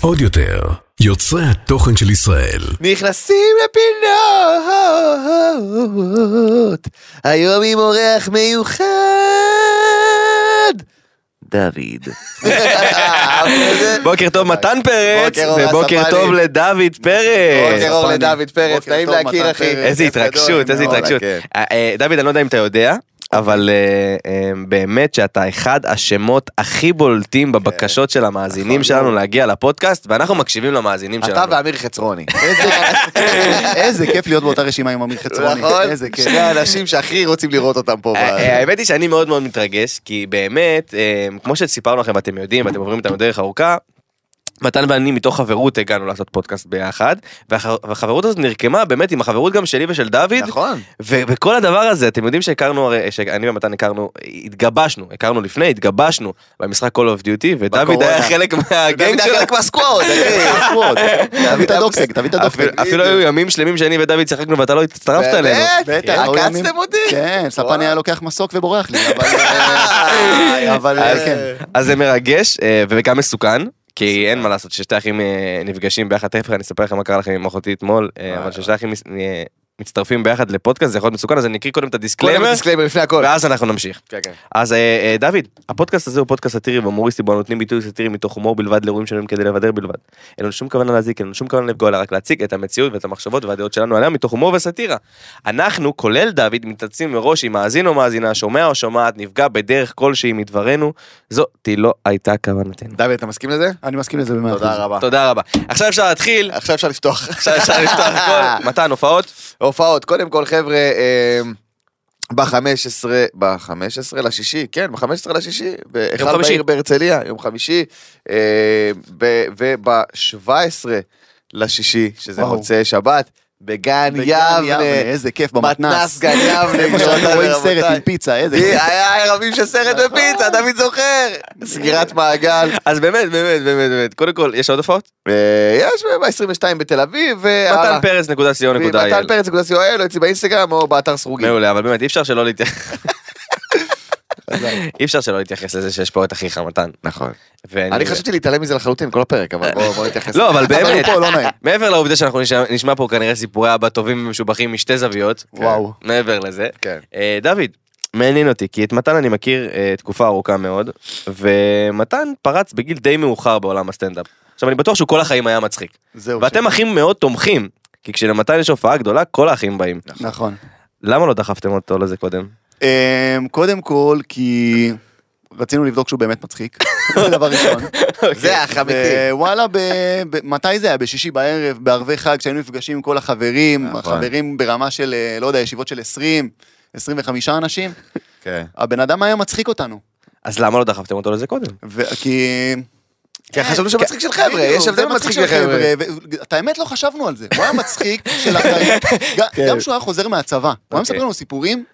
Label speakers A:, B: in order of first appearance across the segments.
A: עוד יותר, יוצרי התוכן של ישראל.
B: נכנסים לפינות, היום עם אורח מיוחד, דוד.
C: בוקר טוב מתן פרץ,
B: בוקר אור
C: ובוקר
B: הספאלי.
C: טוב לדוד פרץ.
B: בוקר אור
D: פאני.
B: לדוד פרץ,
D: בוקר
B: נעים
D: טוב,
B: להכיר
D: מתן
B: אחי.
D: פרץ.
C: אה, איזה
B: כיף גדול.
C: התרגשות, איזה
D: וואלה,
C: התרגשות.
D: כן.
C: אה, אה, דוד, אני לא יודע אם אתה יודע, אבל אה, אה, באמת שאתה אחד השמות הכי בולטים בבקשות של המאזינים שלנו להגיע לפודקאסט, ואנחנו מקשיבים למאזינים
B: אתה
C: שלנו. אה,
B: ואמיר חצרוני.
D: איזה- איזה כיף להיות באותה רשימה עם אמיר חצרוני.
B: נכון?
D: איזה כיף.
B: שני האנשים שהכי רוצים לראות אותם פה. ב-
C: אה, אה, האמת היא שאני מאוד מאוד מתרגש, כי באמת, אה, כמו שסיפרנו לכם ואתם יודעים ואתם עוברים איתנו דרך ארוכה, מתן ואני מתוך חברות הגענו לעשות פודקאסט ביחד, והח- והחברות הזאת נרקמה באמת עם החברות גם שלי ושל דוד,
B: נכון.
C: ו- וכל הדבר הזה, אתם יודעים שהכרנו, הרי, שאני ומתן הכרנו, התגבשנו, הכרנו לפני, התגבשנו במשחק Call of Duty, ודוד
B: בקורונה.
C: היה חלק מהגנג
B: דוד היה
C: שלנו.
B: חלק מהסקווד, אחי, סקווד.
D: תביא את הדוקטג, תביא את הדוקטג.
C: אפילו- אפילו היו ימים שלמים שאני ודוד שיחקנו ואתה לא הצטרפת אלינו.
B: באמת?
D: בטח, היו ימים-
B: עקצתם אותי?
D: כן, ספני היה לוקח מסוק ובורח לי, אבל...
B: אה,
D: אבל
B: אה,
D: אה, כן.
C: אז זה מרגש אה, וגם מסוכן. כי אין מה לעשות, ששתי אחים אה, נפגשים ביחד, תכף אני אספר לכם מה קרה לכם עם אחותי אתמול, אה, אבל ששתי אחים מס- אה, מצטרפים ביחד לפודקאסט, זה יכול להיות מסוכן, אז אני אקריא קודם את
B: קודם
C: הדיסקליימר,
B: דיסקליימר לפני הכל.
C: ואז אנחנו נמשיך.
B: כן, כן.
C: אז אה, אה, דוד, הפודקאסט הזה הוא פודקאסט סאטירי והומוריסטי, בו נותנים ביטוי סאטירי מתוך הומור בלבד לאירועים שלנו כדי לבדר בלבד. אין לנו שום כוונה להזיק, אין לנו שום כוונה לפגוע, אלא רק להציג את המציאות ואת המחשבות והדעות שלנו עליה מתוך הומור וסאטירה. אנחנו, כולל דוד, מתעצים מראש אם מאזין או מאזינה, שומע או שומעת, נפגע בדרך כלשהי מדברנו, זאתי לא הייתה כוונתנו.
B: דוד, אתה מסכים לזה?
D: אני מסכים לזה במאה אחוז.
B: תודה רבה.
C: תודה רבה. עכשיו אפשר להתחיל,
B: עכשיו אפשר לפתוח.
C: עכשיו אפשר לפתוח הכל. מתן, הופעות?
B: הופעות, קודם כל חבר'ה, אה, ב-15, ב-15 לשישי, כן, ב-15 לשישי, בהיכל
C: חמישי.
B: בעיר בהרצליה, יום חמישי, אה, ב- וב-17 לשישי, שזה
D: וואו.
B: מוצאי שבת, בגן
D: בגן
B: יבנה,
D: איזה כיף, במתנס.
B: מתנ"ס גן יבנה,
D: איפה
B: גבירותיי
D: שאנחנו רואים
B: ורבותיי.
D: סרט עם פיצה, איזה כיף.
B: היה ערבים של סרט ופיצה, דוד זוכר, סגירת מעגל.
C: אז באמת, באמת, באמת, באמת, קודם כל, יש עוד הופעות?
B: אה, יש ב-22 בתל אביב, אה,
C: מתן פרץ נקודה ציון נקודה
B: מתן
C: אייל.
B: פרץ, נקודה co.il, או אצלי באינסטגרם או באתר סרוגים.
C: מעולה, אבל באמת אי אפשר שלא להתייחס. אי אפשר שלא להתייחס לזה שיש פה את אחיך מתן.
B: נכון.
C: ואני-
B: אני חשבתי להתעלם מזה לחלוטין כל הפרק, אבל בואו בואו נתייחס.
C: לא, אבל
D: אבל הוא
C: באמת,
D: פה, לא נעים.
C: מעבר לעובדה שאנחנו נשמע- נשמע פה כנראה סיפורי אבא טובים ומשובחים משתי זוויות.
D: כן. וואו.
C: מעבר לזה.
B: כן.
C: אה, דוד, מעניין אותי, כי את מתן אני מכיר אה, תקופה ארוכה מאוד, ומתן פרץ בגיל די מאוחר בעולם הסטנדאפ. עכשיו אני בטוח שהוא כל החיים היה מצחיק.
D: זהו.
C: ואתם אחים מאוד תומכים, כי כשלמתן יש הופעה גדולה, כל האחים באים.
D: ש- נכון.
C: למה לא דחפתם אותו לזה קודם?
D: אמ, קודם כל, כי רצינו לבדוק שהוא באמת מצחיק. זה דבר ראשון.
B: זה
C: כן.
B: האח אמיתי.
D: וואלה, ב... ב... מתי זה היה? בשישי בערב, בערבי חג, כשהיינו נפגשים עם כל החברים,
B: נכון.
D: החברים ברמה של, אה, לא יודע, ישיבות של 20, 25 אנשים,
B: כן.
D: הבן אדם היה מצחיק אותנו.
C: אז למה לא דחפתם אותו לזה קודם?
D: ו... כי...
B: כי חשבנו שמצחיק של חבר'ה,
D: בדיוק,
B: יש
D: זה
B: הבדל כן, מצחיק של חבר'ה.
D: ו- את האמת, לא חשבנו על זה. הוא היה מצחיק של החיים. ג-
B: כן.
D: גם כשהוא היה חוזר מהצבא, הוא היה
B: אוקיי.
D: מספר לנו סיפורים.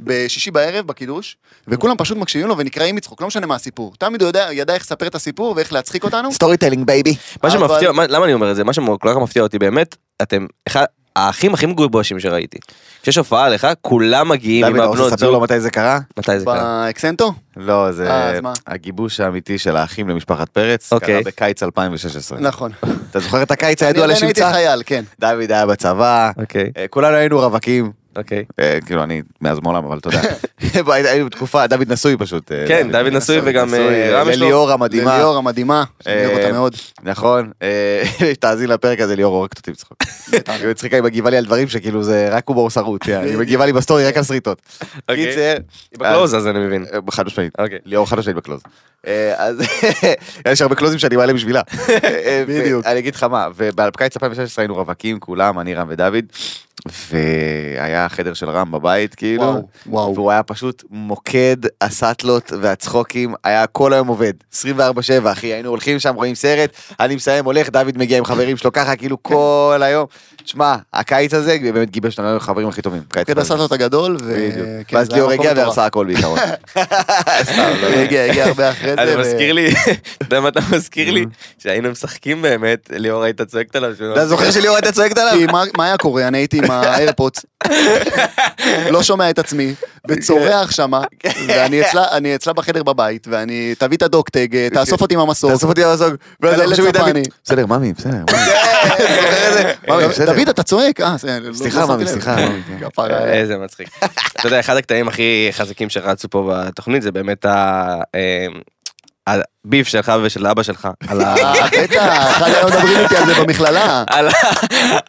D: בשישי בערב בקידוש, וכולם פשוט מקשיבים לו ונקרעים מצחוק, לא משנה מה הסיפור. תמיד הוא יודע, ידע איך לספר את הסיפור ואיך להצחיק אותנו.
B: סטורי טיילינג בייבי.
C: מה
D: אבל-
C: שמפתיע, מה- למה אני אומר את זה? מה שכל כך מפתיע אותי באמת, אתם אחד האחים הכי מגובשים שראיתי. כשיש הופעה לך, כולם מגיעים עם
B: דוד, אתה רוצה
C: הבנות
B: לספר לו
C: זוג.
B: מתי זה קרה?
C: מתי זה קרה?
D: באקסנטו?
B: לא, זה
D: אה, אז מה?
B: הגיבוש האמיתי של האחים למשפחת פרץ, קרה
C: אוקיי.
B: בקיץ 2016.
D: נכון.
B: אתה זוכר את הקיץ
D: אני
B: הידוע
D: עדיין הייתי
B: כן. לשמצה?
D: חייל, כן.
B: דוד היה בצבא,
C: אוקיי,
B: אה, כולנו היינו רווקים,
C: אוקיי.
B: אה, כאילו אני מאז מעולם, אבל אתה יודע. היינו בתקופה, דוד נשוי פשוט. אה,
C: כן, דוד נשוי וגם, אה,
B: נשוי, אה,
C: רם יש לו-
B: לליאור המדהימה.
D: לליאור המדהימה, שאני אוהב אותה
B: אה,
D: מאוד.
B: נכון, אה, תאזין לפרק הזה, ליאור הורגת אותי בצחוק. היא מצחיקה, היא מגיבה לי על דברים שכאילו זה רק הומור שרוט, שנייה, היא מגיבה לי בסטורי רק על שריטות.
C: אוקיי.
B: קיצר,
C: היא בקלוז אז אני
D: כן.
C: מבין.
B: אה, חד משמעית,
C: אוקיי.
B: ליאור חד משמעית בקלוז. אה, אז יש הרבה קלוזים שאני מעלה בשבילה. אה,
D: בדיוק.
B: אני אגיד לך מה, ובקיץ 2016 היינו רווקים, כולם, אני, רם ודוד, והיה חדר של רם בבית, כאילו.
D: וואו, וואו.
B: והוא היה פשוט מוקד הסאטלות והצחוקים, היה כל היום עובד, 24-7 אחי, היינו הולכים שם, רואים סרט, אני מסיים, הולך, דוד מגיע עם חברים שלו ככה, כאילו
D: כן.
B: כל היום. תשמע, הקיץ הזה באמת גיבש לנו החברים הכי טובים. קיץ
D: קטע
B: הזה.
D: הסטות הגדול, ו-
B: בדיוק.
D: כן,
B: ואז
D: זה היה
B: ליאור
D: מקום
B: הגיע
D: מטורף.
B: והרסה לא הכל בעיקרון.
D: הוא הגיע, הגיע הרבה אחרי
B: אה,
D: זה.
C: אני
D: ו-
C: מזכיר לי, אתה יודע מה אתה מזכיר לי?
B: Mm-hmm.
C: שהיינו משחקים באמת, ליאור היית צועקת עליו. שהוא- לא-
B: לא, אתה זוכר שליאור הייתה צועקת עליו?
D: כי מה- מה היה קורה? אני הייתי עם עם האיירפוץ, לא שומע את עצמי, וצורח שמה, ואני אצלה, אני אצלה בחדר בבית, ואני, תביא את הדוקטג, תאסוף אותי עם המסוק.
B: תאסוף אותי במזוג. ואז
D: כלל
B: אנשים
D: לצפני.
B: מדברים, בסדר, ממי, בסדר. ממי." זוכר את זה? ממי, בסדר.
D: דוד, אתה צועק? אה, זה- לא-
B: סליחה,
D: לא שמתי
B: ממי,
D: לב.
B: סליחה, ממי, כן.
D: כפרה.
C: אה, איזה מצחיק. אתה יודע, אחד הקטעים הכי חזקים שרצו פה בתוכנית זה באמת ה- אה, הביף שלך ושל אבא שלך. על ה...
D: אה, בטח, אחד היום מדברים איתי על זה במכללה.
C: על ה...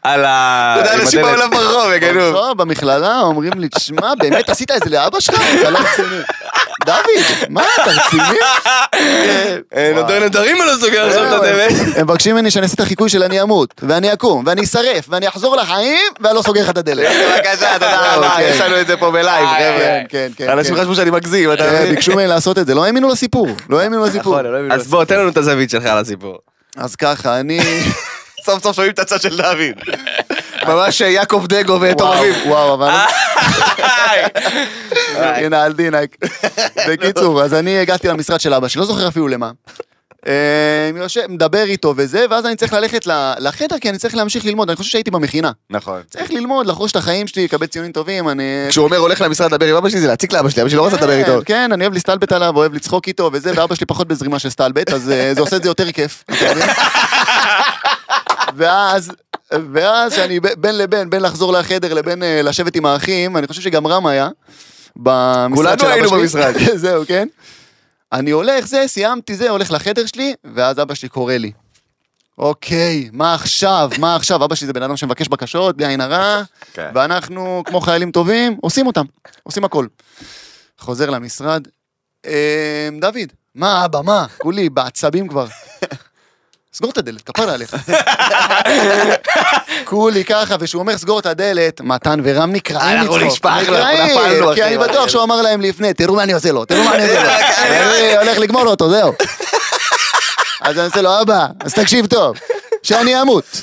C: על ה...
B: אתה יודע,
C: עם
B: אנשים
C: הדלת.
B: באו אליו ברחוב, יגנו.
D: לא, במכללה אומרים לי, תשמע, באמת עשית את זה לאבא שלך? אתה לא רציני. דוד, מה אתה רציני?
C: אה, נותר נדרים על
B: אה,
C: הסוגר עכשיו את הדלת.
D: הם מבקשים ממני שאני אעשה את החיקוי של אני אמות, ואני אקום, ואני אשרף, ואני אחזור לחיים, ואני לא סוגר לך את הדלת.
B: בבקשה, תודה רבה,
D: אוקיי.
B: יש לנו את זה פה בלייב, חבר'ה.
D: כן, כן, כן.
B: אה, אנשים
D: כן.
B: חשבו שאני מגזים, אתה
D: כן,
B: מבין?
D: ביקשו ממני לעשות את זה, לא האמינו לסיפור, לא האמינו לסיפור.
B: נכון, לא האמינו
C: אה, אז בוא, תן לנו את הזווית שלך על הסיפור.
D: אז ככה, אני...
B: סוף סוף שומעים את הצד של דוד. ממש יעקב דגו ותום
D: וואו,
B: אביב. אה,
D: וואו, אבל... אה, הנה, אל דינק. בקיצור, אז אני הגעתי למשרד של אבא שלי, לא זוכר אפילו למה. אה, יושב- מדבר איתו וזה, ואז אני צריך ללכת ל- לחדר, כי אני צריך להמשיך ללמוד, אני חושב שהייתי במכינה.
B: נכון.
D: צריך ללמוד, לחרוש את החיים שלי, לקבל ציונים טובים, אני...
B: כשהוא אומר הולך למשרד לדבר עם אבא שלי זה להציק לאבא שלי, אבא שלי לא רוצה לדבר
D: כן,
B: איתו.
D: כן, אני אוהב להסתלבט עליו, אוהב לצחוק איתו וזה, ואבא שלי פחות בזרימה של סטלבט, אז אה, זה עושה את זה יותר כיף. אתה מבין? ואז, ואז שאני ב- בין לבין, בין לחזור לחדר לבין אה, לשבת עם האחים, אני חושב שגם רם היה. במשרד
B: כולנו
D: של אבא
B: היינו
D: שלי.
B: במשרד.
D: זהו, כן? אני הולך, זה, סיימתי זה, הולך לחדר שלי, ואז אבא שלי קורא לי. אוקיי, מה עכשיו? מה עכשיו? אבא שלי זה בן אדם שמבקש בקשות, בלי עין הרע,
B: כן.
D: ואנחנו, כמו חיילים טובים, עושים אותם, עושים הכל. חוזר למשרד, "אמ, דוד, מה אבא, מה? כולי בעצבים כבר. סגור את הדלת, כפרה עליך. כולי ככה, וכשהוא אומר סגור את הדלת, מתן ורם נקרעים
B: אה, אנחנו
D: מצחוק.
B: נשפך, אנחנו
D: נקרעים,
B: נפלנו,
D: כי
B: אחי,
D: אני
B: מה
D: בטוח
B: זה?
D: שהוא אמר להם לפני, תראו מה אני עושה לו, תראו מה אני עושה לו.
B: כן.
D: אני הולך לגמור אותו, זהו. אז אני עושה לו, אבא, אז תקשיב טוב, שאני אמות.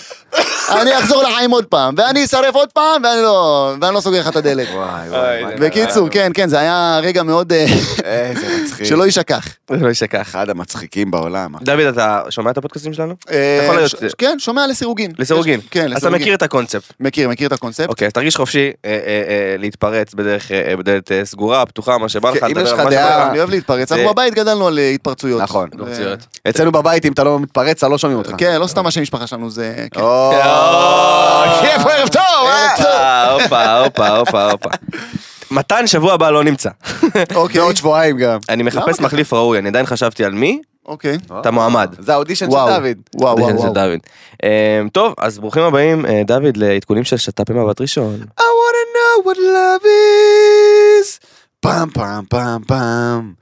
D: אני אחזור לחיים עוד פעם, ואני אשרף עוד פעם, ואני לא, ואני לא סוגר לך את הדלת.
B: וואי
C: אוי,
B: מה
C: זה-
D: בקיצור, כן, כן, זה היה רגע מאוד, אה,
C: אוקיי.
B: קרה? איזה מצחיק.
D: שלא יישכח.
C: לא ישכח.
B: אחד המצחיקים בעולם.
C: דוד, אתה שומע את הפודקאסטים שלנו?
D: אה,
C: יכול להיות
D: ש-
C: שזה.
D: כן, שומע לסירוגין.
C: לסירוגין.
D: יש- כן,
C: אז אתה
D: לסירוגין.
C: מכיר את הקונספט.
D: מכיר, מכיר את הקונספט.
C: אוקיי, אז תרגיש חופשי אה, אה, אה, להתפרץ בדרך, אה, אה, בדלת אה, סגורה, פתוחה, מה שבא לך,
B: כן, אם
C: לדבר
B: יש
C: על
B: לך
C: מה שבא
B: דעה-
C: לך.
D: אני אוהב להתפרץ,
C: אוקיי. זה-
D: אנחנו בבית גדלנו על אה, התפרצויות.
B: נכון.
D: זה-
C: ברצינות.
B: אצלנו בבית אם אתה לא מתפרץ, לא שומעים אותך.
D: כן, לא סתם מה שהמשפחה שלנו זה... כן.
B: או, כיף,
C: אוקיי,
B: ערב טוב! אה?
C: הופה, הופה, הופה, הופה, הופה. מתן שבוע הבא לא נמצא.
D: אוקיי,
B: ועוד שבועיים גם.
C: אני מחפש
D: ככה?
C: מחליף ראוי, אני עדיין חשבתי על מי,
D: אוקיי.
B: אה.
C: אתה מועמד.
B: זה האודישן של
D: וואו,
B: דוד.
D: וואו, וואו,
C: זה של
D: וואו.
C: דוד. אמ, טוב, אז ברוכים הבאים, אה, דוד, לעדכונים של שת"פ עם הבת ראשון.
B: I wanna know what love is. פעם פעם פעם פעם.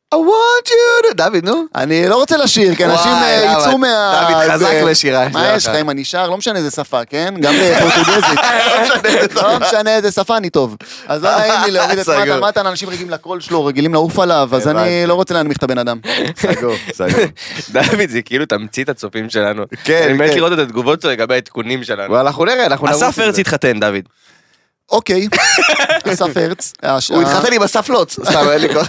B: I want you to... דוד, נו.
D: אני לא רוצה לשיר, כי אנשים
B: וואי,
D: אה,
B: למה?
D: יצאו מה...
B: דוד חזק
D: זה-
B: בשירה, יש
D: מה
B: לך.
D: יש לך אם אני שר? לא משנה איזה שפה, כן? גם בפורטוגזית. לא משנה איזה שפה אני טוב. אז לא נעים לי להוריד את
B: סגור.
D: מטה, מטה, אנשים רגילים לקול שלו, רגילים לעוף עליו, אז אני
B: הבנתי.
D: לא רוצה להנמיך את הבן אדם.
B: סגור, סגור.
C: דוד, זה כאילו תמצית הצופים שלנו.
B: כן,
C: אני מת
B: כן.
C: לראות את התגובות שלו לגבי העדכונים שלנו.
B: וואלה, אנחנו נראה, אנחנו נרוץ
C: אסף
B: עם
C: הרץ
B: זה.
C: התחתן, דוד.
D: אוקיי, אסף הרץ. אה, הש-
B: הוא
C: אה?
B: התחתן עם אסף לוץ. סתם, אין לי כוח.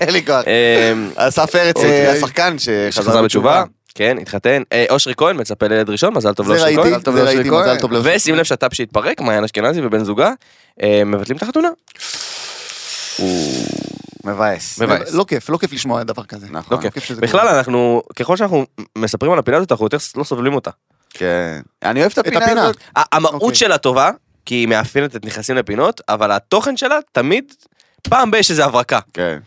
B: אין לי כוח.
D: אה,
C: אמ,
B: אסף הרץ,
D: אוקיי.
B: אה, השחקן
C: שחזר בתשובה, כן, התחתן. אה, אושרי כהן מצפה לילד ראשון, מזל טוב לא
D: זה
C: לאושרי
D: ראיתי,
C: כהן.
B: מזל טוב
D: זה
B: לאושרי
D: ראיתי,
B: כהן.
D: מזל טוב לאושרי.
C: ושים לב שהטאפ שהתפרק, מעיין אשכנזי ובן זוגה, אה, מבטלים את החתונה.
B: מבאס.
C: מבאס.
D: לא כיף, לא כיף לשמוע דבר כזה.
B: נכון.
C: לא
D: לא כיף
C: כיף.
D: שזה
C: בכלל, אנחנו, ככל שאנחנו מספרים על הפינה הזאת, אנחנו יותר לא סובלים אותה.
B: כן. אני אוהב את הפינה
D: הפינה.
B: הזאת.
C: ה- המהות
D: אוקיי.
C: שלה טובה, כי היא מאפיינת את נכנסים לפינות, אבל התוכן שלה תמיד, פעם ב- יש איזה הברקה.
B: כן.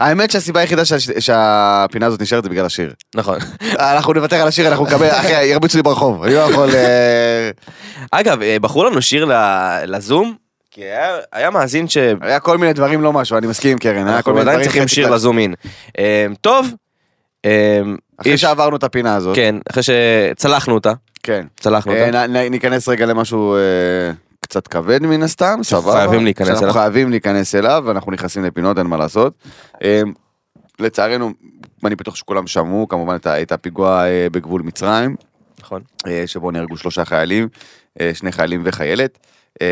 B: האמת שהסיבה היחידה שה- שהפינה הזאת נשארת זה בגלל השיר.
C: נכון.
B: אנחנו נוותר על השיר, אנחנו נקבל, אחי, ירביצו לי ברחוב. אני לא יכול... אה,
C: אגב, אה, בחרו לנו שיר ל- לזום, כי היה- היה מאזין ש...
B: היה כל מיני דברים לא משהו, אני מסכים עם קרן. היה כל
C: אנחנו
B: מיני
C: עדיין
B: דברים
C: צריכים
B: שצריך
C: שיר
B: לה-
C: לזום אין. אה, טוב, אה,
B: אחרי
C: יש-
B: שעברנו את הפינה הזאת.
C: כן, אחרי שצלחנו אותה,
B: כן.
C: צלחנו
B: אה,
C: אותה.
B: נ- נ- ניכנס רגע למשהו אה, קצת כבד מן הסתם, סבבה.
C: חייבים להיכנס
B: שאנחנו
C: אליו.
B: חייבים להיכנס אליו, ואנחנו נכנסים לפינות, אין מה לעשות. אה, לצערנו, אני בטוח שכולם שמעו, כמובן את ה- את הפיגוע אה, בגבול מצרים.
C: נכון.
B: אה, שבו נהרגו שלושה חיילים, אה, שני חיילים וחיילת. אה,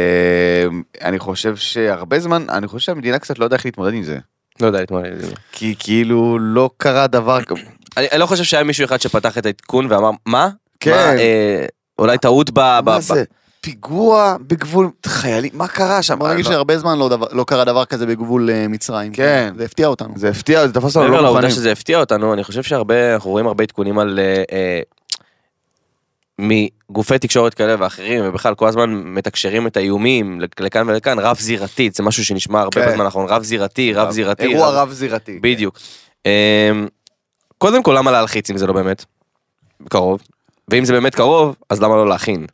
B: אני חושב שהרבה זמן, אני חושב שהמדינה קצת לא יודעה איך להתמודד עם זה.
C: לא יודע
B: אה,
C: להתמודד עם זה.
B: כי כאילו לא קרה דבר כזה.
C: אני אני לא חושב שהיה מישהו אחד שפתח את העדכון ואמר, מה?
B: כן.
C: מה, אה, אולי טעות ב... ב-
B: מה
C: ב-
B: זה? פיגוע בגבול חיילים, מה קרה שם?
D: בוא נגיד שהרבה זמן לא דבר- לא קרה דבר כזה בגבול אה, מצרים.
B: כן.
D: זה הפתיע אותנו.
B: זה הפתיע, זה תפס אותנו
C: מעבר
B: לא
C: לעובדה
B: מוכנים.
C: שזה הפתיע אותנו, אני חושב שהרבה, אנחנו רואים הרבה עדכונים על... אה, אה, מגופי תקשורת כאלה ואחרים, ובכלל כל הזמן מתקשרים את האיומים לכ- לכאן ולכאן, רב זירתית, זה משהו שנשמע הרבה
B: כן.
C: בזמן האחרון, רב זירתי, רב זירתי.
B: אירוע רב זירתי.
C: בדיוק. אמ, קודם כל, למה להלחיץ אם זה לא באמת? קרוב. ואם זה באמת קרוב, אז למה לא להכין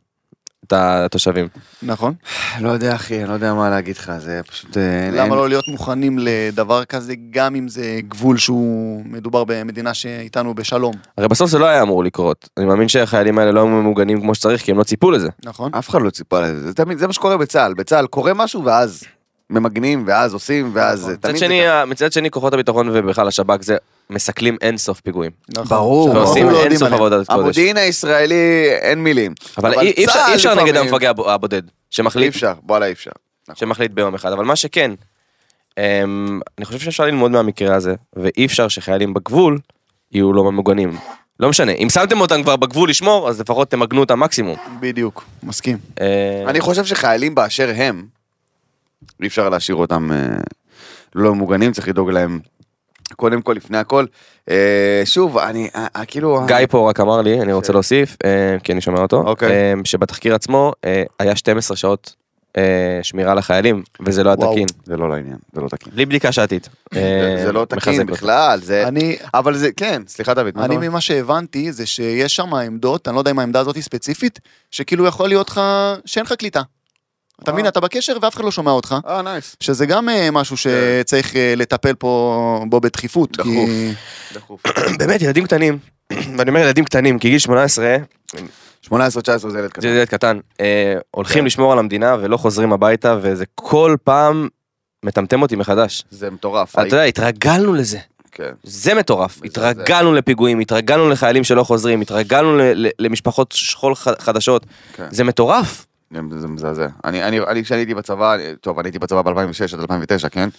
C: את התושבים?
D: נכון.
B: לא יודע אחי, אני לא יודע מה להגיד לך, זה פשוט... אה, אין-
D: למה לא להיות מוכנים לדבר כזה, גם אם זה גבול שהוא מדובר במדינה שאיתנו בשלום.
C: הרי בסוף זה לא היה אמור לקרות. אני מאמין שהחיילים האלה לא היו ממוגנים כמו שצריך, כי הם לא ציפו לזה.
D: נכון.
B: אף אחד לא ציפה לזה, זה תמיד, זה מה שקורה בצה"ל, בצה"ל קורה משהו ואז ממגנים ואז עושים ואז זה
C: מצד
B: תמיד...
C: שני,
B: זה-
C: ה- מצד שני, כוחות הביטחון ובכלל השב"כ זה מסכלים אינסוף פיגועים.
D: נכון.
B: ברור. אוקיי.
D: שאנחנו
C: ועושים
D: לא יודעים
C: אינסוף
D: עליהם.
C: עבודת קודש.
B: המודיעין הישראלי אין מילים.
C: אבל אי אי אפשר-
B: צה"ל
C: אי אפשר נגד
B: לפעמים-
C: המפגע הב- הבודד,
B: אי
C: שמחליט
B: אפשר, וואלה אי אפשר.
C: שמחליט ביום אחד, אבל מה שכן, אמ, אני חושב שאפשר ללמוד מהמקרה הזה, ואי אפשר שחיילים בגבול יהיו לא ממוגנים. לא משנה, אם שמתם אותם כבר בגבול לשמור, אז לפחות תמגנו אותם מקסימום.
D: בדיוק, מסכים.
C: אה,
B: אני חושב שחיילים באשר הם, אי אפשר להשאיר אותם אה, לא ממוגנים, צריך לדאוג להם קודם כל, לפני הכל. אה, שוב, אני, אה, אה, כאילו...
C: גיא פה רק אמר לי, אני רוצה להוסיף, אה, כי אני שומע אותו,
B: אוקיי.
C: אה, שבתחקיר עצמו אה, היה 12 שעות אה, שמירה לחיילים, וזה לא היה
D: וואו.
C: תקין.
B: זה לא לעניין, זה לא תקין.
C: בלי בדיקה שעתית. אה,
B: זה- זה לא
C: מחזק
B: תקין
C: אותי.
B: בכלל, זה...
D: אני,
B: אבל זה, כן, סליחה דוד, מה אתה
D: אני
B: אומר?
D: ממה שהבנתי זה שיש שם עמדות, אני לא יודע אם העמדה הזאת היא ספציפית, שכאילו יכול להיות לך, שאין לך קליטה. אתה מבין, אתה בקשר ואף אחד לא שומע אותך.
B: אה, נייס.
D: שזה גם אה, משהו שצריך אה, לטפל פה בו בדחיפות.
B: דחוף.
D: כי-
B: דחוף.
C: באמת, ילדים קטנים, ואני אומר ילדים קטנים, כי גיל 18,
B: 18-19 זה ילד
C: זה
B: כזה.
C: ילד קטן, אה, הולכים לשמור על המדינה ולא חוזרים הביתה, וזה כל פעם מטמטם אותי מחדש.
B: זה מטורף.
C: אתה יודע, התרגלנו לזה.
B: כן.
C: זה מטורף,
B: וזה-
C: התרגלנו לפיגועים, התרגלנו לחיילים שלא חוזרים, התרגלנו ל- ל- למשפחות שכול ח- חדשות,
B: כן.
C: זה מטורף.
B: זה זה מזעזע. אני, אני, אני, כשאני הייתי בצבא, אני- טוב, אני הייתי בצבא ב-2006 עד 2009, כן?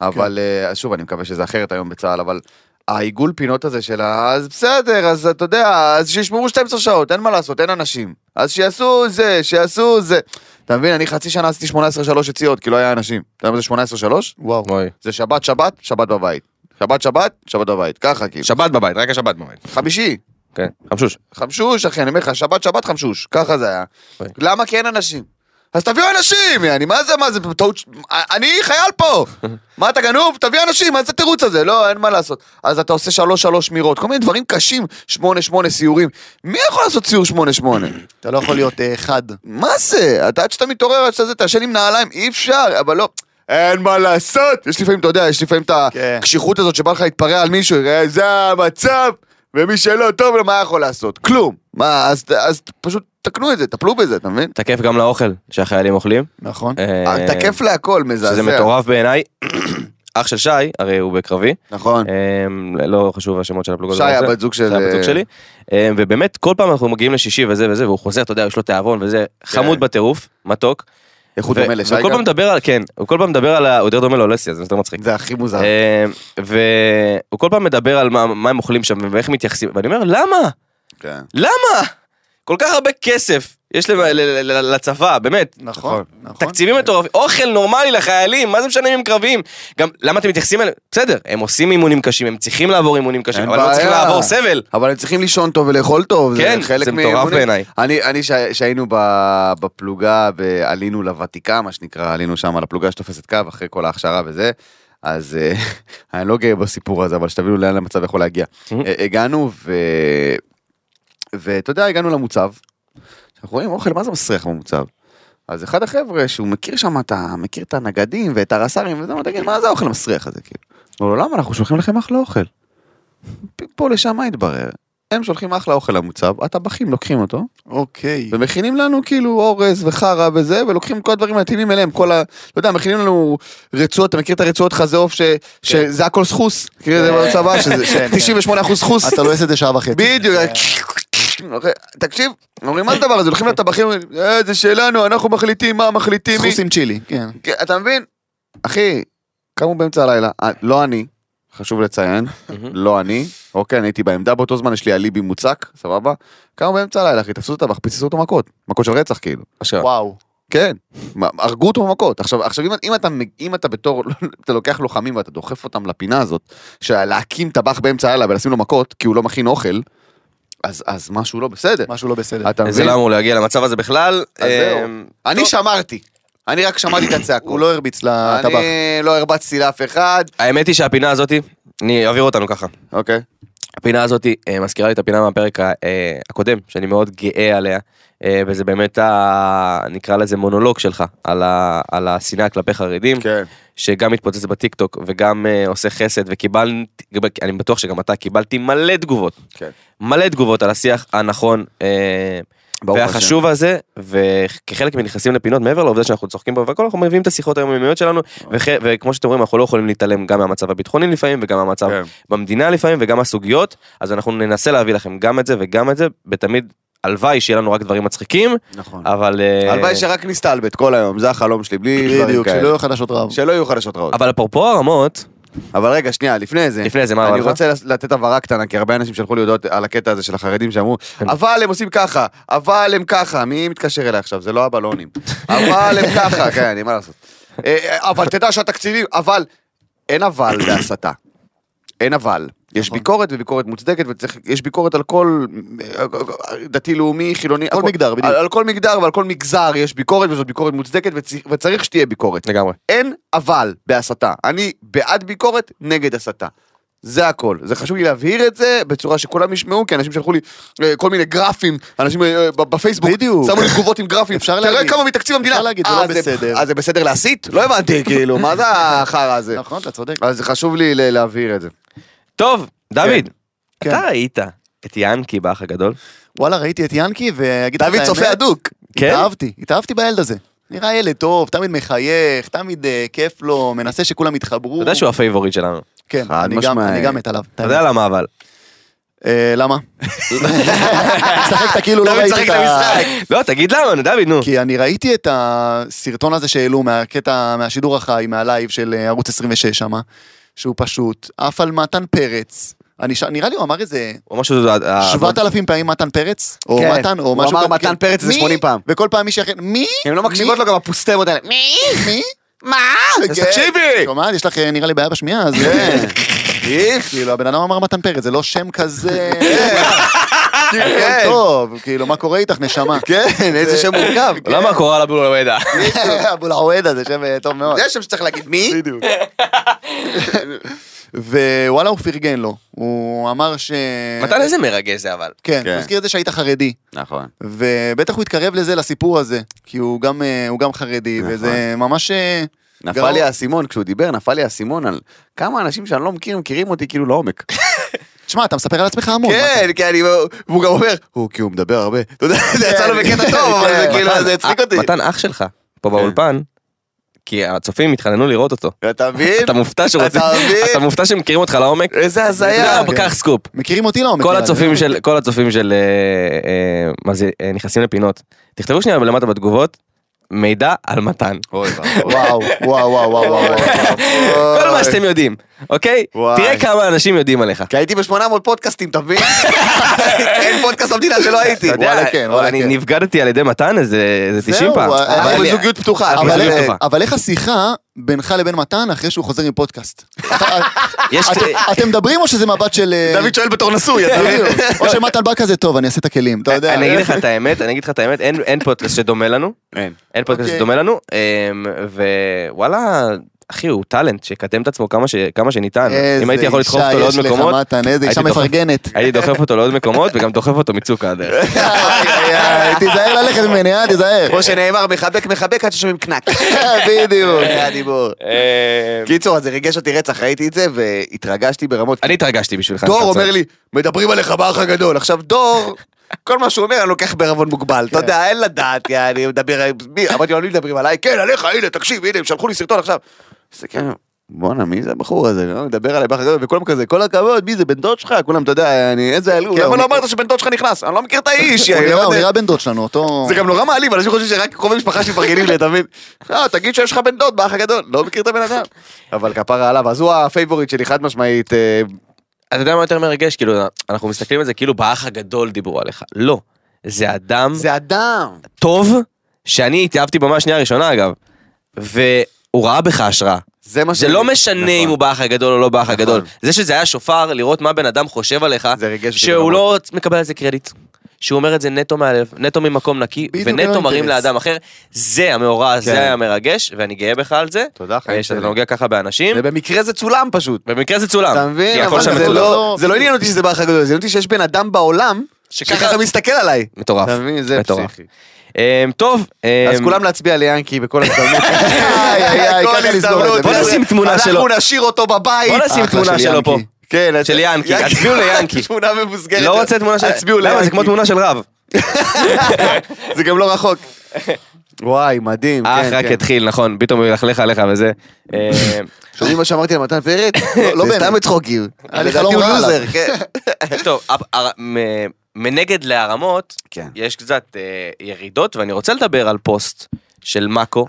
B: אבל, אה, אז שוב, אני מקווה שזה אחרת היום בצה"ל, אבל העיגול פינות הזה של ה... אז בסדר, אז אתה יודע, אז שישמרו 12 שעות, אין מה לעשות, אין אנשים. אז שיעשו זה, שיעשו זה. אתה מבין, אני חצי שנה עשיתי 18-3 יציאות, כי לא היה אנשים. אתה יודע מה זה 18-3?
D: וואו.
B: זה שבת, שבת, שבת בבית. שבת, שבת, שבת בבית. ככה, כאילו.
C: שבת בבית, רק השבת בבית.
B: חמישי.
C: כן, חמשוש.
B: חמשוש, אחי, אני אומר לך, שבת, שבת, חמשוש. ככה זה היה.
C: אוי.
B: למה? כי אין אנשים. אז תביאו אנשים, יעני, מה זה, מה זה, טעות, ש- אני חייל פה. מה, אתה גנוב? תביא אנשים, מה זה התירוץ הזה? לא, אין מה לעשות. אז אתה עושה שלוש, שלוש מירות, כל מיני דברים קשים, שמונה, שמונה סיורים. מי יכול לעשות סיור שמונה, שמונה?
D: אתה לא יכול להיות אה, חד.
B: מה זה? אתה עד שאתה מתעורר, עד שאתה זה, תעשן עם נעליים, אי אפשר, אבל לא. אין מה לעשות! יש לפעמים, אתה יודע, יש לפעמים את
D: כן.
B: הקשיחות הזאת שבא לך להתפרע על מישהו, "אה, זה המצב, ומי שלא טוב לו, מה יכול לעשות? כלום. מה, אז, אז פשוט תקנו את זה, טפלו בזה, אתה מבין?
C: תקף גם לאוכל שהחיילים אוכלים.
D: נכון.
C: אה,
B: תקף להכל, מזעזע.
C: שזה מטורף בעיניי. אח של שי, הרי הוא בקרבי,
B: נכון.
C: אמ, לא חשוב השמות של הפלוגות.
B: שי,
C: לא משנה.
B: הבת זוג של... אה,
C: זה הבת זוג שלי. אמ, ובאמת, כל פעם אנחנו מגיעים לשישי וזה וזה, והוא חוזר, אתה יודע, יש לו תיאבון וזה, חמוד
B: כן.
C: בטירוף, מתוק.
B: איך הוא
C: ו-
B: דומה לשי
C: וכל פעם
B: גם?
C: מדבר על, כן, הוא כל פעם מדבר על, ה- הוא יותר דומה לאולסיה, זה יותר מצחיק.
B: זה הכי מוזר.
C: אמ, והוא כל פעם מדבר על מה מה הם אוכלים שם ואיך מתייחסים, ואני אומר, למה?
B: כן.
C: למה? כל כך הרבה כסף יש לב- ל- ל- ל- לצבא, באמת.
D: נכון. נכון.
C: תקציבים מטורפים, אוכל נורמלי לחיילים, מה זה משנה אם הם קרביים? גם למה אתם מתייחסים אליהם? בסדר, הם עושים אימונים קשים, הם צריכים לעבור אימונים קשים,
B: אין
C: אבל לא צריכים
B: בעיה.
C: לעבור סבל.
B: אבל הם צריכים לישון טוב ולאכול טוב,
C: כן,
B: זה חלק
C: זה מטורף
B: מהאימונים.
C: בעיניי.
B: אני, אני שה- שהיינו ב- בפלוגה, ב- עלינו לוותיקה, מה שנקרא, עלינו שם על הפלוגה שתופסת קו, אחרי כל ההכשרה וזה, אז אה, אני לא גאה בסיפור הזה, אבל שתבינו לאן המצב יכול להגיע.
C: Mhm.
B: אה, הגענו, ו... ואתה יודע, הגענו למוצב, אנחנו רואים אוכל, מה זה מסריח במוצב? אז אחד החבר'ה שהוא מכיר שם את ה... מכיר את הנגדים ואת הרס"רים וזה, הוא אומר, תגיד, מה זה האוכל המסריח הזה, כאילו? אמרו לו, למה אנחנו שולחים לכם אחלה אוכל? פ- פה לשם מה התברר? הם שולחים אחלה אוכל למוצב, הטבחים לוקחים אותו,
D: אוקיי.
B: ומכינים לנו כאילו אורז וחרא וזה, ולוקחים כל הדברים המתאימים אליהם, כל ה... לא יודע, מכינים לנו רצועות, אתה מכיר את הרצועות חזה עוף, ש... שזה הכל סחוס, כאילו זה בצבא, שזה 98% סחוס.
D: כן. אתה לא עושה את זה שעה וחצי.
B: בדיוק, תקשיב, אומרים מה זה הדבר הזה, הולכים לטבחים, אומרים, "אה, זה שלנו, אנחנו מחליטים מה מחליטים, מי,
D: סחוס עם צ'ילי. כן.
B: אתה מבין? אחי, קמו באמצע הלילה, אה, לא אני, חשוב לציין, לא אני, אוקיי, אני הייתי בעמדה באותו זמן, יש לי אליבי מוצק, סבבה? קמו באמצע הלילה, אחי, תפסו את הטבח, פיצצו אותו מכות, מכות של רצח כאילו.
C: עכשיו,
D: וואו.
B: כן, מה, הרגו אותו במכות. עכשיו, עכשיו אם, אם, אתה, מג- אם אתה בתור, אתה לוקח לוחמים ואתה דוחף אותם לפינה הזאת, של להקים טבח באמצע הלילה ולשים לו מכות, כי הוא לא מכין אוכל, אז, אז משהו לא בסדר.
D: משהו לא בסדר.
B: אתה
C: זה
B: מבין?
C: לא אמור להגיע למצב הזה בכלל.
B: אז זהו.
C: אמ,
B: אני שמרתי, אני רק שמעתי את הצעקות.
D: הוא לא הרביץ לטבח.
B: אני לא הרבצתי לאף אחד.
C: האמת היא שהפינה הזאת, אני אעביר אותנו ככה.
B: אוקיי.
C: הפינה הזאת אה, מזכירה לי את הפינה מהפרק ה- אה, הקודם, שאני מאוד גאה עליה, אה, וזה באמת, ה- נקרא לזה מונולוג שלך, על ה- על השנאה כלפי חרדים,
B: כן.
C: שגם מתפוצץ בטיקטוק וגם אה, עושה חסד, וקיבלתי, אני בטוח שגם אתה קיבלתי מלא תגובות.
B: כן.
C: מלא תגובות על השיח הנכון אה,
B: ברוך
C: והחשוב הזה, וכחלק מנכנסים לפינות, מעבר לעובדה שאנחנו צוחקים בו והכל, אנחנו מביאים את השיחות היומיומיות שלנו,
B: אה.
C: וכ... וכמו שאתם רואים, אנחנו לא יכולים להתעלם גם מהמצב הביטחוני לפעמים, וגם מהמצב
B: כן.
C: במדינה לפעמים, וגם הסוגיות, אז אנחנו ננסה להביא לכם גם את זה וגם את זה, בתמיד, הלוואי שיהיה לנו רק דברים מצחיקים,
B: נכון.
C: אבל... אה,
B: הלוואי שרק נסתלבט כל היום, זה החלום שלי, בלי דברים
C: כן.
D: בדיוק, שלא
B: כאלה.
D: יהיו חדשות רב.
B: שלא יהיו חדשות רעות.
C: אבל אפרופו הרמות,
B: אבל רגע, שנייה, לפני זה.
C: לפני זה, מה
B: אני
C: אמרת לך?
B: רוצה לס- לתת הבהרה קטנה, כי הרבה אנשים שלחו לי הודעות על הקטע הזה של החרדים שאמרו, אבל הם עושים ככה, אבל הם ככה, מי מתקשר אליי עכשיו? זה לא הבלונים. אבל הם ככה, כן, אני, מה לעשות. אה, אבל תדע שהתקציבים, אבל... אין אבל בהסתה. אין אבל. יש
D: נכון.
B: ביקורת וביקורת מוצדקת וצריך, יש ביקורת על כל אה, דתי לאומי חילוני,
D: כל
B: הכל-
D: מגדר, בדיוק.
B: על, על כל מגדר ועל כל מגזר יש ביקורת וזאת ביקורת מוצדקת וצריך, וצריך שתהיה ביקורת.
C: לגמרי.
B: אין אבל בהסתה. אני בעד ביקורת, נגד הסתה. זה הכל. זה חשוב לי להבהיר את זה בצורה שכולם ישמעו, כי אנשים שלחו לי אה, כל מיני גרפים, אנשים אה, ב- בפייסבוק,
D: בדיוק.
B: שמו לי תגובות עם גרפים,
D: אפשר
B: תראה
D: להגיד.
B: כמה מתקציב המדינה.
D: אפשר להגיד, זה לא
B: אה,
D: בסדר.
B: אז זה בסדר להסית? לא הבנתי, כאילו, מה זה החרא הזה?
D: נכון, אתה צודק.
B: אז זה חשוב לי ל- להבהיר את זה.
C: טוב, דוד,
D: כן.
C: אתה ראית את ינקי באח הגדול?
D: וואלה, ראיתי את ינקי, ואגיד לך את
B: דוד
D: האמת,
B: צופה הדוק.
C: כן?
D: התאהבתי, התאהבתי בילד הזה. נראה ילד טוב, תמיד מחייך, תמיד אה, כיף לו, מנסה שכולם יתחברו.
C: אתה יודע שהוא הפייבוריט שלנו.
D: כן,
B: חד
D: אני גם-
B: משמעי.
D: אני גם מת עליו.
C: אתה יודע למה אבל.
D: אה, למה? משחקת כאילו לא
B: דוד
D: ראיתי
B: צחק
D: את ה...
B: למשחק.
C: לא, תגיד למה, נו, דוד, נו.
D: כי אני ראיתי את הסרטון הזה שהעלו מהקטע, מהשידור החי, מהלייב של אה, ערוץ 26 שמה, שהוא פשוט עף על מתן פרץ. אני ש... נראה לי הוא אמר איזה
C: הוא אה, משהו... זה- ה- ה-
D: 7,000 פעמים מתן פרץ, או
B: אה, כן.
D: מתן, או
B: הוא
D: משהו
B: אמר
D: כזה,
B: מתן
D: כן.
B: פרץ איזה
D: מי?
B: 80 פעם.
D: וכל פעם מישהי אחרת, מי?
B: הן לא מקשיבות
D: מי?
B: לו גם הפוסטמות האלה.
D: מי?
B: מה? אז
D: כן.
B: תקשיבי!
D: שומעת, יש לך אה, נראה לי בעיה בשמיעה, אז...
B: כן. איך?
D: כאילו, הבן אדם אמר מתן פרץ, זה לא שם כזה...
B: כן.
D: הכל טוב, כאילו, מה קורה איתך, נשמה?
B: כן, איזה שם מורכב.
C: למה קורל אבו לוידע?
B: כן.
D: אבו לעווד הזה, שם אה, טוב מאוד.
B: זה השם שצריך להגיד מי?
D: בדיוק. ווואלה, הוא פרגן לו. הוא אמר ש...
C: מתן איזה מרגש זה אבל.
D: כן,
B: כן.
D: הוא הזכיר את זה שהיית חרדי.
B: נכון.
D: ובטח הוא התקרב לזה, לסיפור הזה, כי הוא גם, אה, הוא גם חרדי,
B: נכון.
D: וזה ממש... אה,
B: נפל
D: גאון.
B: לי האסימון, כשהוא דיבר, נפל לי האסימון על כמה אנשים שאני לא מכיר, מכירים אותי כאילו לעומק.
D: תשמע, אתה מספר על עצמך המון. מה
B: כן, כי אני... והוא גם אומר, הוא כי הוא מדבר הרבה. אתה יודע,
C: כן,
B: זה יצא לו בקטע טוב, אבל זה
D: כן,
B: כאילו,
C: מתן,
B: זה הצחיק אותי.
C: אה,
B: כן.
C: מתן אח שלך, פה באולפן, כי הצופים התחננו לראות אותו.
B: אתה מבין?
C: אתה מופתע שרוצים...
B: אתה מבין?
C: אתה מופתע שמכירים אותך לעומק?
B: איזה הזיה. כן.
C: לא, קח סקופ.
D: אתה- מכירים אותי לא, לעומק.
C: כל
D: נראה לי.
C: הצופים של, כל הצופים של, אה, אה, מה זה, אה, נכנסים לפינות. תכתבו שנייה למטה בתגובות, מידע על מתן.
B: אוי, ואבוי.
D: וואו, וואו, וואו, וואו, וואו.
B: אוי.
C: כל מה שאתם יודעים, אוקיי?
B: וואי.
C: תראה כמה אנשים יודעים עליך.
D: כן,
B: כי הייתי ב-800 פודקאסטים, אתה מבין? אין פודקאסט במדינה שלא הייתי.
C: אתה יודע,
D: וואלה, כן, וואלה,
C: אני
D: כן.
C: נבגדתי על ידי מתן איזה איזה 90 פעם.
D: זהו, אה,
C: אבל
B: אנחנו
C: אני-
B: בזוגיות פתוחה.
C: אנחנו
B: כן. אבל-
D: אבל,
C: בזוגיות
D: איך-
C: פתוחה.
D: אבל איך השיחה בינך לבין מתן אחרי שהוא חוזר מפודקאסט?
C: יש-
D: את- אתם מדברים או שזה מבט של... אה,
B: דוד שואל בתור נשוי, אתה מבין?
D: בדיוק. או שמתן בא כזה, טוב, אני אעשה את הכלים, אתה יודע. אה.
C: אני אגיד לך את האמת, אני אגיד לך את האמת, אין אין פודקאסט שדומה לנו,
B: אין.
C: אין פודקאסט
D: אוקיי.
C: שדומה לנו, אמ, ווואלה, אחי, הוא טאלנט, שיקדם את עצמו כמה ש- כמה שניתן. אם הייתי יכול לדחוף אותו
D: איזה
C: לעוד
D: אישה יש לך,
C: מקומות,
D: מתן, איזה אישה
C: הייתי דוחף-
D: מפרגנת.
C: הייתי דוחף אותו לעוד מקומות, וגם דוחף אותו מצוקה הדרך.
D: איי, איי, איי, תיזהר ללכת ממני, אה, תיזהר.
B: כמו שנאמר, מחבק מחבק עד ששומעים קנק.
D: בדיוק.
B: זה הדיבור.
C: אמ,
B: קיצור, אז זה ריגש אותי רצח, ראיתי את זה, והתרגשתי ברמות.
C: אני התרגשתי בשבילך.
B: דור
C: אתה
B: אומר
C: צודק.
B: לי, מדברים עליך באח הגדול. עכשיו, דור, כל מה שהוא אומר, אני לוקח בערבון מוגבל. אתה יודע, אין לדעת, יא, לא, אני מדבר, מי? אמרתי לו, אני מדברים עליי, כן, עליך, הנה, תקשיב, הנה, הם שלחו לי סרטון עכשיו. זה כן, בואנה, מי זה הבחור הזה? לא, מדבר עליי בחור, וכולם כזה, כל הכבוד, מי זה, בן דוד שלך? כולם, אתה יודע, אני, איזה עלוב.
D: כן,
B: למה
D: הוא
B: לא
D: נראה-
B: אמרת שבן דוד שלך נכנס? אני לא מכיר את האיש,
D: הוא
B: יאי,
D: נראה-
B: לא
D: הוא
B: יודע.
D: נראה בן דוד שלנו, אותו...
B: זה גם נורא מעליב, אנשים חושבים שרק קרובי משפחה שמפרגנים לי, אתה מבין? אה, תגיד שיש לך בן דוד, באח הגדול, לא מכיר את הבן אדם. אבל כפרה עליו, אז הוא הפייבוריט שלי, חד משמעית. אה,
C: אתה יודע מה יותר מרגש? כאילו, אנחנו מסתכלים על זה כאילו באח הגדול דיברו עליך. לא. זה אדם
B: זה אדם.
C: טוב, שאני התאהבתי בו מהשנייה הראשונה אגב. והוא ראה בך השראה.
B: זה מה
C: זה
B: שאני-
C: לא משנה
B: נכון.
C: אם הוא באח הגדול או לא באח
B: נכון.
C: הגדול. זה שזה היה שופר, לראות מה בן אדם חושב עליך,
B: זה ריגש אותי
C: שהוא
B: ברמות.
C: לא מקבל על זה קרדיט. שהוא אומר את זה נטו מהלב, נטו ממקום נקי,
D: בדיוק, אין לו
C: ונטו מרים
D: אינטרס.
C: לאדם אחר. זה המאורע,
B: כן.
C: זה היה מרגש, ואני גאה בך על זה.
B: תודה, חיים
C: אה, שאתה
B: שלי.
C: נוגע ככה באנשים.
B: ובמקרה זה צולם פשוט.
C: במקרה זה צולם.
B: אתה מבין?
C: נכון. כי הכל
B: אבל
C: שם
B: זה
C: מצולם.
B: לא, זה לא עניין אותי שזה באח הגדול, זה עניין אותי שיש בן אדם בעולם
C: שככה-
B: שככה מסתכל עליי.
C: מטורף.
B: אתה מבין? זה
C: מטורף.
B: פסיכי.
C: אמ, טוב,
B: אז
C: אמ,
B: כולם להצביע ליאנקי בכל הזדמנות.
D: איי, איי, איי,
B: כל
D: ככה לסגור את זה.
B: הזדמנות.
C: בוא נשים תמונה שלו.
B: אנחנו נשאיר אותו בבית.
C: בוא נשים
D: אחלה של
C: תמונה שלו פה.
D: ינקי.
B: כן, אז-
C: של ינקי, תצביעו ליאנקי.
B: תמונה ממוסגרת.
C: לא רוצה תמונה של...
B: תצביעו ליאנקי.
C: למה? זה כמו תמונה של רב.
B: זה גם לא רחוק. וואי, מדהים.
C: אך
B: כן,
C: אה, רק
B: כן.
C: התחיל, נכון, פתאום הוא ילכלך עליך וזה. אה,
B: שומעים מה שאמרתי על מתן פרץ?
D: לא
B: זה
D: באמת.
B: סתם מצחוקים.
D: היה לי
B: לדעתי
D: חלום
B: הוא
D: רע עליו.
B: לוזר, כן.
C: טוב, הפ- הר- מ- מנגד להרמות,
B: כן.
C: יש קצת אה, ירידות, ואני רוצה לדבר על פוסט של מאקו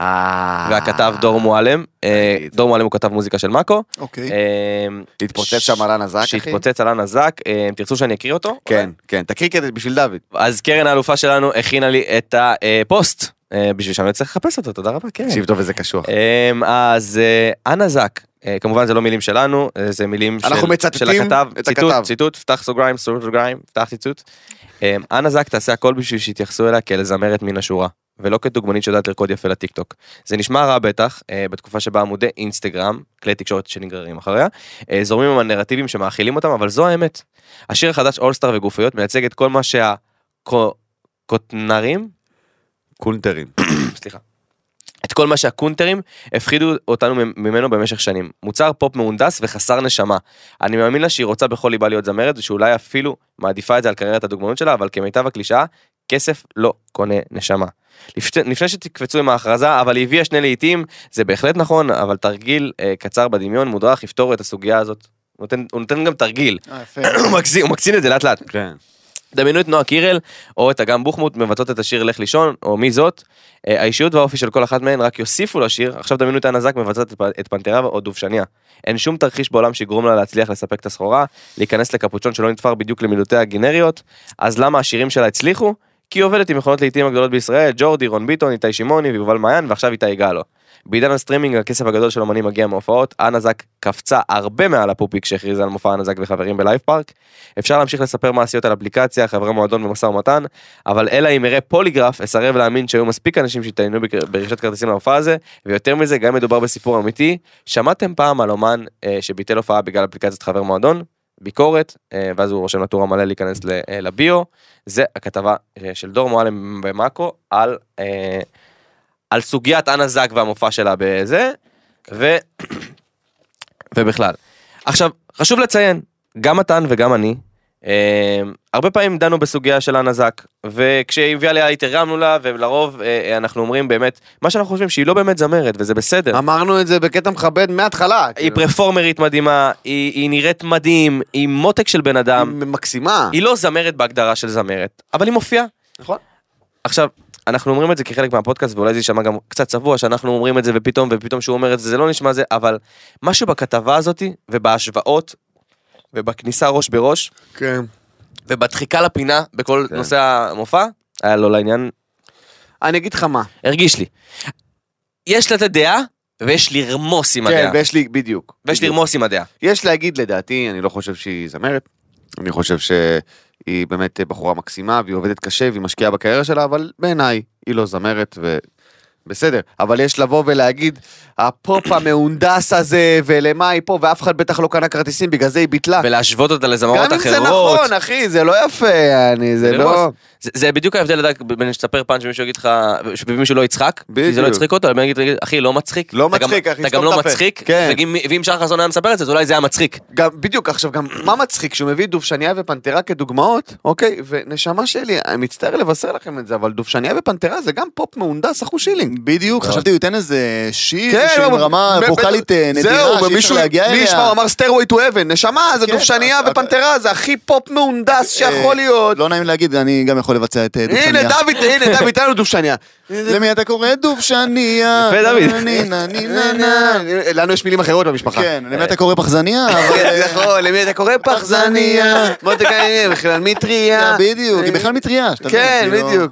C: והכתב דור מועלם. אה,
B: ראיתי אה. את זה.
C: דור מועלם הוא כתב מוזיקה של מאקו.
D: אוקיי.
C: אה,
B: התפוצץ שם על הנזק, אחי.
C: שהתפוצץ על הנזק, אה, תרצו שאני אקריא אותו?
B: כן, כן, תקריא כדי בשביל דוד.
C: אז קרן האלופה שלנו הכינה לי את הפוסט, אה, בשביל שאני לא צריך לחפש אותו, תודה רבה, קרן.
B: תקשיב טוב איזה קשוח.
C: אמ, אז אה, אנה זק, אה, כמובן זה לא מילים שלנו, אה, זה מילים של,
B: אנחנו
C: של
B: מצטטים
C: הכתב,
B: את
C: ציטוט,
B: הכתב.
C: ציטוט, פתח סוגריים, סוגר סוגריים, פתח ציטוט. אמ, אנה זק תעשה הכל בשביל שיתייחסו אליה כאל זמרת מן השורה, ולא כדוגמנית שיודעת לרקוד יפה לטיקטוק. זה נשמע רע בטח, אה, בתקופה שבה עמודי אינסטגרם, כלי תקשורת שנגררים אחריה, אה, זורמים עם הנרטיבים שמאכילים אותם, אבל זו האמת. השיר החדש אולסטאר וגופיות מייצג את כל מה שהקוטנרים,
B: קונטרים.
C: סליחה. את כל מה שהקונטרים הפחידו אותנו ממנו במשך שנים. מוצר פופ מהונדס וחסר נשמה. אני מאמין לה שהיא רוצה בכל ליבה להיות זמרת, ושאולי אפילו מעדיפה את זה על קריירת הדוגמנות שלה, אבל כמיטב הקלישאה, כסף לא קונה נשמה. לפני, לפני שתקפצו עם ההכרזה, אבל היא הביאה שני לעיתים, זה בהחלט נכון, אבל תרגיל אה, קצר בדמיון מודרך יפתור את הסוגיה הזאת. הוא נותן, הוא נותן גם תרגיל,
D: אה, יפה.
C: הוא מקצין- הוא מקצין את זה לאט לאט.
B: כן.
C: דמיינו את נועה קירל או את אגם בוחמוט מבצעות את השיר לך לישון או מי זאת. אה, האישיות והאופי של כל אחת מהן רק יוסיפו לשיר עכשיו דמיינו את הנזק מבצעת את פ- את פנתרה או דובשניה. אין שום תרחיש בעולם שיגרום לה להצליח לספק את הסחורה להיכנס לקפוצ'ון שלא נתפר בדיוק למילותיה הגנריות אז למה השירים שלה הצליחו? כי היא עובדת עם מכונות לעיתים הגדולות בישראל ג'ורדי רון ביטון איתי שמעוני ויובל מעיין ועכשיו איתי גלו. בעידן הסטרימינג הכסף הגדול של אומנים מגיע מהופעות, הנזק קפצה הרבה מעל הפופיק שהכריזה על מופע הנזק וחברים בלייב פארק. אפשר להמשיך לספר מעשיות על אפליקציה, חברי מועדון ומשא ומתן, אבל אלא אם אראה פוליגרף, אסרב להאמין שהיו מספיק אנשים שהתעניינו בק- ברכישת כרטיסים למופע הזה, ויותר מזה, גם מדובר בסיפור אמיתי. שמעתם פעם על אומן אה, שביטל הופעה בגלל אפליקציית חבר מועדון? ביקורת, אה, ואז הוא רושם לטור המלא להיכנס ל- אה, לביו. זה הכתבה אה, של דור מועלם במאקו על אה, על סוגיית אנה זק והמופע שלה בזה, ו... ובכלל. עכשיו, חשוב לציין, גם מתן וגם אני, אה, הרבה פעמים דנו בסוגיה של אנה זק, וכשהיא הביאה לי התרגמנו לה, ולרוב אה, אנחנו אומרים באמת, מה שאנחנו חושבים שהיא לא באמת זמרת, וזה בסדר.
B: אמרנו את זה בקטע מכבד מההתחלה.
C: היא
B: כאילו.
C: פרפורמרית מדהימה, היא, היא נראית מדהים, היא מותק של בן אדם,
B: היא מקסימה.
C: היא לא זמרת בהגדרה של זמרת, אבל היא מופיעה.
B: נכון.
C: עכשיו, אנחנו אומרים את זה כחלק מהפודקאסט, ואולי זה יישמע גם קצת צבוע, שאנחנו אומרים את זה ופתאום, ופתאום שהוא אומר את זה, זה לא נשמע זה, אבל משהו בכתבה הזאת, ובהשוואות, ובכניסה ראש בראש,
B: כן.
C: ובדחיקה לפינה בכל
B: כן.
C: נושא המופע, היה לא לעניין,
B: אני אגיד לך מה.
C: הרגיש לי. יש לתת דעה, ויש לרמוס עם
B: כן,
C: הדעה.
B: ויש לי, בדיוק.
C: ויש
B: בדיוק.
C: לרמוס עם הדעה.
B: יש להגיד לדעתי, אני לא חושב שהיא זמרת, אני חושב שהיא באמת בחורה מקסימה והיא עובדת קשה והיא משקיעה בקריירה שלה, אבל בעיניי היא לא זמרת ו... בסדר, אבל יש לבוא ולהגיד, הפופ המהונדס הזה, ולמה היא פה, ואף אחד בטח לא קנה כרטיסים, בגלל זה נכון, היא ביטלה.
C: ולהשוות אותה
B: גם
C: לזמרות
B: אם
C: אחרות.
B: זה נכון, אחי, זה לא יפה, אני, זה
C: לרמוס.
B: לא...
C: זה- זה בדיוק ההבדל לדעת בין שתספר פאנץ' ומישהו יגיד לך, ומישהו לא יצחק, כי זה לא
B: בדיוק.
C: יצחיק אותו, אבל יגיד, אחי, לא מצחיק.
B: לא
C: אתה גם-
B: מצחיק, אחי,
C: אתה גם
B: סתום
C: לא
B: את הפה.
C: מצחיק,
B: כן.
C: תגיד, מי- ואם שחר חסון היה מספר את זה, אז אולי זה היה מצחיק.
B: גם, בדיוק, עכשיו גם, מה מצחיק, שהוא מביא דובשניה ופנתרה כדוגמאות, אוקיי, ונשמה שלי, אני מצטער לבשר לכם את זה, אבל דובשניה ופנתרה זה גם פופ מהונדס, אחו שילינג.
D: בדיוק, חשבתי הוא ייתן איזה שיר
B: כן,
D: עם
B: אבל-
D: רמה
B: ב-
D: ווקאלית
B: ב-
D: אה, נדירה
B: זהו,
D: שאי אפשר
B: ומישהו,
D: להגיע
B: מי
D: אליה.
B: ישמע, הוא אמר סטיירווי טו אבן, נשמה, זה
D: כן,
B: דובשניה
D: אבל-
B: ופנתרה, זה הכי פופ מהונדס שיכול
D: אה,
B: להיות.
D: לא נעים להגיד, אני גם יכול לבצע את אה,
B: הנה,
D: דובשניה.
B: דוד, הנה, דוד, תן לנו דובשניה.
D: למי אתה קורא דובשניה?
C: יפה, דוד.
D: נה, נה, נה, נה, נה.
B: אה, לנו יש מילים אחרות במשפחה. אה,
D: כן, למי אתה קורא פחזניה? אבל,
B: כן,
D: אה,
B: נכון, למי אתה קורא פחזניה? בוא תקיים, בכלל מטריה.
D: בדיוק, היא בכלל מטריה. שאתה יודע,
B: אה, כן,
D: כאילו,
B: בדיוק.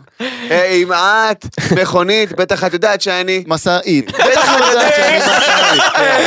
B: אה, אם את מכונית, בטח את יודעת שאני...
D: משאית. בטח לא יודעת שאני משאית. כן,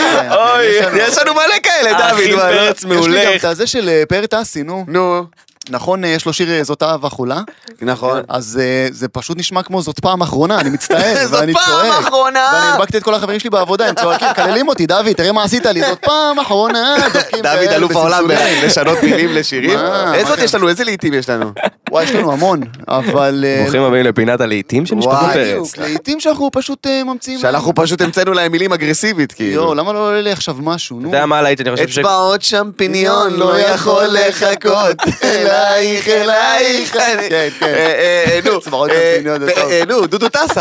D: כן.
B: יש לנו מלא כאלה,
D: אה,
C: אחי
B: דוד. מה, לא?
C: פרץ
D: יש לי
C: מעולה.
D: גם את הזה של אה, פאר טאסי, נו.
B: נו,
D: נכון, אה, יש לו שיר אה, זאת אהבה חולה,
B: נכון.
D: אז אה, זה פשוט נשמע כמו זאת פעם אחרונה, אני מצטער,
B: זאת
D: אה, ואני
B: פעם
D: צועק.
B: אחרונה.
D: ואני הדבקתי את כל החברים שלי בעבודה, הם צועקים, מקללים אותי, דוד, תראה מה עשית לי, זאת פעם אחרונה, דופקים
B: דוד
D: כאלה
B: אלוף העולם
D: בסלסולים.
B: ב- לשנות מילים לשירים.
D: מה,
B: איזה
D: מה
B: עוד יש לנו? איזה לעיתים יש לנו?
D: וואי, יש לנו המון, אבל... אה,
C: ברוכים הבאים לפינת הלהיטים של משפחת
B: וואי,
C: פרץ.
D: בדיוק, לעיתים שאנחנו פשוט אה, ממציאים...
B: שאנחנו פשוט המצאנו להם מילים אגרסיבית, כאילו.
D: יואו, למה לא עולה לי עכשיו משהו, נו?
C: אתה יודע מה להיט, אני חושב ש...
B: אצבעות שמפיניון לא יכול לחכות אלייך אלייך. אני-
D: כן, כן.
B: אה, אה, אה, נו,
D: אצבעות
B: אה,
D: שמפיניון, זה
B: אה,
D: טוב.
B: אה, נו, דודו טסה.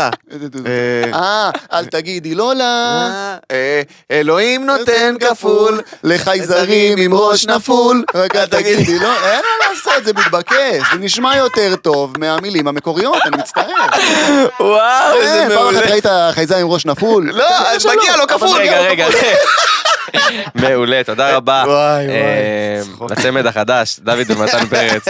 B: אה,
D: אה, אל תגידי לא לה.
B: אה, אלוהים נותן כפול,
D: לחייזרים עם ראש נפול, רק אל תגידי, לא, אין מה לעשות, זה מתבקש, זה נשמע יותר טוב מהמילים המקוריות, אני מצטער.
C: וואו,
D: אה, פעם אחת ראית חייזר עם ראש נפול?
B: לא, אז מגיע לו כפול.
C: רגע, רגע. מעולה, תודה רבה.
B: וואי, וואי.
C: אה, לצמד החדש, דוד ומתן פרץ.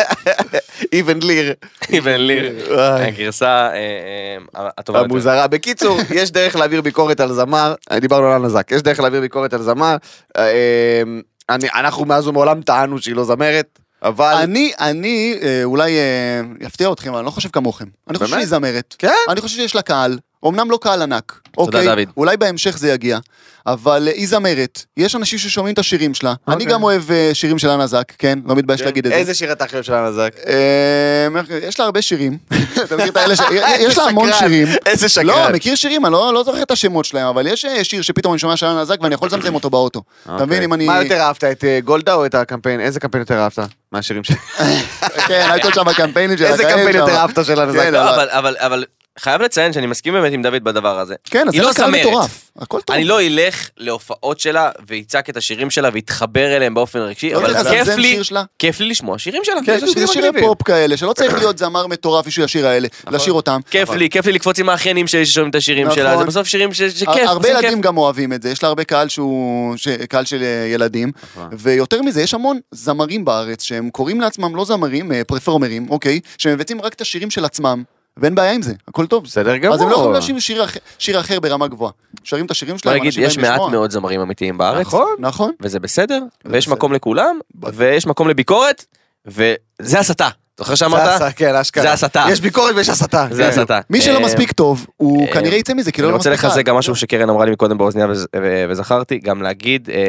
B: איבן ליר.
C: לא אבן ליר.
B: וואי.
C: הגרסה אה, אה, הטובה יותר.
B: המוזרה. בקיצור, יש דרך להעביר ביקורת על זמר, אה, דיברנו על הנזק, יש דרך להעביר ביקורת על זמר. אה, אה, אני- אנחנו מאז ומעולם טענו שהיא לא זמרת, אבל...
D: אני, אני אה, אולי אה, יפתיע אתכם, אבל אני לא חושב כמוכם. אני חושב
B: באמת?
D: שהיא זמרת.
B: כן?
D: אני חושב שיש לה קהל, אמנם לא קהל ענק. אוקיי,
C: דוד.
D: אולי בהמשך זה יגיע, אבל אה, היא זמרת, יש אנשים ששומעים את השירים שלה. אני גם אוהב אה, שירים של הנזק, כן? לא מתבייש להגיד את זה.
B: איזה שיר אתה חושב של הנזק?
D: אה, יש לה הרבה שירים, אתה מכיר את האלה ש... אה, יש לה המון
B: שקרן.
D: שירים.
B: איזה שקרן.
D: לא, מכיר שירים, אני לא לא זוכר את השמות שלהם, אבל יש אה, שיר שפתאום אני שומע של הנזק ואני יכול לצמצם אותו באוטו. אתה מבין אם אני...
B: אוקיי. מה יותר אהבת, את אה, גולדה או את הקמפיין? איזה קמפיין יותר אהבת מהשירים שלי?
D: כן, הייתם שם בקמפיינים של
B: איזה
D: הקהל
B: קמפיין
D: שם.
B: יותר אהבת של הנזק?
D: כן,
C: לא, אבל- אבל- אבל חייב לציין שאני מסכים באמת עם דוד בדבר הזה.
D: כן, אז
C: היא
D: זה
C: לא
D: קהל
C: זמרת.
D: מטורף. הכל טוב.
C: אני לא אלך להופעות שלה ויצעק את השירים שלה ויתחבר אליהם באופן רגשי,
D: לא צריך
C: אבל כיף
D: לזמזם
C: לי,
D: שיר שלה.
C: כיף לי לשמוע שירים שלה.
D: כן, יש לה
B: בדיוק,
D: שירי-
B: זה
D: שירי
B: מגניבים.
D: פופ כאלה, שלא צריך להיות זמר מטורף בשביל השיר האלה,
C: נכון.
D: לשיר אותם.
C: כיף לי, כיף לי לקפוץ עם האחיינים שלי ששומעים את השירים
D: נכון.
C: שלה, זה בסוף שירים ש- שכיף,
D: הרבה
C: עושים כיף.
D: ילדים גם אוהבים את זה, יש לה הרבה קהל שהוא, ש... קהל של אה, ילדים,
C: נכון.
D: ויותר מזה, יש המון זמרים בארץ שהם קוראים לעצמם לא זמרים, אה, פרפורמרים, אוקיי? שמבצעים רק את השירים של עצמם, ואין בעיה עם זה, הכל טוב.
B: בסדר גמור.
D: אז הם לא יכולים להשאיר שיר, אח... שיר אחר ברמה גבוהה. שרים את השירים
C: בוא
D: שלהם,
C: נגיד,
D: אנשים
C: יש
D: באים
C: מעט
D: לשמוע.
C: מאוד זמרים אמיתיים בארץ,
D: נכון, נכון.
C: וזה בסדר, ויש
D: בסדר.
C: מקום לכולם,
D: בטח.
C: ויש מקום לביקורת, וזה הסתה. זוכר שאמרת?
B: כן, אשכרה. כן.
C: זה הסתה.
B: יש ביקורת ויש הסתה.
C: זה הסתה.
D: כן. מי שלא
C: אה,
D: מספיק טוב, הוא
C: אה,
D: כנראה יצא מזה, כי
B: כאילו,
D: לא
C: אני
D: לא
C: רוצה
D: מספיק
C: לחזק
D: קהל.
C: גם משהו שקרן אמרה לי מקודם באוזניה וז- ו- וזכרתי, גם להגיד אה, אה,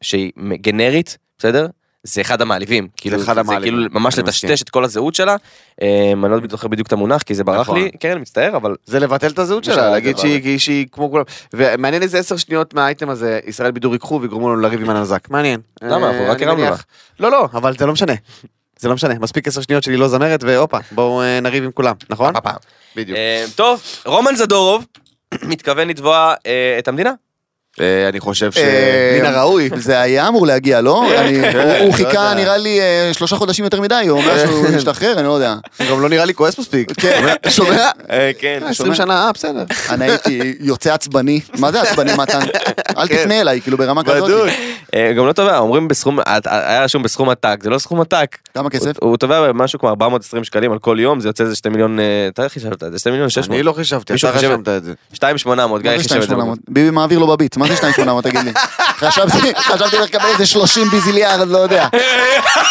C: שהיא מ- גנרית, בסדר? זה אחד המעליבים, כאילו
B: אחד
C: זה
B: המעליבים,
C: כאילו ממש
B: אני מסכים.
C: לטשטש את כל הזהות שלה, אה, אני לא זוכר בדיוק את המונח כי זה ברח
B: נכון.
C: לי, קרן מצטער אבל
B: זה לבטל את הזהות
C: יש לה
B: שלה, להגיד
C: דבר.
B: שהיא- שהיא שהיא כמו כולם. ומעניין איזה עשר שניות מהאייטם הזה, ישראל בידור ייקחו ויגרמו לנו לריב עם הנזק. מעניין.
C: למה? אנחנו
B: אה,
C: רק
B: אני
C: הרמנו
B: מניח. לא, לא, אבל זה לא משנה. זה לא משנה, מספיק עשר שניות שלי לא זמרת, והופה, בואו אה, נריב עם כולם, נכון?
C: הפעם.
B: בדיוק.
C: אה, טוב, רומן זדורוב מתכוון לתבוע אה, את המדינה.
B: אה, אני חושב ש...
D: אה,
B: מן הראוי.
D: זה היה אמור להגיע, לא? אני- הוא- הוא
B: לא יודע. כן.
D: חיכה, נראה לי, אה, שלושה חודשים יותר מדי, הוא אומר שהוא משתחרר, אני לא יודע.
B: גם לא נראה לי כועס מספיק.
D: כן.
B: שומע?
C: כן,
B: 20 שנה, אה, בסדר.
D: אני הייתי יוצא עצבני, מה זה עצבני מתן? אל
B: כן.
D: תפנה אליי, כאילו ברמה
B: בדיוק.
D: כזאת.
C: גם לא תובע, אומרים בסכום, אה, היה רשום בסכום עתק, זה לא סכום עתק.
D: כמה כסף?
C: הוא הוא תובע משהו כמו 420 שקלים על כל יום, זה יוצא איזה 2 מיליון, אה, אתה חישבת את זה, 2 מיליון 600.
B: אני לא חשבתי,
C: מישהו
B: אתה
C: חשב-
B: רשמת את זה.
C: 2,800, גיא
D: מה זה
C: חישב את זה.
D: 2800? ביבי מעביר לו בביט, מה זה 2800 תגיד לי? חשבתי, חשבתי לך לקבל איזה 30 ביזיליארד, לא יודע.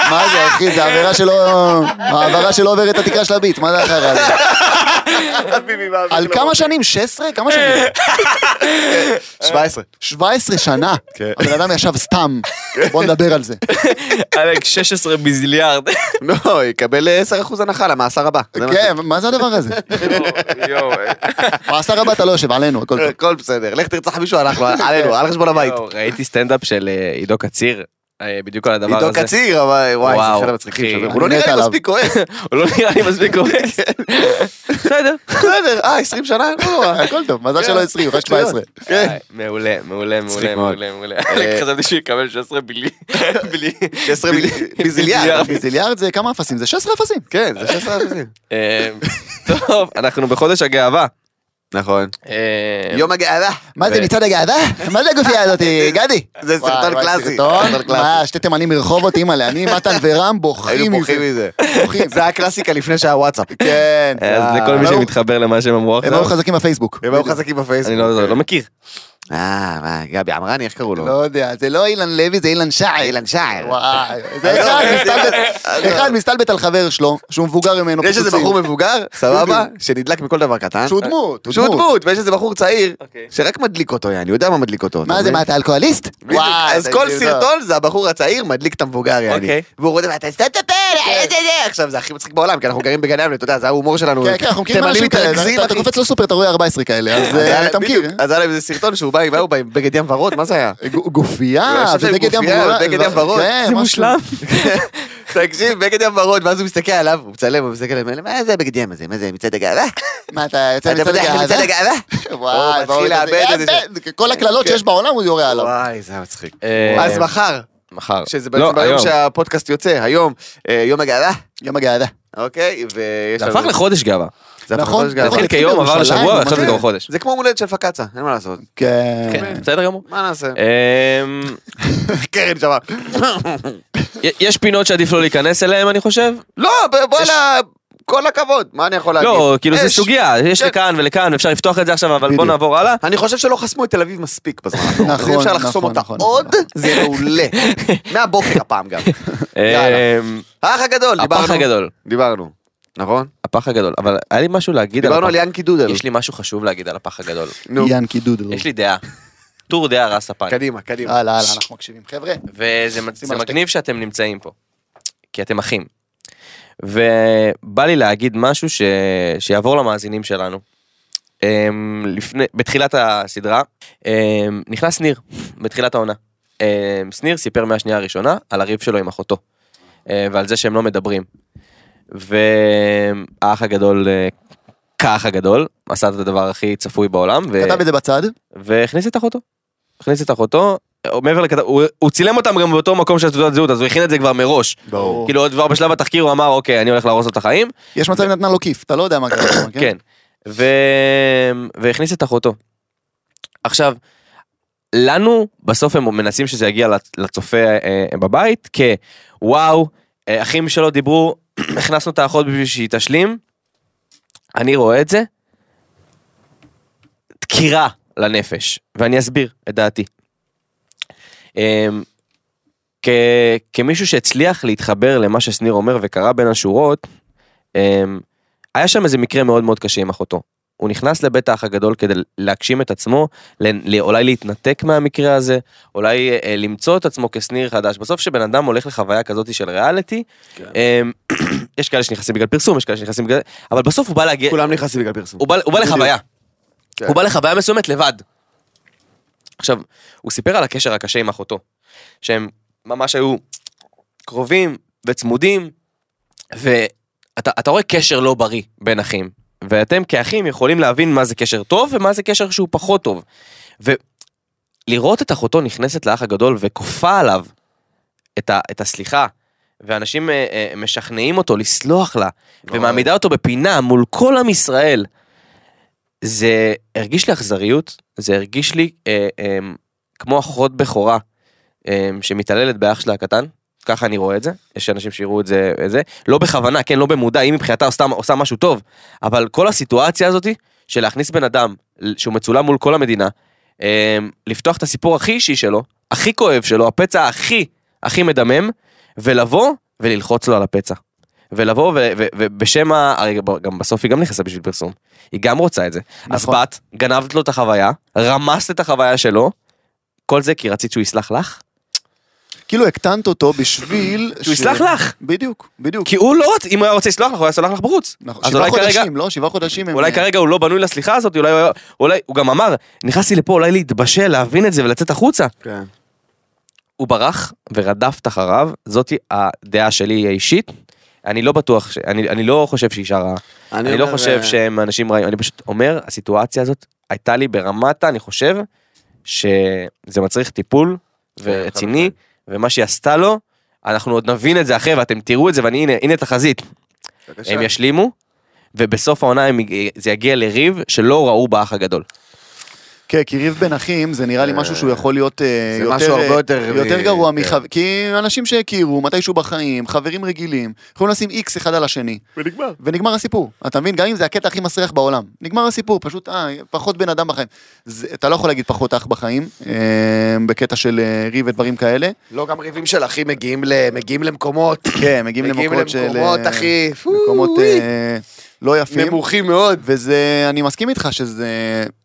D: מה זה אחי, זה עבירה שלא, העברה שלא עוברת את התקרה של הביט, מה זה החרא הזה? על כמה שנים? 16? כמה שנים?
B: 17.
D: 17 שנה.
B: כן.
D: הבן אדם ישב סתם. בוא נדבר על זה.
C: אלק 16 ביזיליארד.
B: לא, יקבל 10% הנחה למאסר הבא. זה מה
D: כן, מה זה הדבר הזה?
C: יואו,
D: מאסר הבא אתה לא יושב, עלינו, הכל טוב.
B: אה, הכל בסדר, לך תרצח מישהו, אנחנו, עלינו, על חשבון הבית.
C: יואו, ראיתי סטנדאפ של אה, עידו קציר, אה, בדיוק על הדבר הזה.
B: עידו קציר, אבל וואי, זה
C: וואו,
B: אחד
C: אחי.
B: המצחיקים שלו. הוא לא
D: אני מת
B: נראה לי
D: עליו.
B: מספיק כועס.
C: הוא לא נראה לי מספיק כועס. בסדר.
B: בסדר, אה, 20 שנה? לא נורא.
D: הכל טוב, מזל שלא 20, רק 17.
B: כן.
C: אה, מעולה, מעולה, מעולה,
B: מצחיק מאוד. אה,
C: מעולה, מעולה. אלק, חשבתי שהוא יקבל 16 בלי, בלי.
B: 16 מיליון. ביזיליארד.
D: ביזיליארד זה כמה אפסים? זה 16 אפסים.
B: כן, זה 16 אחוזים.
C: אה, טוב, אנחנו בחודש הגאווה.
B: נכון.
C: אה,
B: יום הגאווה.
D: מה זה מצעד הגאווה? מה זה הגופייה הזאת, גדי?
B: זה סרטון
D: וואי, וואי,
B: קלאסי. סרטון
D: סרטון?
B: קלאסי.
D: מה, שתי תימנים מרחובות, אימא'לה. אני, מתן ורם בוכים
B: היינו
D: מזה.
B: בוכים מזה. זה היה הקלאסיקה לפני שהיה וואטסאפ.
D: כן.
C: אה, אז לכל מי שמתחבר למה שהם אמרו
D: הם היו
C: עכשיו,
D: חזקים בפייסבוק.
B: הם היו חזקים בפייסבוק.
C: אני לא לא מכיר.
B: אה, מה, גבי עמרני, איך קראו
D: לא
B: לו?
D: יודע, זה לא אילן לוי, זה אילן שער.
B: אילן לא- שער.
D: וואי, זה אחד מסתלבט- אחד מסתלבט על חבר שלו, שהוא מבוגר ממנו.
B: לא- יש איזה
D: פיצוצים.
B: בחור מבוגר, סבבה, שנדלק מכל דבר קטן.
D: לא שהוא דמות,
B: שהוא דמות, ויש איזה בחור צעיר,
C: אוקיי.
B: שרק מדליק אותו, יעני, הוא יודע מה מדליק אותו. אתה
D: מה זה,
B: מבין?
D: מה, כאילו אתה אלכוהוליסט?
B: בדיוק. אז
D: זה
B: כל
D: גדול.
B: סרטון זה הבחור הצעיר מדליק את המבוגר, יעני.
C: אוקיי.
B: והוא רואה ואתה סתם תפל,
D: כן.
B: איזה זה. עכשיו, זה הכי מצחיק בעולם, כי אנחנו גרים בגן המלט, אתה יודע, זה ההומור שלנו.
D: כן, כן, אנחנו מכירים
B: תימנים
D: אנשים
B: מתרכזים,
D: כאלה, אתה- אתה
B: אחי.
D: קופץ לסופר, אתה רואה 14 כאלה, אז
B: אז היה
D: אה,
B: להם-
D: אתה מכיר.
B: בדיוק, אז היה להם איזה סרטון שהוא בא עם, מה הוא בא עם בגד ים ורוד, מה זה היה?
D: ג- גופייה,
B: אני חושב שהם
D: ובגד ים
B: גופייה,
D: ורוד.
B: ובגד ים ורוד.
D: כן,
C: זה
D: משהו.
C: מושלם.
B: תקשיב, בגד ים ורוד, ואז הוא מסתכל עליו, הוא מצלם, הוא מסתכל עליו, מה זה הבגד ים הזה, מה זה, מצעד הגאווה?
D: מה, אתה יוצא
B: אתה
D: מצד
B: בדרך
D: הגאווה?
B: מצעד הגאווה?
D: וואי,
B: הוא מתחיל לאבד את זה.
D: כל הקללות שיש בעולם הוא יורה עליו.
B: וואי, זה היה מצחיק.
C: אה,
B: אז מחר,
C: מחר.
B: שזה
C: לא,
B: בעצם ביום
C: היום.
B: שהפודקאסט יוצא, היום, אה, יום הגאווה,
D: יום הגאווה.
B: אוקיי, ויש
C: אה, זה הפך לחודש גאווה.
B: זה הפך
D: נכון,
B: לחודש גאווה.
C: התחיל
D: לפי
C: כיום, עבר
D: ירושלים,
C: לשבוע,
D: ממש.
C: עכשיו זה לא גם חודש.
B: זה כמו מולדת של פקצה, אין מה לעשות.
D: כן.
C: כן, בסדר גמור.
B: מה נעשה?
C: אמ,
B: קרן שמה.
C: י- יש פינות שעדיף לא להיכנס אליהן, אני חושב.
B: לא, ב- בואנה, כל הכבוד, מה אני יכול להגיד?
C: לא, כאילו זה
B: יש.
C: סוגיה, יש
B: כן.
C: לכאן ולכאן, אפשר לפתוח את זה עכשיו, אבל בוא
D: בדיוק.
C: נעבור הלאה.
B: אני חושב שלא חסמו את תל אביב מספיק בזמן האחרון. אז
D: נכון,
B: אי אפשר לחסום
D: נכון,
B: אותה
D: נכון.
B: עוד, זה מעולה. מהבוקר הפעם גם. יאללה.
C: אמ,
B: האח הגדול, דיברנו.
C: הפח הגדול,
B: דיברנו, נכון?
C: הפח הגדול, אבל היה לי משהו להגיד על
B: דיברנו
C: הפח.
B: על ינקי דודל.
C: יש לי משהו חשוב להגיד על הפח הגדול.
B: נו,
D: ינקי דודל.
C: יש לי דעה. טור דעה רס הפן.
B: קדימה, קדימה.
D: הלאה, הלאה, אנחנו מקשיבים. חבר'ה,
C: וזה מצ-
D: שים
C: זה
D: על השתק.
C: מגניב שאתם נמצאים פה, כי אתם אחים. ובא לי להגיד משהו ש... שיעבור למאזינים שלנו. אמ, לפני, בתחילת הסדרה, אמ, נכנס ניר, בתחילת העונה. אמ, שניר סיפר מהשנייה הראשונה על הריב שלו עם אחותו, אה, ועל זה שהם לא מדברים. והאח הגדול, אה, כאח הגדול, עשה את הדבר הכי צפוי בעולם. ו...
D: כתב את זה בצד.
C: והכניס את אחותו. הכניס את אחותו, או מעבר לכתב, הוא, הוא צילם אותם גם באותו מקום של תעודת זהות, אז הוא הכין את זה כבר מראש.
D: ברור.
C: כאילו עוד כבר בשלב התחקיר הוא אמר, אוקיי, אני הולך להרוס לו את החיים,
D: יש מצב נתנה לו כיף, אתה לא יודע מה קרה. שם,
C: כן. ו... והכניס את אחותו. עכשיו, לנו בסוף הם מנסים שזה יגיע לצ- לצופה אה, בבית, כוואו, אה, אחים שלו דיברו, הכנסנו את האחות בשביל שהיא תשלים. אני רואה את זה, דקירה לנפש, ואני אסביר את דעתי. אמ, כ... כמישהו שהצליח להתחבר למה ששניר אומר וקרא בין השורות, אמ, היה שם איזה מקרה מאוד מאוד קשה עם אחותו. הוא נכנס לבית האח הגדול כדי להגשים את עצמו, ל- ל- אולי להתנתק מהמקרה הזה, אולי אה, למצוא את עצמו כשניר חדש. בסוף כשבן אדם הולך לחוויה כזאת של ריאליטי, אמ, יש כאלה שנכנסים בגלל פרסום, יש כאלה שנכנסים בגלל... אבל בסוף הוא בא להגיע...
B: כאילו, כולם נכנסים בגלל פרסום.
C: הוא בא, הוא בא לחוויה.
B: כן.
C: הוא בא לחוויה מסוימת לבד. עכשיו, הוא סיפר על הקשר הקשה עם אחותו, שהם ממש היו קרובים וצמודים, ואתה אתה רואה קשר לא בריא בין אחים, ואתם כאחים יכולים להבין מה זה קשר טוב ומה זה קשר שהוא פחות טוב. ולראות את אחותו נכנסת לאח הגדול וכופה עליו את, ה, את הסליחה, ואנשים אה, אה, משכנעים אותו לסלוח לה, ומעמידה אותו בפינה מול כל עם ישראל. זה הרגיש לי אכזריות, זה הרגיש לי אה, אה, כמו אחות בכורה אה, שמתעללת באח שלה הקטן, ככה אני רואה את זה, יש אנשים שיראו את זה, את זה, לא בכוונה, כן, לא במודע, היא מבחינתה סתם עושה משהו טוב, אבל כל הסיטואציה הזאת של להכניס בן אדם שהוא מצולם מול כל המדינה, אה, לפתוח את הסיפור הכי אישי שלו, הכי כואב שלו, הפצע הכי הכי מדמם, ולבוא וללחוץ לו על הפצע. ולבוא ו- ו- ובשם ה... הרי ב- גם בסוף היא גם נכנסה בשביל פרסום. היא גם רוצה את זה. אז
D: נכון.
C: באת, גנבת לו את החוויה, רמסת את החוויה שלו, כל זה כי רצית שהוא יסלח לך?
D: כאילו הקטנת אותו בשביל...
C: שהוא
D: ש-
C: יסלח לך!
D: בדיוק, בדיוק.
C: כי הוא לא רוצה, אם הוא היה רוצה לסלוח לך, הוא היה סולח לך בחוץ.
D: נכון,
C: אז
D: שבעה
C: אולי כרגע-
D: חודשים, לא? שבעה חודשים הם...
C: אולי כרגע הוא לא בנוי לסליחה הזאת, אולי הוא היה- אולי, הוא גם אמר, נכנסתי לפה אולי להתבשל, להבין את זה ולצאת החוצה.
B: כן.
C: הוא ברח ורדפת אחריו, זאתי הדעה שלי האישית. אני לא בטוח, ש... אני, אני לא חושב שהיא אישה רעה. אני, לא
E: אומר,
C: חושב
E: אה,
C: שהם אנשים רעים, אני פשוט אומר, הסיטואציה הזאת הייתה לי ברמת, אני חושב, שזה מצריך טיפול
E: כן,
C: ורציני, ומה שהיא עשתה לו, אנחנו עוד נבין את זה אחרי, ואתם תראו את זה, ואני, הנה, הנה תחזית,
B: בבקשה.
C: הם ישלימו, ובסוף העונה הם, יג- זה יגיע לריב שלא ראו באח הגדול.
D: כן, כי ריב בין אחים זה נראה לי משהו שהוא יכול להיות אה,
B: זה
D: יותר...
B: משהו הרבה
D: אה,
B: יותר-
D: יותר גרוע
B: כן.
D: מחבר... כי אנשים שהכירו מתישהו בחיים, חברים רגילים, יכולים לשים איקס אחד על השני. ונגמר. ונגמר הסיפור. אתה מבין? גם אם זה הקטע הכי מסריח בעולם. נגמר הסיפור, פשוט, אה, פחות בן אדם בחיים. זה, אתה לא יכול להגיד פחות אח בחיים, אה, בקטע של אה, ריב ודברים כאלה.
B: לא, גם ריבים של אחי מגיעים ל- מגיעים למקומות.
D: כן, מגיעים
B: מגיעים
D: למקומות של...
B: למקומות,
D: אה,
B: אחי. פו,
D: מקומות
B: וואי.
D: אה, לא יפים.
B: נמוכים מאוד.
D: וזה, אני מסכים איתך שזה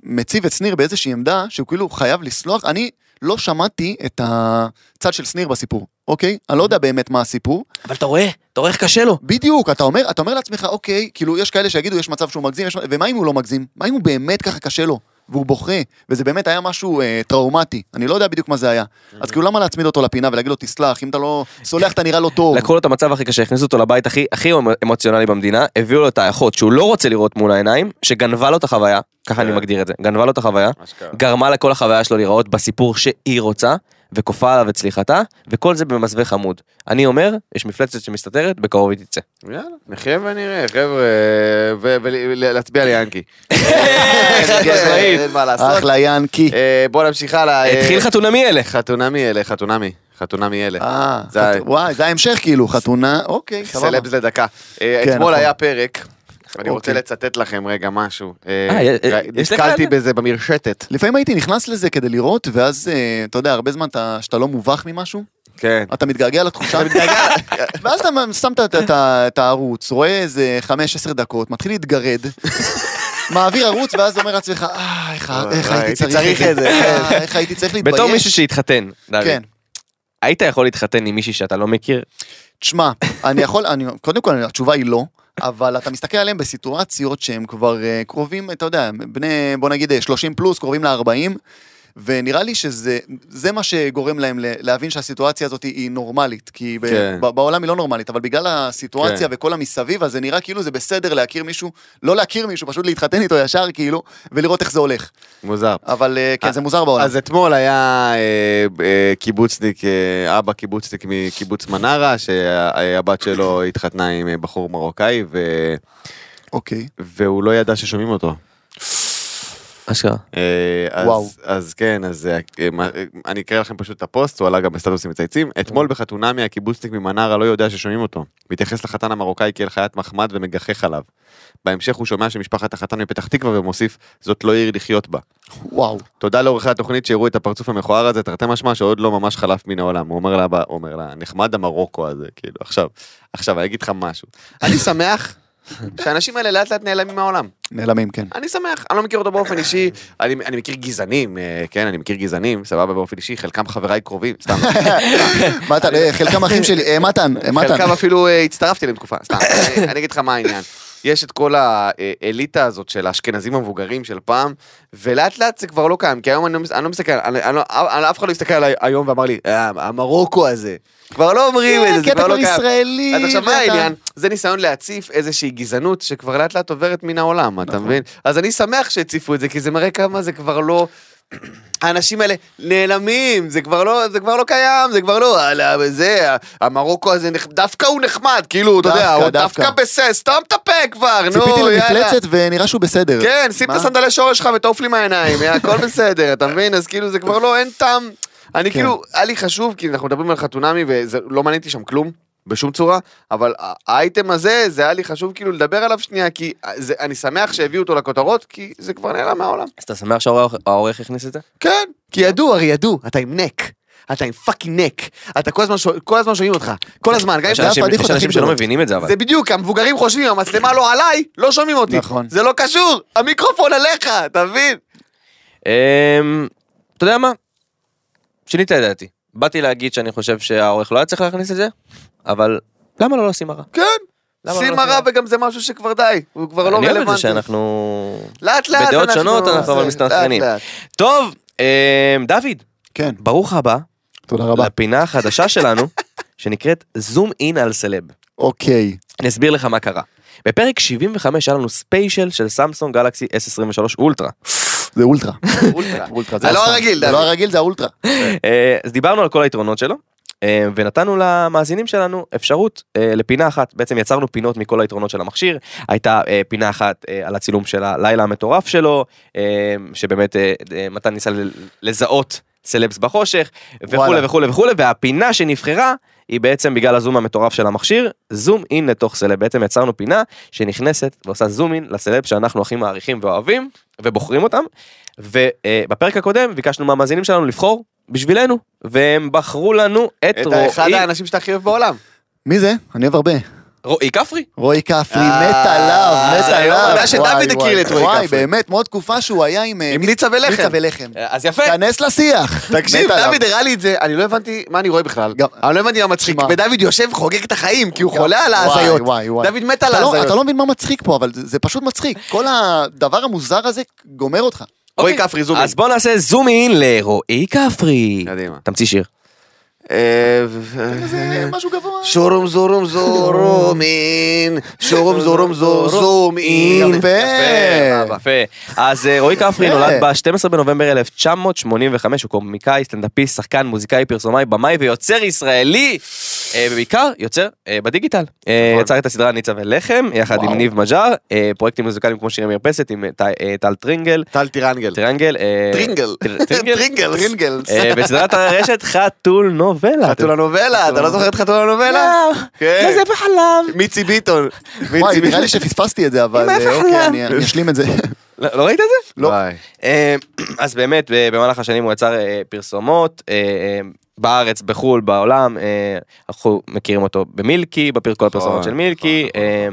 D: מציב את שניר באיזושהי עמדה שהוא כאילו חייב לסלוח. אני לא שמעתי את הצד של שניר בסיפור, אוקיי? אני לא יודע באמת מה הסיפור.
C: אבל אתה רואה, אתה רואה איך קשה לו.
D: בדיוק, אתה אומר, אתה אומר לעצמך, אוקיי, כאילו יש כאלה שיגידו יש מצב שהוא מגזים, יש... ומה אם הוא לא מגזים? מה אם הוא באמת ככה קשה לו? והוא בוכה, וזה באמת היה משהו אה, טראומטי, אני לא יודע בדיוק מה זה היה. אז כאילו למה להצמיד אותו לפינה ולהגיד לו תסלח, אם אתה לא סולח אתה נראה לא טוב.
C: לקחו לו את המצב הכי קשה, הכניסו אותו לבית הכי הכי אמ-, אמוציונלי במדינה, הביאו לו את האחות שהוא לא רוצה לראות מול העיניים, שגנבה לו את החוויה, ככה אני מגדיר את זה, גנבה לו את החוויה, גרמה לכל החוויה שלו להיראות בסיפור שהיא רוצה, וכופה עליו את סליחתה, וכל זה במסווה חמוד. אני אומר, יש מפלצת שמסתתרת, בקרוב היא תצא.
B: יאללה, נחיה ונראה, חבר'ה, ולהצביע ליאנקי.
C: חד משמעית.
B: אין מה לעשות.
D: אחלה ינקי.
B: אה, בוא נמשיך הלאה. אה,
C: התחיל חתונמי אלה.
B: חתונמי אלה, חתונמי. חתונמי אלה.
D: אה,
B: זה
D: חת-
B: היה-
D: וואי, זה ההמשך כאילו, חתונה, אוקיי, סבבה.
B: סלבס לדקה. אה,
D: כן,
B: אתמול
D: נכון.
B: היה פרק, אני רוצה
D: אוקיי.
B: לצטט לכם רגע משהו. אה,
C: אה, יש-
B: ר-
C: יש לך
B: נתקלתי
C: את זה?
B: בזה במרשתת.
D: לפעמים הייתי נכנס לזה כדי לראות, ואז, אה, אתה יודע, הרבה זמן אתה- שאתה לא מובך ממשהו,
B: כן.
D: אתה מתגעגע לתחושה, ואז אתה שם את- את- את- את הערוץ, רואה איזה 15 דקות, מתחיל להתגרד, מעביר ערוץ, ואז אומר לעצמך, אה, איך ה- איך
B: וואי,
D: הייתי צריך את זה, אה, איך הייתי צריך להתבייש.
C: בתור מישהו שהתחתן, דוד,
D: כן.
C: היית יכול להתחתן עם מישהי שאתה לא מכיר?
D: תשמע, אני יכול, אני, קודם כל התשובה היא לא, אבל אתה מסתכל עליהם בסיטואציות שהם כבר uh, קרובים, אתה יודע, בני, בוא נגיד אה, 30 פלוס, קרובים ל-40, ונראה לי שזה זה מה שגורם להם ל- להבין שהסיטואציה הזאת היא נורמלית, כי ב-
B: כן.
D: ב- בעולם היא לא נורמלית, אבל בגלל הסיטואציה
B: כן.
D: וכל המסביב, אז זה נראה כאילו זה בסדר להכיר מישהו, לא להכיר מישהו, פשוט להתחתן איתו ישר, כאילו, ולראות איך זה הולך.
B: מוזר.
D: אבל אה, כן,
B: אה,
D: זה מוזר בעולם.
B: אז אתמול היה אה, אה, קיבוצניק, אה, אבא קיבוצניק מקיבוץ מנרה, שהבת שלו התחתנה עם אה, בחור מרוקאי, ו-
D: אוקיי.
B: והוא לא ידע ששומעים אותו.
C: אשכרה.
B: אה, אז,
D: וואו.
B: אז כן, אז אה, אה, מה- אה, אני אקריא לכם פשוט את הפוסט, הוא עלה גם בסטטוסים מצייצים. אתמול
D: אוקיי.
B: בחתונמי הקיבוצניק ממנרה לא יודע ששומעים אותו. מתייחס לחתן המרוקאי כאל חיית מחמד ומגחך עליו. בהמשך הוא שומע שמשפחת החתן מפתח תקווה ומוסיף, זאת לא עיר לחיות בה.
D: וואו.
B: תודה לעורכי התוכנית שהראו את הפרצוף המכוער הזה, תרתי משמע שעוד לא ממש חלף מן העולם. הוא אומר לאבא, הוא אומר לה, נחמד המרוקו הזה, כאילו, עכשיו, עכשיו, אני אגיד לך משהו. אני שמח שהאנשים האלה לאט לאט נעלמים מהעולם.
D: נעלמים, כן.
B: אני שמח, אני לא מכיר אותו באופן אישי, אני, אני מכיר גזענים, אה, כן, אני מכיר גזענים, סבבה באופן אישי, חלקם חבריי קרובים, סתם.
D: מתן, אה, חלקם אחים שלי, אה, מתן, אה, מתן.
B: חלקם אפילו אה, הצטרפתי אליהם תקופה, סתם. אני- אני אגיד לך מה העניין. יש את כל האליטה הזאת של האשכנזים המבוגרים של פעם, ולאט לאט זה כבר לא קיים, כי היום אני לא מס- אני לא מסתכל, אני- אני לא- אף אף אחד לא הסתכל עליי היום ואמר לי, "אה, המרוקו הזה. כבר לא אומרים את זה,
D: כן, כי
B: זה
D: אתה
B: כבר לא
D: כבר
B: קיים.
D: ישראלי.
B: אז עכשיו מה
D: ואתה-
B: העניין? זה ניסיון להציף איזושהי גזענות שכבר לאט לאט עוברת מן העולם, אתה
D: נכון.
B: מבין? אז אני שמח שהציפו את זה, כי זה מראה כמה זה כבר לא... האנשים האלה נעלמים, זה כבר לא, זה כבר לא קיים, זה כבר לא, על- זה, המרוקו הזה, נח- דווקא הוא נחמד, כאילו, אתה יודע,
D: דווקא,
B: הוא
D: דווקא.
B: דווקא בסדר, סתם את הפה כבר, נו,
D: ציפיתי
B: לא, יאללה.
D: למפלצת ונראה שהוא בסדר.
B: כן, שים את
D: מה?
B: הסנדלי שורש שלך ותעוף לי מהעיניים, יא, הכל בסדר, אתה מבין? אז כאילו זה כבר לא, אין טעם.
D: כן.
B: אני כאילו, היה לי חשוב, כי אנחנו מדברים על חתונמי וזה לא מעניין אותי שם כלום. בשום צורה, אבל ה- האייטם הזה, זה היה לי חשוב כאילו לדבר עליו שנייה, כי אה, זה, אני שמח שהביאו אותו לכותרות, כי זה כבר נעלם מהעולם.
C: אז אתה שמח שהעורך העורך הכניס את זה?
B: כן, כי ידעו, הרי ידעו, אתה עם נק. אתה עם פאקינג נק, אתה כל הזמן שו- כל הזמן שומעים אותך, כל הזמן, גם אם
C: יש
B: אתה
C: אנשים-
B: הפדיחות
C: יש
B: הכי
C: אנשים שלא
B: גדולות.
C: מבינים את זה אבל.
B: זה בדיוק, המבוגרים חושבים, המצלמה לא עליי, לא שומעים אותי.
D: נכון.
B: זה לא קשור, המיקרופון עליך, אתה מבין?
C: אמ, אתה יודע מה? שינית את דעתי. באתי להגיד שאני חושב שהעורך לא היה צריך להכניס את זה, אבל למה לא לשים הרע?
B: כן.
C: למה לא
B: שים
C: לשים
B: הרע
C: הרע?
B: וגם זה משהו שכבר די, הוא כבר לא
C: אני אוהב את זה
B: רלוונטי.
C: שאנחנו...
B: לאט לאט
C: בדעות שונות אנחנו אבל
B: זה,
C: מסתנכרנים.
B: לאט, לאט.
C: טוב, אמ, דוד,
D: כן,
C: ברוך הבא
D: תודה רבה.
C: לפינה החדשה שלנו, שנקראת זום אין על סלב.
D: אוקיי.
C: אני אסביר לך מה קרה. בפרק 75 היה לנו ספיישל של סמסונג גלקסי S23 אולטרה.
D: זה אולטרה.
B: אולטרה.
D: אולטרה.
B: זה לא
D: הסטאר.
B: הרגיל,
D: זה
B: דוד.
D: לא הרגיל, זה האולטרה.
C: אה, אז דיברנו על כל היתרונות שלו אה, ונתנו למאזינים שלנו אפשרות אה, לפינה אחת בעצם יצרנו פינות מכל היתרונות של המכשיר הייתה אה, פינה אחת אה, על הצילום של הלילה המטורף שלו אה, שבאמת אה, אה, מתן ניסה ל- לזהות סלבס בחושך וכולי
D: וואלה.
C: וכולי וכולי והפינה שנבחרה. היא בעצם בגלל הזום המטורף של המכשיר, זום אין לתוך סלב. בעצם יצרנו פינה שנכנסת ועושה זום אין לסלב שאנחנו הכי מעריכים ואוהבים ובוחרים אותם. ובפרק הקודם ביקשנו מהמאזינים שלנו לבחור בשבילנו, והם בחרו לנו את,
B: את אחד
C: רועי,
B: האנשים שאתה הכי אוהב בעולם.
D: מי זה? אני אוהב הרבה.
C: רועי כפרי.
D: רועי כפרי,
B: אה,
D: מת עליו, מת
B: זה
D: עליו.
B: היום העובדה שדוד
D: וואי,
B: הכיר
D: וואי,
B: את רועי
D: וואי,
B: כפרי.
D: באמת, מאוד תקופה שהוא היה עם... אה,
B: עם ניצה ולחם.
D: ניצה ולחם.
C: אז יפה.
B: כן,
D: כנס לשיח.
B: תקשיב,
D: מת עליו.
B: דוד הראה לי את זה, אני לא הבנתי מה אני רואה בכלל.
D: גם-
B: אני לא הבנתי מה מצחיק,
D: שמע.
B: ודוד יושב חוגג את החיים, כי הוא
D: גם-
B: חולה על
D: וואי,
B: ההזיות.
D: וואי, וואי.
B: דוד מת על
D: אתה לא- אתה
B: ההזיות.
D: לא מבין מה מצחיק פה, אבל זה זה פשוט מצחיק. כל הדבר המוזר הזה גומר אותך.
B: רועי
C: אוקיי.
B: כפרי, זום
C: אז בוא נעשה זום אין לרועי כפרי.
B: קדימה.
C: תמציא שיר.
B: אה,
D: זה משהו גבוה.
B: שורום זורום זורום אין, שורום זורום זור- זורום אין.
D: יפה.
C: יפה. יפה. אז אה, רועי כפרי
D: יפה.
C: נולד ב-12 בנובמבר 1985, הוא קומיקאי, סטנדאפיסט, שחקן, מוזיקאי, פרסומאי, במאי ויוצר ישראלי, אה, ובעיקר יוצר אה, בדיגיטל. אה, יצר את הסדרה ניצה ולחם, יחד עם
D: וואו.
C: ניב מג'אר, אה, פרויקטים מוזיקליים כמו שירי מרפסת עם אה, ט- אה, טל טרינגל,
B: טל טירנגל.
C: טרינגל, אה,
B: טרינגל.
C: טר- טרינגל,
B: טרינגל. טרינגל.
C: אה, בסדרת הרשת חתול נובלה. לא,
B: חתול הנובלה, אתה לא זוכר את חתול הנובלה? כן.
C: זה בחלב.
B: מיצי ביטון.
D: וואי,
B: מיצי
D: נראה
B: ביטון.
D: לי שפספסתי את זה, אבל
C: עם
D: אה,
C: ההפך
D: אוקיי,
C: לה.
D: אני אני אשלים את זה.
C: לא לא ראית את זה?
D: לא.
B: וואי.
C: אה, אז באמת אה, במהלך השנים הוא יצר אה, פרסומות אה, אה, בארץ בחול בעולם אה, אנחנו מכירים אותו במילקי בפרק
B: נכון,
C: כל הפרסומות של מילקי אה,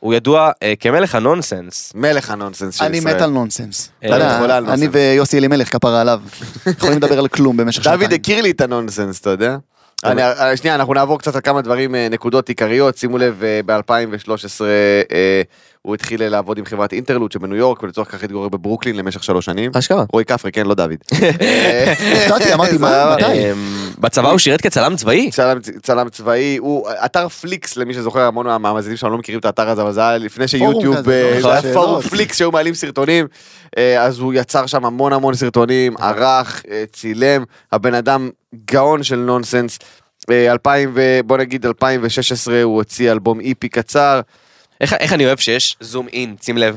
C: הוא ידוע אה, כמלך הנונסנס.
B: מלך הנונסנס של
D: אני
B: ישראל.
D: מת על נונסנס.
C: אה,
D: אתה יודע,
B: אני חולה על
D: אני
B: נונסנס.
D: ויוסי אלימלך, כפרה עליו. יכולים לדבר על כלום במשך שנתיים.
B: דוד הכיר לי את הנונסנס, אתה יודע? אני, אה, שנייה, אנחנו נעבור קצת על כמה דברים, אה, נקודות עיקריות. שימו לב, אה, ב-2013 אה, הוא התחיל לעבוד עם חברת אינטרלוד שבניו יורק, ולצורך כך התגורר בברוקלין למשך שלוש שנים.
C: אשכרה.
B: רועי כפרי, כן, לא דוד. אה,
D: הפתעתי, אמרתי, מה,
B: סבבה.
D: מתי?
C: אה, בצבא הוא שירת כצלם צבאי.
B: צלם, צלם צבאי, הוא אתר פליקס, למי שזוכר, המון מהמאזינים שלנו לא מכירים את האתר הזה, אבל זה היה לפני
D: פורום
B: שיוטיוב,
D: כזה,
B: אה,
D: לא?
B: זה היה
D: שאלות.
B: פורום פליקס שהיו מעלים סרטונים, אה, אז הוא יצר שם המון המון סרטונים, ערך, אה, צילם, הבן אדם גאון של נונסנס. אה, 2000 ו... בוא נגיד 2016 הוא הוציא אלבום איפי קצר.
C: איך- איך אני אוהב שיש זום אין שים לב.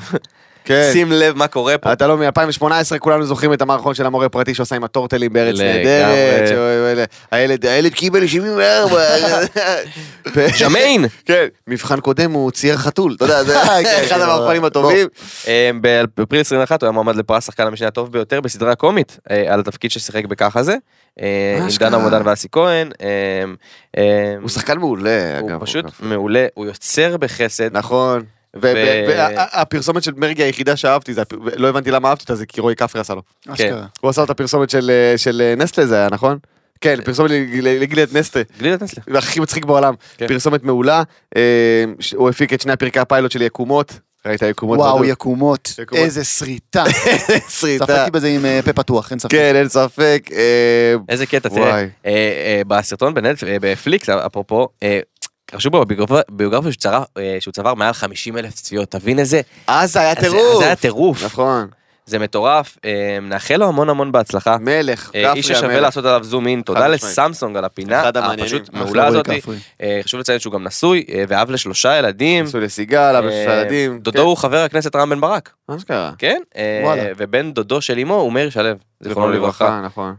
B: כן.
C: שים לב מה קורה פה.
B: אתה לא מ-2018, כולנו זוכרים את המערכון של המורה הפרטי שעושה עם הטורטלים בארץ
C: לגמרי.
B: נהדרת. שהוא- הילד, הילד קיבל 74.
C: שמיין.
B: כן, מבחן קודם הוא צייר חתול, אתה יודע, זה
D: כן, כן,
B: אחד המערכונים
D: בוא.
B: הטובים.
C: אה, באפריל 21 הוא היה מועמד לפרס שחקן המשנה הטוב ביותר בסדרה קומית אה, על התפקיד ששיחק בככה זה. אה, עם
B: אשכרה.
C: דנה מודן ואסי כהן. אה, אה,
B: הוא שחקן מעולה, אגב.
C: הוא פשוט מעולה, הוא יוצר בחסד.
B: נכון.
C: ו-
B: והפרסומת של מרגי היחידה שאהבתי, זה הפ- לא הבנתי למה אהבתי אותה, זה כי רועי כפרי עשה לו.
D: אשכרה.
B: הוא עשה לו את הפרסומת של, אה, של אה, נסטלה זה היה, נכון? כן, פרסומת לג- לגלילת נסטלה.
C: גלילת נסלה.
B: הכי מצחיק בעולם.
C: כן.
B: פרסומת מעולה, אה, ש- הוא הפיק את שני הפרקי הפיילוט של יקומות. ראית יקומות?
D: וואו,
B: בדוק?
D: יקומות,
B: יקומות.
D: איזה שריטה.
B: סריטה.
D: צפקתי בזה עם אה, פה פתוח, אין ספק.
B: כן, אין ספק. אה,
C: איזה קטע, תראה,
B: וואי.
C: אה, אה, בסרטון בנט- אה, בפליקס, אפרופו, אה, רשום בו בביוגרפיה ביוגרפיה שהוא צרה- אה, שהוא צבר מעל 50 אלף צפיות, תבין איזה,
B: אז זה היה
C: אז זה-
B: טירוף.
C: זה היה טירוף,
B: נכון.
C: זה מטורף, אה, נאחל לו המון המון בהצלחה,
B: מלך,
C: אה,
B: כפרי המלך.
C: איש ששווה לעשות עליו זום אין, תודה
B: חד משמעית.
C: לסמסונג על הפינה
B: אחד המעניינים.
C: הפשוט
B: אחלה
C: מעולה הזאת,
D: רועי כפרי.
C: אה, חשוב לציין שהוא גם נשוי, אה, ואב לשלושה ילדים,
B: נשוי לסיגל, אבא של
C: אה,
B: ילדים. כן.
C: דודו הוא חבר הכנסת רם בן ברק,
B: מה זה קרה?
C: כן, אה,
D: וואלה.
C: ובן דודו של אמו הוא מאיר שלו, זיכרונו לברכה.
B: נכון.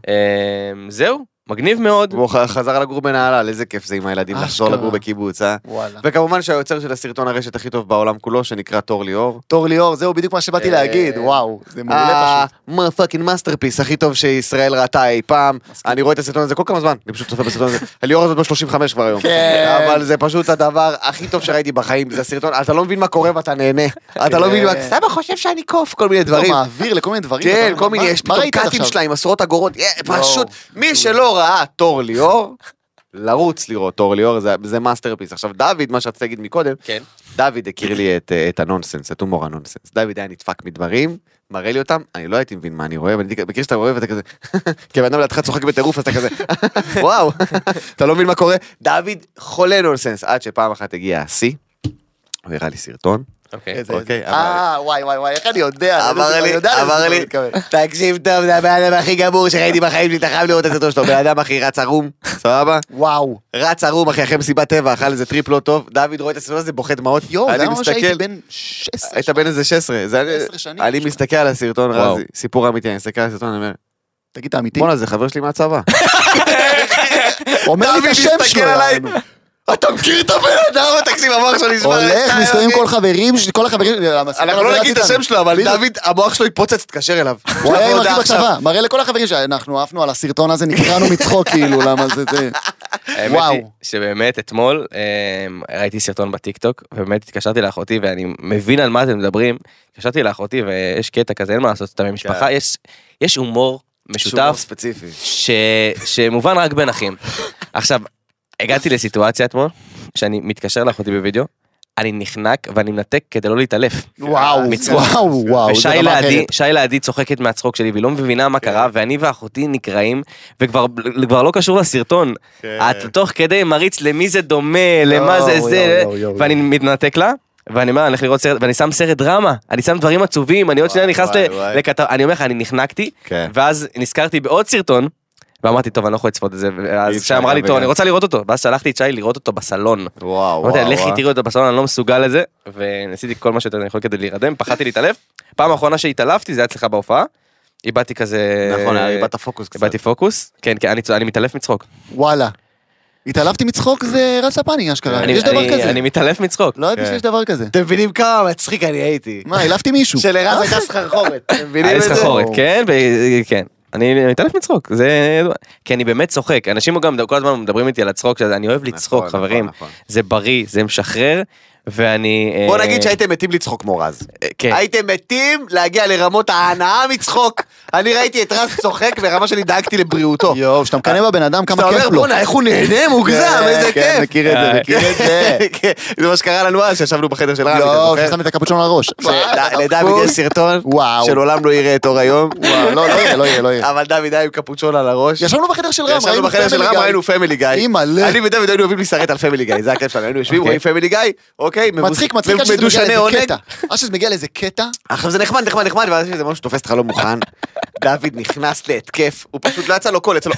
C: אמ, זהו, מגניב מאוד.
B: והוא ח- חזר לגור בנהלל, איזה כיף זה עם הילדים לחזור
D: אה, אשכרה.
B: לגור בקיבוץ, אה?
D: וואלה.
B: וכמובן שהיוצר של הסרטון הרשת הכי טוב בעולם כולו, שנקרא תור ליאור.
D: תור ליאור, זהו בדיוק מה שבאתי
B: אה,
D: להגיד, וואו, זה מעולה פשוט.
B: פאקינג מאסטרפיס אה, הכי טוב שישראל ראתה אי פעם. אני רואה את הסרטון הזה כל כמה זמן, אני פשוט צופה בסרטון הזה. ליאור הזאת בת 35 כבר היום.
D: כן.
B: אבל זה פשוט הדבר הכי טוב שראיתי בחיים, זה סרטון, אתה לא מבין מה קורה ואתה נהנה. אתה לא מבין
D: כן.
B: מה... סבא חושב שאני קוף, כל מיני
D: דברים.
B: דברים.
D: לא מעביר לכל מיני דברים. אתה
B: כן,
D: אומר,
B: כל מיני,
D: מה-
B: יש
D: מה
B: פתאום
D: ראית עד
B: קאטים
D: עכשיו? לא.
B: שלה עם עשרות אגורות, אה,
D: יואו.
B: פשוט, מי שלא ראה תור ליאור, לרוץ לראות תור ליאור, זה- זה מאסטרפיס. עכשיו, דוד, מה שרציתי להגיד מקודם,
C: כן.
B: דוד הכיר לי את, אה, את הנונסנס, את הומור הנונסנס. דוד היה נדפק מדברים, מראה לי אותם, אני לא הייתי מבין מה אני רואה, ואני הייתי מכיר שאתה רואה ואתה כזה, כי הבן אדם לידך צוחק בטירוף, אז אתה כזה, וואו, אתה לא מבין מה קורה, דוד חולה נונסנס, עד שפעם אחת הגיע השיא, הוא הראה לי סרטון,
C: אוקיי.
D: איזה,
B: אוקיי,
D: איזה.
B: אמר לי.
D: אה, וואי וואי וואי, איך אני יודע?
B: אמר
D: אה, אני
B: לי,
D: יודע לזה
B: אמר
D: שהוא
B: לי,
D: מתכוון.
B: תקשיב טוב, זה הבן אדם הכי גמור שראיתי בחיים שלי, אתה חייב לראות את הסרטון שלו, בן אדם אחי רץ ערום, סבבה?
D: וואו.
B: רץ ערום אחי אחרי מסיבת טבע, אכל איזה טריפ לא טוב, דוד רואה את הסרטון הזה, בוכה דמעות,
D: יואו, זה
B: אני
D: היה ממש
B: מסתכל,
D: הייתי בן 16.
B: היית בן איזה 16, זה אני-
D: 16 שנים,
B: אני
D: משהו.
B: מסתכל על הסרטון
C: וואו.
B: רזי, סיפור אמיתי, אני מסתכל על הסרטון, אני אומר,
D: תגיד, אתה אמיתי?
B: בואנה זה חבר שלי מהצבא.
D: אומר לי את
B: דוד
D: השם
B: מסתכל
D: שלו.
B: עליי,
D: יענו.
B: אתה מכיר את הבן אדם, תקשיב, המוח שלו נשבר.
D: הולך,
B: לתא,
D: מסתובבים
B: אחי.
D: כל חברים, ש- כל החברים, אה,
B: אנחנו לא נגיד את השם שלו, אבל
D: בדיוק.
B: דוד, המוח שלו התפוצץ, תתקשר אליו.
D: הוא היה
B: שלח לו
D: עם
B: הודעה
D: מרכיב
B: עכשיו.
D: בצבא, מראה לכל החברים שאנחנו עפנו על הסרטון הזה, נקרענו מצחוק כאילו, למה זה זה...
C: האמת
D: וואו.
C: היא שבאמת אתמול אמ, ראיתי סרטון בטיקטוק ובאמת התקשרתי לאחותי ואני מבין על מה אתם מדברים. התקשרתי לאחותי ויש קטע כזה אין מה לעשות אתה
D: כן.
C: ממשפחה יש יש הומור
B: הומור
C: משותף
B: ספציפי.
C: ש... שמובן רק בין אחים. עכשיו הגעתי לסיטואציה אתמול שאני מתקשר לאחותי בווידאו. אני נחנק ואני מנתק כדי לא להתעלף.
D: וואו,
C: מצחוק.
D: וואו, וואו, זה
C: ושי
D: דבר
C: לידי,
D: אחרת.
C: שי לידי צוחקת מהצחוק שלי והיא לא מבינה
B: כן.
C: מה קרה ואני ואחותי נקרעים וכבר כבר לא קשור לסרטון.
B: כן. אה,
C: אתה תוך כדי מריץ למי זה דומה,
D: לא,
C: למה זה
D: יואו,
B: אה,
C: זה,
D: יואו, יואו,
C: ואני מתנתק לה. ואני אומר, אני הולך לראות סרט, ואני שם סרט דרמה, אני שם דברים עצובים, אני עוד שנייה
B: וואי,
C: נכנס
B: וואי, וואי.
C: לכתב, אני אומר לך, אני נחנקתי,
B: כן.
C: ואז נזכרתי בעוד סרטון, ואמרתי, טוב, אני לא יכול לצפות את זה,
B: אי
C: ואז
B: אפשר
C: שי אמרה לי,
B: גם
C: טוב,
B: וגם.
C: אני רוצה לראות אותו, ואז שלחתי את שי לראות אותו בסלון.
B: וואו,
C: אמרתי,
B: וואו.
C: לכי
B: וואו.
C: תראו אותו בסלון, אני לא מסוגל לזה, וניסיתי כל מה שיותר אני יכול כדי להירדם, פחדתי להתעלף. פעם האחרונה שהתעלפתי זה היה אצלך בהופעה, איבדתי כזה...
B: נכון, איבדת פוקוס קצת.
C: איבדתי פוקוס, כן, כן, אני צ- אני מתעלף מצחוק.
D: וואלה. התעלפתי מצחוק זה רץ לפאני
B: לא,
D: אשכרה,
C: אני-
D: יש דבר
C: אני-
D: כזה.
C: אני מתעלף מצחוק.
D: לא ידעתי
B: כן.
D: שיש דבר כזה.
B: אתם מבינים כמה מצחיק אני הייתי.
D: מה, העלפתי מישהו. אה?
B: שלרז הייתה סחרחורת, אתם מבינים
C: היה לי
B: את זה?
C: סחרחורת, כן, ו- כן. אני מתעלף מצחוק, זה... ידוע. כי אני באמת צוחק, אנשים גם כל הזמן מדברים איתי על הצחוק, שזה- אני אוהב לצחוק,
B: נכון,
C: חברים.
B: נכון, נכון.
C: זה בריא, זה משחרר, ואני...
B: בוא
C: אה,
B: נגיד שהייתם מתים לצחוק כמו רז.
C: אה, כן.
B: הייתם מתים להגיע לרמות ההנאה מצחוק. אני ראיתי את רז צוחק ברמה שאני דאגתי לבריאותו.
D: יואו, שאתה מקנא בבן אדם כמה
B: אתה אומר
D: כיף לו.
B: בואנה איך הוא נהנה מוגזם
D: כן,
B: איזה
D: כן,
B: כיף.
D: מכיר את זה,
C: אה.
D: מכיר את זה.
B: כן, זה מה שקרה לנו אז שישבנו בחדר של רמי, אתה
D: לא,
B: זוכר?
D: ששם את הקפוצ'ון על הראש.
B: שלד- לדוד יש סרטון
D: וואו.
B: שלעולם לא יראה את אור היום.
D: וואו, לא, לא יהיה, לא יהיה, לא יהיה.
B: אבל דוד היה עם קפוצ'ון על הראש.
D: ישבנו בחדר של רם, ראינו
B: ישבנו בחדר של
D: פמילי
B: רם,
D: גיא.
B: ראינו פמילי גיא.
D: אימא'לה.
B: אני ודוד היינו אוהבים להסתרט על פמילי גיא, זה הכיף שלנו, היינו יושבים,
C: אוקיי.
B: רואים פמילי גיא, אוקיי, מבוס-
D: מצחיק, מצחיק, עד שזה מגיע
B: מדושני
D: לאיזה
B: עונג. לא,
D: קטע. עד שזה מגיע לאיזה קטע,
B: עכשיו זה נחמד, נחמד, נחמד, ואז יש איזה משהו שתופס אותך לא מוכן. דוד נכנס להתקף, הוא פשוט לא יצא לו קול, יצא לו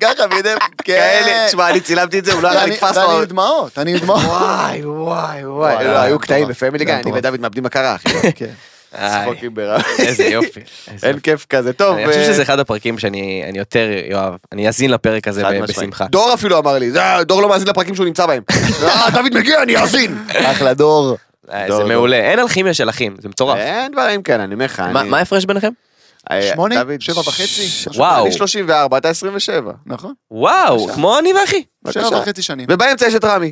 D: ככה, בידי,
B: כאלה. תשמע, כן. אני צילמתי את זה, הוא לא היה
D: ואני
B: נתפס
D: ואני
B: לו.
D: עם דמעות, אני עם דמעות.
B: וואי, וואי, וואי.
D: וואי,
C: אה,
B: לא, היו
D: מטורף.
B: קטעים בפמילי גיא,
D: זה
B: אני
D: מטורף.
B: ודוד מאבדים הכרה, אחי.
D: כן.
C: איי,
B: צחוקים ברמה.
C: איזה יופי. איזה
B: אין כיף כזה. טוב,
C: אני חושב
B: אה,
C: שזה אחד הפרקים שאני אני יותר יואב, אני אזין לפרק הזה
B: חד
C: ב-
B: משמעית.
C: אה, בשמחה.
B: דור אפילו אמר לי, "זה- דור לא מאזין לפרקים שהוא נמצא בהם. "אה, דוד מגיע, אני אאזין.
D: אחלה דור.
C: אה,
B: דור,
C: זה
B: דור.
C: מעולה, אין אלכימיה של אחים, זה מטורף.
B: אין דברים כאלה, אני אומר לך.
C: מה
B: אה, אני-
C: מה ההפרש ביניכם?
B: אה,
D: שמונה?
B: דוד,
D: שבע וחצי?
B: ש-
D: משהו
C: וואו.
B: אני 34, אתה 27.
D: נכון.
C: וואו, כמו אני ואחי,
B: בבקשה.
D: שבע וחצי שנים.
B: ובאמצע יש את רמי.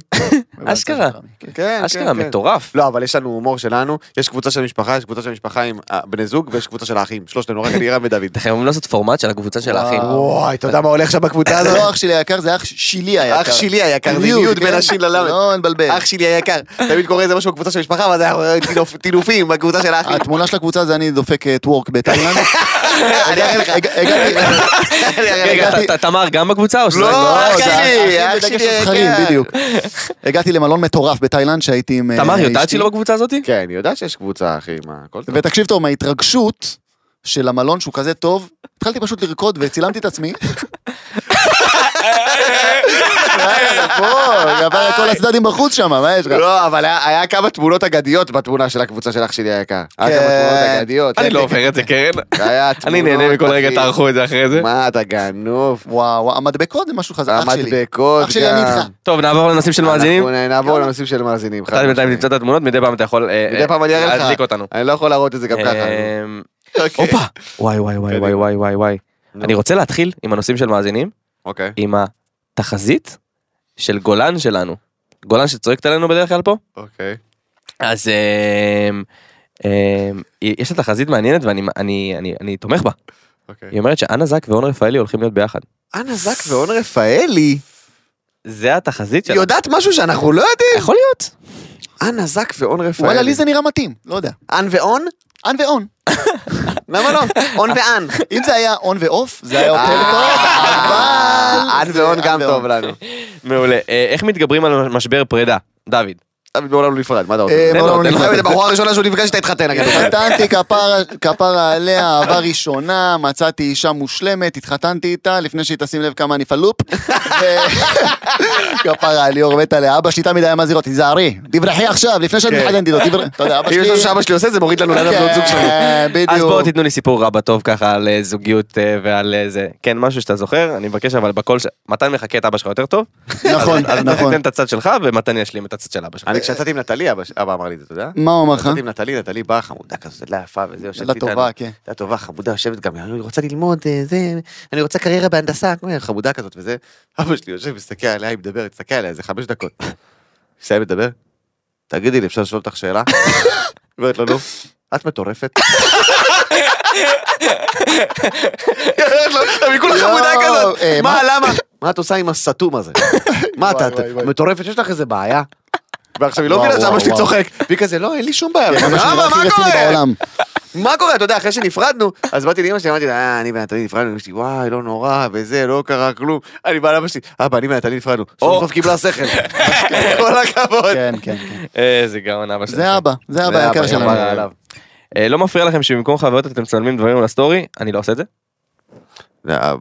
C: אשכרה.
D: כן.
B: כן,
C: אשכרה מטורף.
B: לא, אבל יש לנו הומור שלנו, יש קבוצה של משפחה, יש קבוצה של משפחה עם אה, בני זוג, ויש קבוצה של האחים, שלושתנו, רק לירם ודוד.
C: אתם חייבים לעשות פורמט של הקבוצה של האחים.
D: וואו.
B: וואי, אתה יודע מה הולך שם בקבוצה
D: זה לא
B: הזאת?
D: אח שלי היקר, זה אח שלי היקר.
B: כן, אח שלי היקר, זה יוד בין השין ללמד.
D: לא נבלבל.
B: אח שלי היקר, תמיד קורה איזה משהו בקבוצה של משפחה, ואז היה טינופ- טינופים בקבוצה של האחים.
D: התמונה של הקבוצה זה אני דופק אה, טוורק בתאילנד. אני אראה לך. הגעתי-
B: אני אראה
C: רגע,
B: לך.
D: הגעתי-
C: ת- ת- תמר גם בקבוצה או שזה... אה, כן.
B: לא,
D: לא,
B: אח
D: זה
B: שלי,
D: האחים
B: אח
D: בדגש
B: שלי כן.
D: על זכרים,
B: היקר.
D: בדיוק. הגעתי למלון מטורף בתאילנד שהייתי עם... אה,
C: תמר יודעת
D: אשתי.
C: שהיא לא בקבוצה הזאתי?
B: כן, אני יודע שיש קבוצה, אחי, מה, הכל טוב.
D: ותקשיב טוב, מההתרגשות של המלון שהוא כזה טוב, התחלתי פשוט לרקוד וצילמתי את עצמי. יאללה, בוא, גבר כל הצדדים בחוץ שם, מה יש לך?
B: לא, אבל היה- היה כמה תמונות אגדיות בתמונה של הקבוצה של אח שלי היקר. היה כמה
D: כן.
B: תמונות אגדיות.
C: אני לא עובר את זה, קרן.
B: היה
C: אני
B: תמונות,
C: נהנה מכל רגע,
B: אוקיי. לא, אחי.
C: תערכו את זה אחרי זה.
B: מה, אתה גנוב?
D: וואו, וואו, המדבקות זה משהו חזק, אח שלי.
B: המדבקות גם.
D: אח שלי, אני איתך.
C: טוב, נעבור לנושאים של מאזינים.
B: אה, אנחנו נעבור לנושאים של מאזינים. חד
C: אתה בינתיים
B: משמעית.
C: תמצא את התמונות, מדי פעם אתה יכול אה,
B: מדי
C: אה,
B: פעם אני אראה לך.
C: להדליק אותנו.
B: אני לא יכול להראות את זה גם ככה.
C: אמ,
B: אוקיי.
C: הופה! וואי וואי וואי וואי וואי וואי וואי.
B: נו.
C: אני רוצה להתחיל עם הנושאים של מאזינים,
B: אוקיי.
C: עם התחזית של גולן שלנו. גולן שצועקת עלינו בדרך כלל פה.
B: אוקיי.
C: אז אמ, אמ, יש לה תחזית מעניינת ואני אני- אני- אני תומך בה.
B: אוקיי.
C: היא אומרת שאנה זק ואון רפאלי הולכים להיות ביחד.
B: אנה זק ואון רפאלי,
C: זה התחזית
B: היא
C: שלה.
B: יודעת משהו שאנחנו לא יודעים.
C: יכול להיות.
B: אנה זק ואון רפאלי.
D: וואלה, לי זה נראה מתאים, לא יודע.
B: אן ואון?
D: און ואון.
B: למה לא? און ואן.
D: אם זה היה און ועוף, זה היה יותר
B: אה,
D: טוב, אבל...
B: אן ואון
D: זה
B: גם
D: אן
B: טוב
D: ואון.
B: לנו.
C: מעולה. אה, איך מתגברים על משבר פרידה? דוד.
B: אבל מעולם לא נפרד, מה אתה
D: אה,
B: רוצה?
D: מעולם לא נפרד.
B: זה הבחורה הראשונה שהוא נפגש איתה התחתן, אגב.
D: התחתנתי, כפרה- כפרה עליה, אהבה ראשונה, מצאתי אישה מושלמת, התחתנתי איתה, לפני שהיא תשים לב כמה אני פלופ. ו- כפרה על ליאור מתה לאבא שלי תמיד היה מזהירות, תיזהרי, תברחי עכשיו, לפני שאת מתחתנת איתו, תברחי. אתה יודע, אבא
B: אם כן. יש
D: שלי...
B: משהו שאבא שלי עושה, זה מוריד לנו לאדם בנות זוג שלנו.
D: כן,
C: אז בואו
D: בדיוק.
C: תיתנו לי סיפור רע בטוב ככה על אה, זוגיות אה, ועל אה, זה. כן, משהו שאתה זוכר, אני מבקש אבל בקול ש... מתן מחקה את אבא שלך יותר טוב.
D: נכון,
C: אז אתה
D: נכון.
C: תיתן את הצד שלך ומתן ישלים את הצד של אבא שלך.
B: אני כשיצאתי עם נטלי, אבא ש- אבא אמר לי את זה, אתה יודע?
D: מה הוא אמר לך?
B: יצאתי עם נטלי, נטלי באה חמודה כזאת, ילדה יפה וזה, יושבת
D: ילדה
B: איתנו.
D: טובה, כן.
B: ילדה טובה, חמודה, יושבת גם, אני רוצה ללמוד, אה, זה, אני רוצה קריירה בהנדסה, כל מיני, חמודה כזאת וזה. אבא שלי יושב, מסתכל עליה, היא מדברת, מסתכל עליה, איזה חמש דקות. מסיים לדבר? תגידי לי, אפשר לשאול אותך שאלה? אומרת לו, נו, את מטורפת. היא אומרת לו, "אבל היא כולה חמודה
D: יואו,
B: כזאת,
D: אה,
B: מה, למה? מה את עושה עם הסתום הזה? מה אתה,
D: וואי, וואי, וואי.
B: מטורפת, יש לך איזה בעיה? ועכשיו היא לא
D: וואו,
B: מבינה שאבא
D: וואו,
B: שלי
D: וואו. כן,
B: צוחק, והיא כזה, לא, אין לי שום בעיה,
D: אבא שלי הוא
B: אבא,
D: הכי
B: מה
D: רציני
B: קורה?
D: בעולם.
B: מה קורה? אתה יודע, אחרי שנפרדנו, אז באתי לאמא שלי, אמרתי לה, אה, אני ונתניה נפרדנו, אמא שלי, וואי, לא נורא, וזה, לא קרה כלום. אני בא לאבא שלי, אבא, אני ונתניה נפרדנו, סוף
C: או.
B: סוף קיבלה שכל. כל הכבוד.
D: כן, כן, כן.
C: איזה גאון אבא שלך.
D: זה אבא, זה אבא
B: נכון. זה
D: היקר
B: אבא,
D: שלנו.
B: אבא עליו.
C: אה, לא מפריע לכם שבמקום חוויות אתם מצלמים דברים לסטורי? אני לא עושה את זה.
B: זה, אה,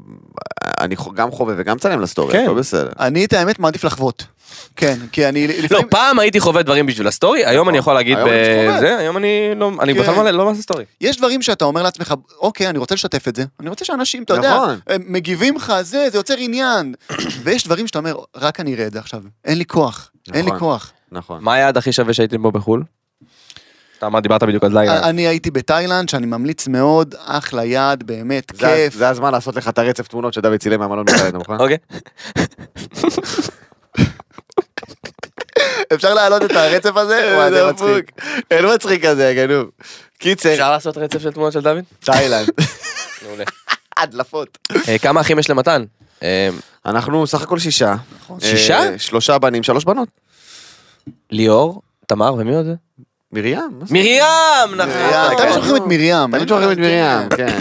B: אני חו- גם חווה וגם צלם לסטורי,
C: כן.
B: הכל בסדר.
D: אני את האמת מעדיף לחוות. כן, כי אני
C: לא,
D: לפעמים...
C: פעם הייתי חווה דברים בשביל הסטורי, נכון. היום אני יכול להגיד
B: היום אני
C: ב-
B: חווה.
C: זה, היום אני לא, אני
D: כן.
C: בכלל לא- לא מעשה סטורי.
D: יש דברים שאתה אומר לעצמך, אוקיי, אני רוצה לשתף את זה. אני רוצה שאנשים, אתה יודע,
B: נכון.
D: הם מגיבים לך, זה, זה יוצר עניין. ויש דברים שאתה אומר, רק אני אראה את זה עכשיו. אין לי כוח. אין לי
B: נכון.
D: כוח.
B: נכון.
C: מה היעד הכי שווה שהייתם בו בחול? אתה אמרת, דיברת בדיוק על לילה.
D: אני הייתי בתאילנד, שאני ממליץ מאוד, אחלה יעד, באמת,
B: זה ה-
D: כיף.
B: זה הזמן לעשות לך את הרצף תמונות שדוד צילם מהמלון בלילה, נכון?
C: אוקיי.
D: אפשר להעלות את הרצף הזה? וואי, אוקיי, זה מצחיק.
B: אין מצחיק כזה, גנוב. קיצר,
C: אפשר לעשות רצף של תמונות של דוד?
B: תאילנד.
C: מעולה.
B: הדלפות.
C: אה, כמה אחים יש למתן? אה,
B: אנחנו סך הכל שישה.
C: שישה?
B: אה, שלושה בנים, שלוש בנות.
C: ליאור, תמר ומי עוד?
B: מרים. מה זה?
C: מרים! נכון.
D: מרים,
B: כן.
D: תמיד שולחים אה, את מרים.
B: תמיד שולחים את מרים, כן.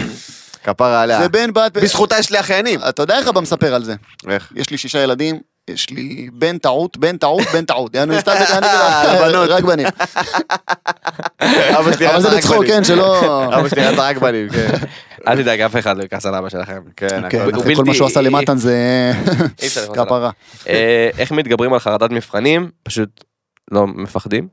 B: כפרה עליה.
D: זה בן בת...
B: בזכותה יש לי אחיינים.
D: אתה יודע איך אבא מספר על זה?
B: איך?
D: יש לי שישה ילדים, יש לי בן טעות, בן טעות, בן טעות. יענו, הסתלבט, אני
B: בנות.
D: רק בנים.
B: אבא שלי
D: אבל
B: רצה
D: זה
B: רק
D: בצחוק,
B: בנים.
D: כן, שלא...
B: אבא שלי רצה רק בנים, כן.
C: אל תדאג, אף אחד לא יכעס על אבא שלכם.
B: כן,
D: כן,
B: הכל.
C: הוא
D: אחרי כל מה
C: בלתי-
D: שהוא עשה למתן זה
C: אי אפשר לכעוס עליו.
D: כפרה.
C: אה, איך מתגברים על חרדת מבחנים? פשוט לא מפחדים.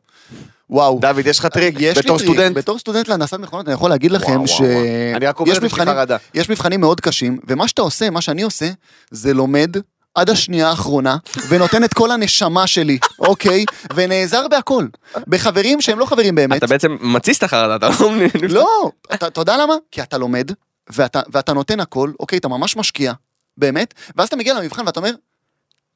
D: וואו.
B: דוד, אה, יש לך טריק?
D: יש לי
B: בתור
D: טריק.
B: סטודנט?
D: בתור סטודנט להנדסת מכונות, אני יכול להגיד
B: וואו,
D: לכם
B: וואו,
D: ש...
B: וואו. אני רק אומר
D: יש
B: את זה בשביל
D: מבחנים-
B: חרדה.
D: יש מבחנים מאוד קשים, ומה שאתה עושה, מה שאני עושה, זה לומד עד השנייה האחרונה, ונותן את כל הנשמה שלי, אוקיי? ונעזר בהכל. בחברים שהם לא חברים באמת.
C: אתה בעצם מתסיס את החרדה, אתה לא...
D: לא, אתה אתה יודע למה? כי אתה לומד, ואתה ואתה נותן הכל, אוקיי, אתה ממש משקיע, באמת, ואז אתה מגיע למבחן ואתה אומר,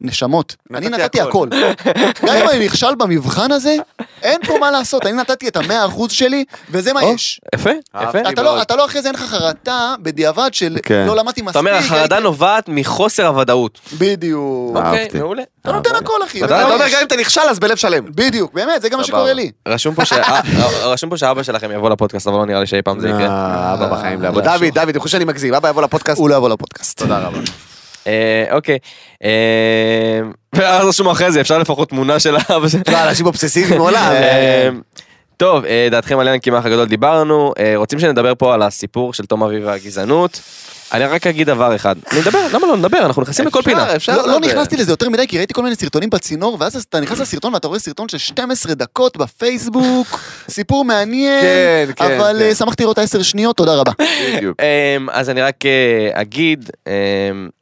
D: נשמות, אני
B: נתתי
D: נתתי
B: הכל."
D: הכל. גם אם אני נכשל במבחן הזה, אין פה מה לעשות, אני נתתי את המאה אחוז שלי, וזה מה
C: או,
D: יש.
C: יפה, יפה.
B: אהבתי.
D: אתה לא,
B: מאוד.
D: אתה לא אחרי זה אין לך חרטה בדיעבד של
B: כן.
D: לא למדתי
C: אתה
D: מספיק.
C: אומר, החרדה
D: הייתי-"
C: נובעת מחוסר הוודאות.
D: בדיוק.
B: אה,
C: אוקיי,
B: אהבתי.
C: מעולה.
D: אתה נותן הכל אחי.
C: אתה-
D: וזה
B: אתה
D: מה
B: אומר,
D: אה, יש.
B: גם אם אתה נכשל, אז בלב שלם.
D: בדיוק, באמת, זה גם מה
B: סבבה.
D: שקורה לי.
C: רשום פה ש- אה, רשום פה שאבא שלכם יבוא לפודקאסט, אבל לא נראה לי שאי פעם זה יקרה.
B: אה, אבא בחיים לא יבוא.
D: לא,
B: דוד, דוד, אני חושב שאני מגזים, אבא יבוא לפודקאסט.
D: כן. הוא לא יבוא לפודקאסט.
B: תודה רבה.
C: אה, אוקיי. אה, ואז רשום אחרי זה, אפשר לפחות תמונה של אבא של...
B: לא, אנשים אובססיביים מעולם.
C: אה, טוב, אה, דעתכם עלינו קמח הגדול דיברנו, אה, רוצים שנדבר פה על הסיפור של תום אביב והגזענות. אני רק אגיד דבר אחד. נדבר, למה לא נדבר? אנחנו נכנסים לכל
B: אפשר,
C: פינה.
B: אפשר
D: לא, לא
B: לדבר.
D: נכנסתי לזה יותר מדי, כי ראיתי כל מיני סרטונים בצינור, ואז אתה נכנס לסרטון ואתה רואה סרטון של 12 דקות בפייסבוק, סיפור מעניין,
B: כן, כן,
D: אבל
B: כן.
D: אה, שמחתי לראות 10 שניות, תודה רבה.
B: בדיוק.
C: אמ, אז אני רק אה, אגיד, אמ,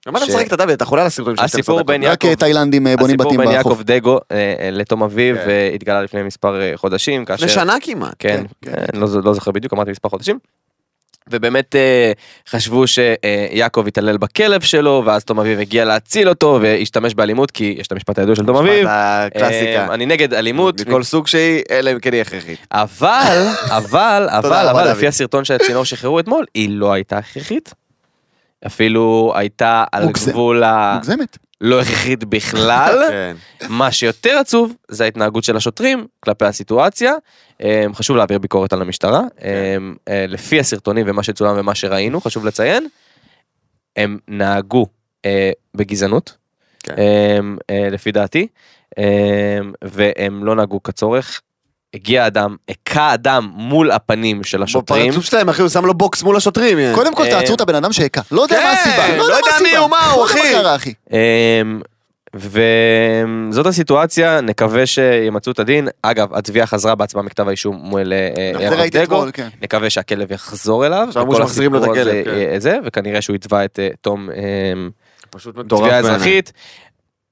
B: למה אתה
C: ש-
B: משחק את הדוד? אתה חולה על הסרטונים של 12
C: הסיפור
B: דקות.
C: בין
D: רק
C: יעקב-
D: אה, תאילנדים אה, בונים
C: הסיפור
D: בתים
C: בין
D: ברחוב.
C: יעקב דגו אה, אה, לתום אביב
B: כן.
C: אה, התגלה לפני מספר אה, חודשים, כאשר...
B: לפני שנה כמעט.
C: כן,
D: כן,
C: אה, לא ז- לא זוכר בדיוק, אמרתי מספר חודשים. ובאמת אה, חשבו שיעקב התעלל בכלב שלו, ואז תום אביב הגיע להציל אותו והשתמש באלימות, כי יש את המשפט הידוע של תום אביב.
B: הקלאסיקה.
C: אה, אני נגד אלימות,
B: מכל סוג שהיא, אלא אם כן היא הכרחית.
C: אבל, אבל,
B: תודה
C: אבל,
B: רבה,
C: אבל,
B: דוד.
C: לפי הסרטון של הצינור שחררו אתמול, היא לא הייתה הכרחית. אפילו הייתה על
D: מוגזם.
C: גבול
B: אה.
C: ה...
D: מוגזמת.
C: לא הכרחית בכלל.
B: כן.
C: מה שיותר עצוב זה ההתנהגות של השוטרים כלפי הסיטואציה. אמ, חשוב להעביר ביקורת על המשטרה.
B: כן.
C: אמ, אה, לפי הסרטונים ומה שצולם ומה שראינו, חשוב לציין, הם נהגו אה, בגזענות,
B: כן.
C: אמ, אה, לפי דעתי, אמ, והם לא נהגו כצורך. הגיע אדם, הכה אדם מול הפנים של השוטרים.
B: בפרצוף שלהם, אחי, הוא שם לו בוקס מול השוטרים.
D: קודם כל
C: אה,
D: תעצרו את הבן אדם שהכה, לא יודע
B: כן,
D: מה הסיבה,
B: לא יודע
D: מה
B: מי
D: הסיבה.
B: הוא, מה הוא,
D: לא יודע
B: אחי.
D: קרה, אחי.
C: אמ, וזאת הסיטואציה, נקווה שימצאו את הדין. אגב, התביעה חזרה בעצמה מכתב האישום מול אה,
D: זה
C: יעקב
D: ראיתי
C: דגו.
D: אתמול, כן.
C: נקווה שהכלב יחזור אליו.
B: שאמרו
C: וכל
B: שמחזירים לו את
C: הסיפור הזה
B: הכלב, כן.
C: יהיה זה, וכנראה שהוא יתבע את אה, תום אמ,
B: פשוט
C: תביעה אזרחית.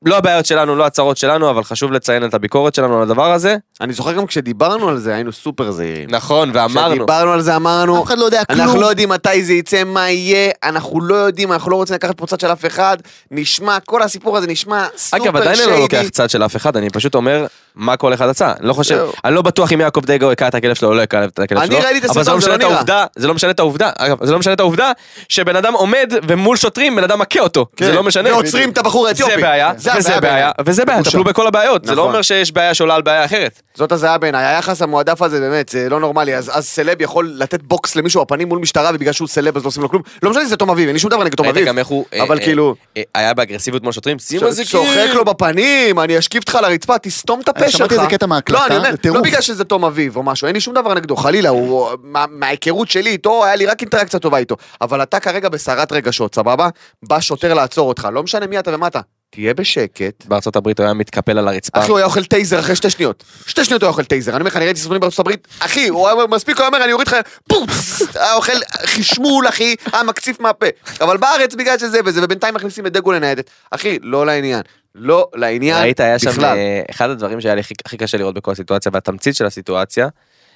C: לא הבעיות שלנו, לא הצרות שלנו, אבל חשוב לציין את הביקורת שלנו על הדבר הזה.
B: אני זוכר גם כשדיברנו על זה, היינו סופר זהירים.
C: נכון, ואמרנו.
B: כשדיברנו על זה, אמרנו,
D: אף אחד לא יודע
B: אנחנו
D: כלום.
B: לא יודעים מתי זה יצא, מה יהיה, אנחנו לא יודעים, אנחנו לא רוצים לקחת פה צד של אף אחד. נשמע, כל הסיפור הזה נשמע סופר שיידי.
C: אגב, עדיין אני לא לוקח צד של אף אחד, אני פשוט אומר מה כל אחד עשה. אני לא חושב,
B: זהו.
C: אני לא בטוח אם יעקב דגו הכה את הכלב שלו או לא הכה את הכלב
B: אני
C: שלו.
B: ראיתי את
C: אבל זה
B: הסרטון, זה
C: לא משנה
B: לא
C: את
B: נראה.
C: העובדה, זה לא משנה את העובדה, אגב, זה לא משנה את העובדה שבן אדם עומד ומול שוטרים בן אדם מכה אותו. זה לא משנה.
B: כן. ועוצרים את הבחור האתיופי.
C: זה בעיה, וזה בעיה,
B: בעיניי.
C: וזה בעיה,
B: בושה.
C: טפלו בכל הבעיות. זה לא
B: נכון.
C: אומר שיש בעיה שעולה על בעיה אחרת.
B: זאת הזיה בעיניי, היחס המועדף הזה באמת, זה לא נורמלי, אז, אז סלב יכול לתת בוקס למישהו בפנים מול משטרה ובגלל שהוא סלב אז לא עושים לו כלום, לא משנה אם זה תום אביב, אין לי שום דבר נגד תום
C: ראית
B: אביב,
C: גם איך הוא... אה,
B: אבל
C: אה,
B: כאילו,
C: אה, היה באגרסיביות מול שוטרים? שים על זה
B: צוחק לו בפנים, אני אשכיב אותך לרצפה, תסתום את הפה
D: אני
B: שלך.
D: שמעתי איזה קטע מההקלטה,
B: לא, אני אומר,
D: זה טירוף.
B: לא בגלל שזה תום אביב או משהו, אין לי שום דבר נגדו, חלילה, הוא, מה- מההיכרות שלי איתו, היה לי רק אינטראקציה טובה איתו, אבל אתה כרגע בסערת רגשות, סבבה? בא שוטר לעצור אותך, לא משנה מי אתה ומה אתה, תהיה בשקט,
C: בארצות הברית הוא היה מתקפל על הרצפה.
B: אחי, הוא היה אוכל טייזר אחרי שתי שניות. שתי שניות הוא היה אוכל טייזר. אני אומר לך, אני ראיתי סרטונים בארצות הברית, אחי, הוא היה מספיק, הוא היה אומר, אני אוריד לך, פופס, היה אוכל חשמול, אחי, היה מקציף מהפה. אבל בארץ, בגלל שזה וזה, ובינתיים מכניסים את דגו לניידת. אחי, לא לעניין. לא לעניין
C: ראית, היה שם,
B: בכלל.
C: אה, אחד הדברים שהיה לי הכי- הכי קשה לראות בכל הסיטואציה, והתמצית של הסיטואציה,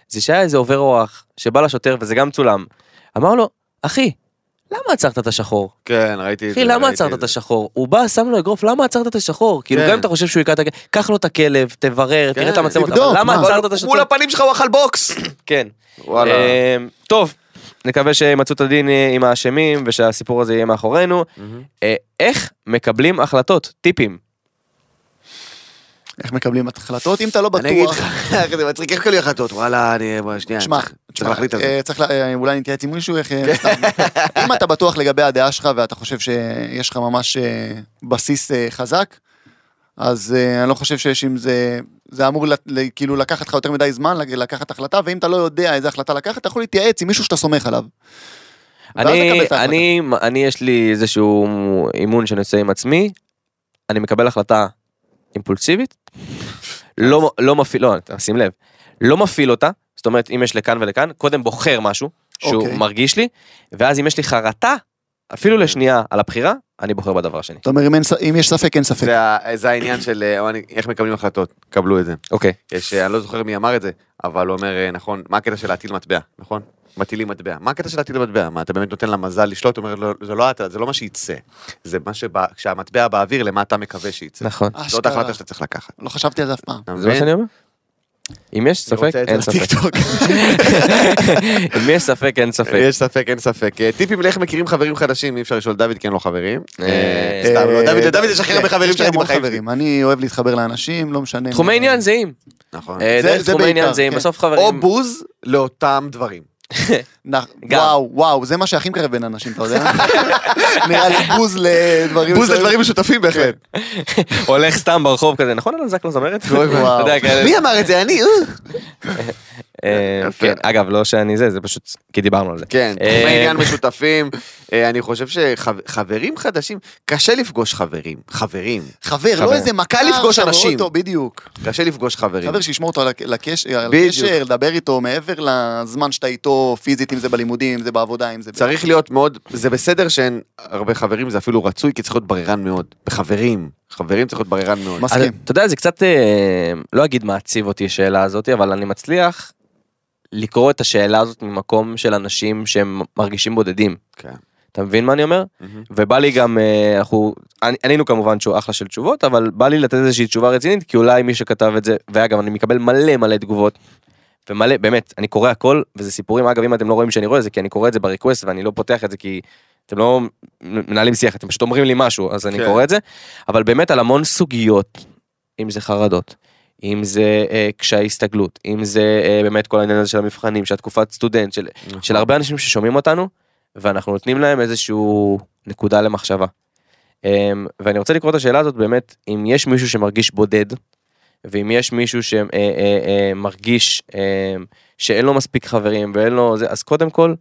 C: זה שהיה איזה עובר אורח, שבא לשוטר, וזה גם צולם, אמר לו, אחי, למה עצרת את השחור?
B: כן, ראיתי את
C: אחי, למה עצרת את השחור? הוא בא, שם לו אגרוף, למה עצרת את השחור? כאילו,
B: כן.
C: גם אם אתה חושב שהוא יקרא את הכלב, קח לו את הכלב, תברר, תראה את
B: כן,
C: המצלמות,
D: תבדוק,
C: אבל למה
D: מה?
C: עצרת את
B: מול
C: השחור?
B: הפנים שלך הוא אכל בוקס.
C: כן.
B: וואלה.
C: אמ, טוב, נקווה שימצאו את הדין אה, עם האשמים, ושהסיפור הזה יהיה מאחורינו. אה, איך מקבלים החלטות? טיפים.
D: איך מקבלים החלטות אם אתה לא
B: אני אגיד
D: בטוח?
B: לך, איך זה מצחיק, איך כאלה החלטות? וואלה, אני... בוא, שנייה.
D: תשמע,
B: כן, צריך- צריך
D: תשמע,
B: להחליט על זה. כן.
D: אה, צריך לה- אה, אולי נתייעץ עם מישהו, איך... אה, סתם. אם אתה בטוח לגבי הדעה שלך ואתה חושב שיש לך ממש אה, בסיס אה, חזק, אז אה, אני לא חושב שיש עם זה... זה אמור לת- ל- כאילו לקחת לך יותר מדי זמן לג- לקחת החלטה, ואם אתה לא יודע איזה החלטה לקחת, אתה יכול להתייעץ עם מישהו שאתה סומך עליו. ואז לקבל
C: אני,
D: את ההחלטה.
C: אני, אני יש לי איזשהו אימון שאני עושה עם עצמי, אני מקבל החלטה אימפולסיבית, לא, לא מפעיל, לא, אתה שים לב, לא מפעיל אותה, זאת אומרת אם יש לכאן ולכאן, קודם בוחר משהו שהוא
D: אוקיי.
C: מרגיש לי, ואז אם יש לי חרטה, אפילו לשנייה על הבחירה, אני בוחר בדבר השני.
D: אתה אומר, אם אין ס- אם יש ספק, אין ספק.
B: זה ה- זה העניין של אה, אני- איך מקבלים החלטות, קבלו את זה.
C: אוקיי.
B: יש, אני לא זוכר מי אמר את זה, אבל הוא אומר, אה, נכון, מה הקטע של להטיל מטבע, נכון? מטילים מטבע. מה הקטע של להטיל מטבע? מה, אתה באמת נותן למזל לשלוט? הוא אומר, לא, זה לא אתה, זה לא מה שיצא. זה מה שבא, כשהמטבע באוויר, למה אתה מקווה שיצא.
C: נכון.
B: זאת
D: אשכרה.
B: ההחלטה שאתה צריך לקחת.
D: לא חשבתי על זה אף פעם.
B: אתה
C: זה מה
B: מבין?
C: שאני אומר? אם יש
B: אני
C: ספק,
B: רוצה את זה
C: אין ספק.
B: לטיקטוק.
C: אם יש ספק, אין ספק.
B: יש ספק, אין ספק. אה, טיפים לאיך מכירים חברים חדשים, אי אפשר לשאול דוד, כי אין לו חברים.
C: אה,
B: אה, סתם, לא, דוד, לדוד יש הכי הרבה חברים
D: כן, יש לי
B: שראיתי
D: המון
B: בחיים שלי.
D: חברים, אני אוהב להתחבר לאנשים, לא משנה.
C: תחומי עניין זהים.
B: נכון.
C: אה,
D: זה-
C: דרך
D: זה
C: תחומי
D: בעיקר,
C: עניין זהים,
D: כן.
C: בסוף
B: או
C: חברים.
B: בוז לאותם דברים.
D: נח-
C: גם.
D: וואו, וואו, זה מה שהכי מקרב בין אנשים, אתה יודע? נראה לי בוז לדברים...
B: בוז
D: מסוימים.
B: לדברים משותפים בהחלט.
C: כן. הולך סתם ברחוב כזה, נכון אלון זקלו זמרת?
D: אוי, וואו.
C: אתה יודע, כאלה.
B: מי אמר את זה? אני? אה.
C: אה,
B: יפה.
C: כן, אגב, לא שאני זה, זה פשוט, כי דיברנו על זה.
B: כן,
C: אה,
B: תחומי עניין משותפים. אה, אני חושב שחברים חדשים, קשה לפגוש חברים. חברים.
D: חבר,
C: חבר.
D: לא איזה מכר.
B: קל לפגוש
D: שאתה רואה
B: אנשים.
D: אותו, בדיוק.
B: קשה לפגוש חברים.
D: חבר שישמור אותו על הק- לקש- על
B: בדיוק.
D: הקשר, לדבר איתו מעבר לזמן שאתה איתו פיזית, אם זה בלימודים, אם זה בעבודה, אם זה... ב-
B: צריך להיות מאוד, זה בסדר שאין הרבה חברים, זה אפילו רצוי, כי צריך להיות בררן מאוד. בחברים. חברים צריך להיות בררן מאוד.
D: מסכים.
C: אז אתה יודע, זה קצת, אה, לא אגיד מעציב אותי השאלה הזאת, אבל אני מצליח לקרוא את השאלה הזאת ממקום של אנשים שהם מרגישים בודדים.
B: כן.
C: אתה מבין מה אני אומר?
B: מהמם.
C: ובא לי גם, אה, אנחנו, עני- ענינו כמובן שהוא אחלה של תשובות, אבל בא לי לתת איזושהי תשובה רצינית, כי אולי מי שכתב את זה, ואגב, אני מקבל מלא מלא תגובות, ומלא, באמת, אני קורא הכל, וזה סיפורים, אגב, אם אתם לא רואים שאני רואה את זה, כי אני קורא את זה בריקווסט, ואני לא פותח את זה, כי אתם לא מנהלים שיח, אתם פשוט אומרים לי משהו, אז אני
B: כן.
C: קורא את זה, אבל באמת על המון סוגיות, אם זה חרדות. אם זה אה, קשיי הסתגלות, אם זה אה, באמת כל העניין הזה של המבחנים, של התקופת סטודנט, של
B: נכון,
C: של הרבה אנשים ששומעים אותנו, ואנחנו נותנים להם איזשהו נקודה למחשבה. אמ, ואני רוצה לקרוא את השאלה הזאת באמת, אם יש מישהו שמרגיש בודד, ואם יש מישהו אה, שמרגיש אמ, שאין לו מספיק חברים ואין לו זה, אז קודם כל,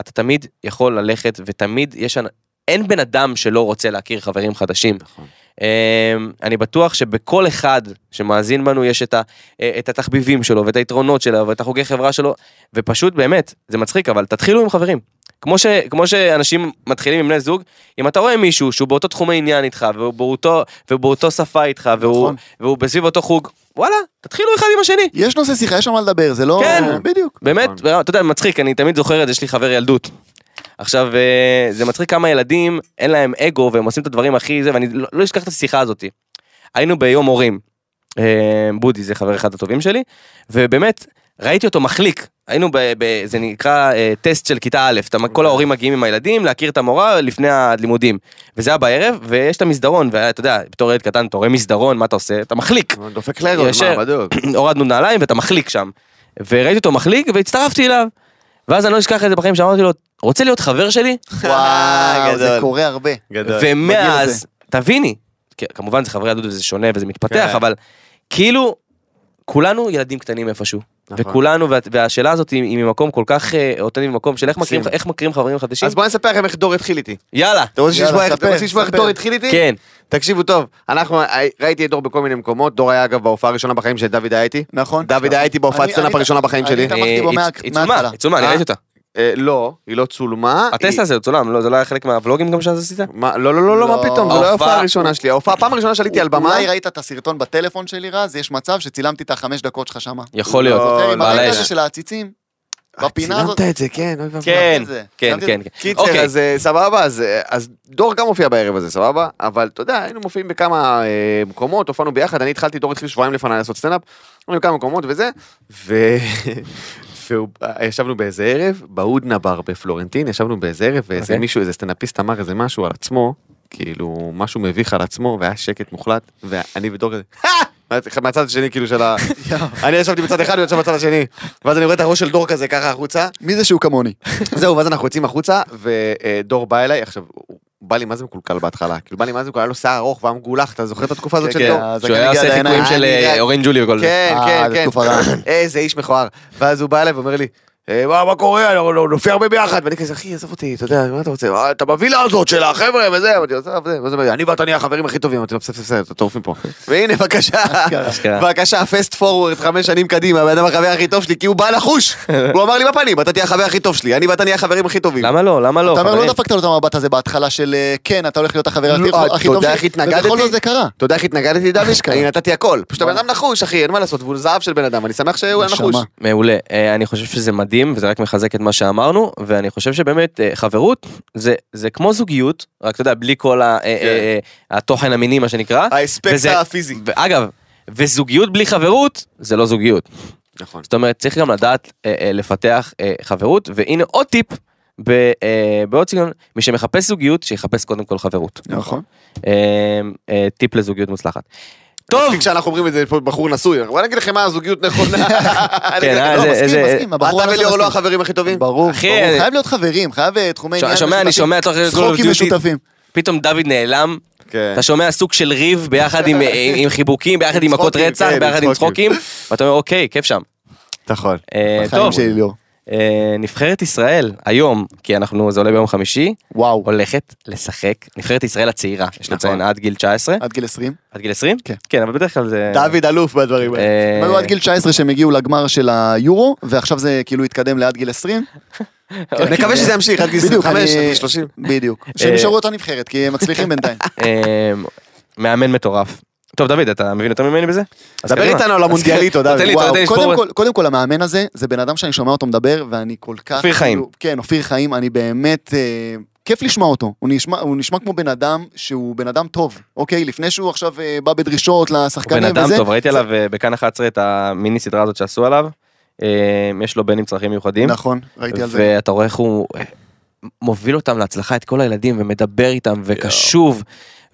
C: אתה תמיד יכול ללכת ותמיד יש, אנ- אין בן אדם שלא רוצה להכיר חברים חדשים.
B: נכון.
C: אמ, אני בטוח שבכל אחד שמאזין בנו יש את, ה, אה, את התחביבים שלו ואת היתרונות שלו ואת החוגי חברה שלו ופשוט באמת זה מצחיק אבל תתחילו עם חברים. כמו, ש, כמו שאנשים מתחילים עם בני זוג אם אתה רואה מישהו שהוא באותו תחומי עניין איתך והוא באותו, ובאותו שפה איתך והוא,
D: נכון.
C: נכון. והוא בסביב אותו חוג וואלה תתחילו אחד עם השני.
D: יש נושא שיחה, יש על מה לדבר, זה לא...
C: כן.
D: בדיוק.
C: באמת, אה,
B: נכון.
C: אתה יודע, מצחיק, אני תמיד זוכר את זה, יש לי חבר ילדות. עכשיו, אה, זה מצחיק כמה ילדים, אין להם אגו, והם עושים את הדברים הכי זה, ואני לא לא אשכח את השיחה הזאת. היינו ביום הורים, אה, בודי זה חבר אחד הטובים שלי, ובאמת, ראיתי אותו מחליק. היינו, ב, ב, זה נקרא אה, טסט של כיתה א', אתה, כל ההורים מגיעים עם הילדים להכיר את המורה לפני הלימודים. וזה היה בערב, ויש את המסדרון, ואתה יודע, בתור ילד קטן, אתה רואה מסדרון, מה אתה עושה? אתה מחליק.
B: דופק לרון,
C: ישר.
B: מה, בדיוק.
C: הורדנו נעליים ואתה מחליק שם. וראיתי אותו מחליק והצטרפתי אליו. ואז אני לא אשכח את זה בחיים שאמרתי לו, רוצה להיות חבר שלי?
D: וואו, זה
B: אה, גדול.
D: קורה הרבה. כן, מגיע
C: ומאז,
D: לזה.
C: תביני, כי כמובן זה חברי יהדות וזה שונה וזה מתפתח,
B: כן.
C: אבל כאילו, כולנו ילדים קטנים איפשהו.
B: נכון.
C: וכולנו, וה- והשאלה הזאת היא היא ממקום כל כך אה, אותנטי, ממקום של איך מכירים-
B: מקסים.
C: איך מכירים חברים חדשים.
B: אז בואו נספר לכם איך דור התחיל איתי.
C: יאללה,
B: אתם רוצים
D: יאללה,
B: לשמוע איך- אתם
D: ספר,
B: רוצים לשמוע איך
D: ספר.
B: דור התחיל איתי?
C: כן.
B: תקשיבו טוב, אנחנו, ראיתי את דור בכל מיני מקומות, דור היה אגב בהופעה הראשונה בחיים של דוד היה איתי.
D: נכון.
B: דוד היה איתי בהופעת
D: אני-
B: סטנדאפ
D: אני-
B: הראשונה בחיים
D: אני
B: שלי.
D: תמכתי
C: אה,
D: בו מה-
C: היא צולמה,
D: מההתחלה. אה.
C: היא צולמה, אני
B: אה?
C: ראיתי אותה.
B: אה, לא, היא לא צולמה.
C: הטסט
B: היא-
C: הזה צולם, לא, זה לא היה חלק מהוולוגים גם שאז עשית?
B: מה, לא, לא, לא, לא,
D: לא.
B: מה פתאום, זו לא ההופעה
C: ההופעה-
B: הראשונה שלי. ההופעה, הפעם הראשונה שעליתי על במה,
D: אולי ראית את הסרטון בטלפון שלי, רז, יש מצב שצילמתי את החמש דקות שלך שמה.
C: יכול
B: לא,
C: להיות.
D: זוכר אוקיי, עם
C: בעל
D: הרגע
C: האש.
D: הזה של העציצים? בפינה הזאת?
B: צילמת את זה, כן, אוי ואבוי.
C: כן,
D: זה.
C: כן,
D: גם זה.
C: כן. כן.
B: קיצר,
C: אוקיי.
B: אז אה, סבבה, אז, אה, אז דור גם הופיע בערב הזה, סבבה? אבל אתה יודע, היינו מופיעים בכמה אה, מקומות, הופענו ביחד, אני התחלתי, דור התחיל שבועיים לפניי לעשות סטנדאפ, היינו בכמה מקומות וזה, ו... וישבנו באיזה ערב, בהודנה בר בפלורנטין, ישבנו באיזה ערב, ואיזה
C: אוקיי.
B: מישהו, איזה סטנדאפיסט אמר איזה משהו על עצמו, כאילו, משהו מביך על עצמו, והיה שקט מוחלט, ואני ודור כזה,
D: אה,
B: "הא!" מהצד השני, כאילו, של ה... אני ישבתי בצד אחד, הוא ישב בצד השני, ואז אני רואה את הראש של דור כזה, ככה החוצה,
D: מי זה שהוא כמוני?
C: לא,
B: זהו, ואז אנחנו יוצאים החוצה, ודור בא אליי, עכשיו, הוא בא לי מה זה מקולקל בהתחלה, כאילו בא לי מה זה מקולקל, היה לו שיער ארוך והיה מגולח, אתה זוכר את התקופה הזאת של
C: כן,
B: דור?
D: אז
C: שהוא
D: אני
C: היה
D: אגיע
C: עושה
D: לעיניים,
C: חיקויים של
B: אני
C: אה,
B: רק-
C: אורן ג'ולי וכל זה.
B: כן,
D: אה,
B: כן,
D: זו
B: כן,
D: תקופה רעה.
B: איזה איש מכוער. ואז הוא בא אליי ואומר לי, "אה, מה מה קורה, אנחנו לא- נופיע הרבה ביחד, ואני כזה, אחי, עזוב אותי, אתה יודע, מה אתה רוצה, "אה, אתה בווילה הזאת של החבר'ה וזה, אמרתי, עזוב, זה, ואז הוא אומר לי, אני ואתה נהיה החברים הכי טובים, אמרתי לו, בסדר, בסדר, בסדר, טורפים פה. והנה, בבקשה,
C: אשכרה.
B: בבקשה, פסט פורוורד, חמש שנים קדימה, הבן אדם החבר הכי טוב שלי, כי הוא בא לחוש. הוא אמר לי בפנים, אתה תהיה החבר הכי טוב שלי, אני ואתה נהיה החברים הכי טובים.
C: למה לא? למה לא?
D: אתה אומר,
C: חברים?
D: לא דפקת לו את המבט הזה בהתחלה של אה, כן, אתה הולך להיות החבר
B: לא,
D: הכי- הכי
B: אתה
D: טוב
B: יודע איך
D: שלי,
B: התנגדתי?
D: ובכל זאת זה קרה.
B: אתה יודע איך התנגדתי לדוד?
D: אשכרה.
B: אני נתתי הכל. פשוט הבן
D: וואלה.
B: אדם נחוש, אחי, אין מה לעשות, והוא זהב של בן אדם, אני שמח שהוא היה
D: נשמה.
B: נחוש.
C: מעולה. אה, אני חושב שזה מדהים, וזה רק מחזק את מה שאמרנו, ואני חושב שבאמת, אה, חברות זה- זה כמו זוגיות, רק אתה יודע, בלי כל ה- אה, אה, אה, התוכן המיני, מה שנקרא.
B: האספקט
C: וזה-
B: הפיזי.
C: ואגב, וזוגיות בלי חברות, זה לא זוגיות.
B: נכון.
C: זאת אומרת, צריך גם לדעת אה, אה, לפתח אה, חברות, והנה עוד טיפ. ב- אה, בעוד סגנון, מי שמחפש זוגיות, שיחפש קודם כל חברות.
D: נכון.
C: אה, אה, טיפ לזוגיות מוצלחת.
B: טוב.
C: טוב,
B: כשאנחנו אומרים את זה, פה בחור נשוי, בוא נגיד לכם מה הזוגיות נכונה. אני אגיד
C: אה,
B: לכם,
C: זה-
D: לא,
C: איזה-
D: מסכים, מסכים,
B: לא,
D: הבחור
B: אתה
D: הזה
B: וליאור לא
D: מסכים.
B: החברים הכי טובים?
D: ברור, ברור,
C: אחי, אני-
D: חייב להיות חברים, חייב אה, תחומי עניין.
C: ש- שומע, אני
D: משותפים.
C: שומע תוך כדי Call of
D: צחוקים
C: Duty.
D: משותפים.
C: פתאום דוד נעלם,
B: כן.
C: אתה שומע סוג של ריב ביחד עם, עם חיבוקים, ביחד עם מכות
B: צחוקים,
C: רצח,
B: כן,
C: ביחד עם
B: צחוקים.
C: צחוקים, ואתה אומר אוקיי, כיף שם.
B: נכון.
C: אה,
D: בחיים
C: טוב,
D: שלי לא.
C: אה, נבחרת ישראל היום, כי אנחנו, זה עולה ביום חמישי,
D: וואו.
C: הולכת לשחק, נבחרת ישראל הצעירה, יש
D: נכון.
C: לציין עד גיל 19,
D: עד גיל 20?
C: עד גיל 20?
D: כן.
C: כן, אבל בדרך כלל זה...
B: דוד אלוף בדברים האלה.
C: אה,
D: הם היו עד גיל 19 שהם הגיעו לגמר של היורו, ועכשיו זה כאילו התקדם לעד גיל 20.
B: נקווה כן. שזה ימשיך עד גיל
D: בדיוק,
B: 25, עד
D: אני-
B: גיל 30.
D: בדיוק. שהם
C: אה.
D: נשארו אותה נבחרת, כי הם מצליחים בינתיים.
C: אה, מאמן מטורף. טוב, דוד, אתה מבין יותר ממני בזה? אז
B: דבר
C: קדימה.
B: איתנו על המונדיאליטו,
C: תן לי,
B: דוד.
C: תן לי,
B: וואו.
C: תן לי.
D: קודם
C: לשבור-
D: כל, קודם כל המאמן הזה, זה בן אדם שאני שומע אותו מדבר, ואני כל כך...
C: אופיר חיים.
D: כאילו- כן, אופיר חיים, אני באמת... אה, כיף לשמוע אותו, הוא נשמע, הוא נשמע כמו בן אדם שהוא בן אדם טוב, אוקיי? לפני שהוא עכשיו אה, בא בדרישות
C: הוא
D: לשחקנים
C: בן
D: וזה.
C: אדם טוב, ראיתי עליו אה, בכאן 11 את המיני סדרה הזאת שעשו עליו. אה, יש לו בן עם צרכים מיוחדים.
D: נכון, ראיתי על זה.
C: ואתה רואה איך הוא אה, מוביל אותם להצלחה, את כל הילדים, ומדבר איתם, וקשוב.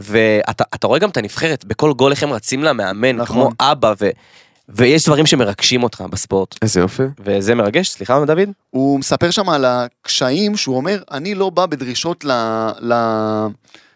C: ואתה אתה רואה גם את הנבחרת, בכל גול איך הם רצים למאמן,
D: נכון.
C: כמו אבא, ו- ויש דברים שמרגשים אותך בספורט.
B: איזה יופי.
C: וזה מרגש, סליחה דוד?
D: הוא מספר שם על הקשיים שהוא אומר, אני לא בא בדרישות ל... ל...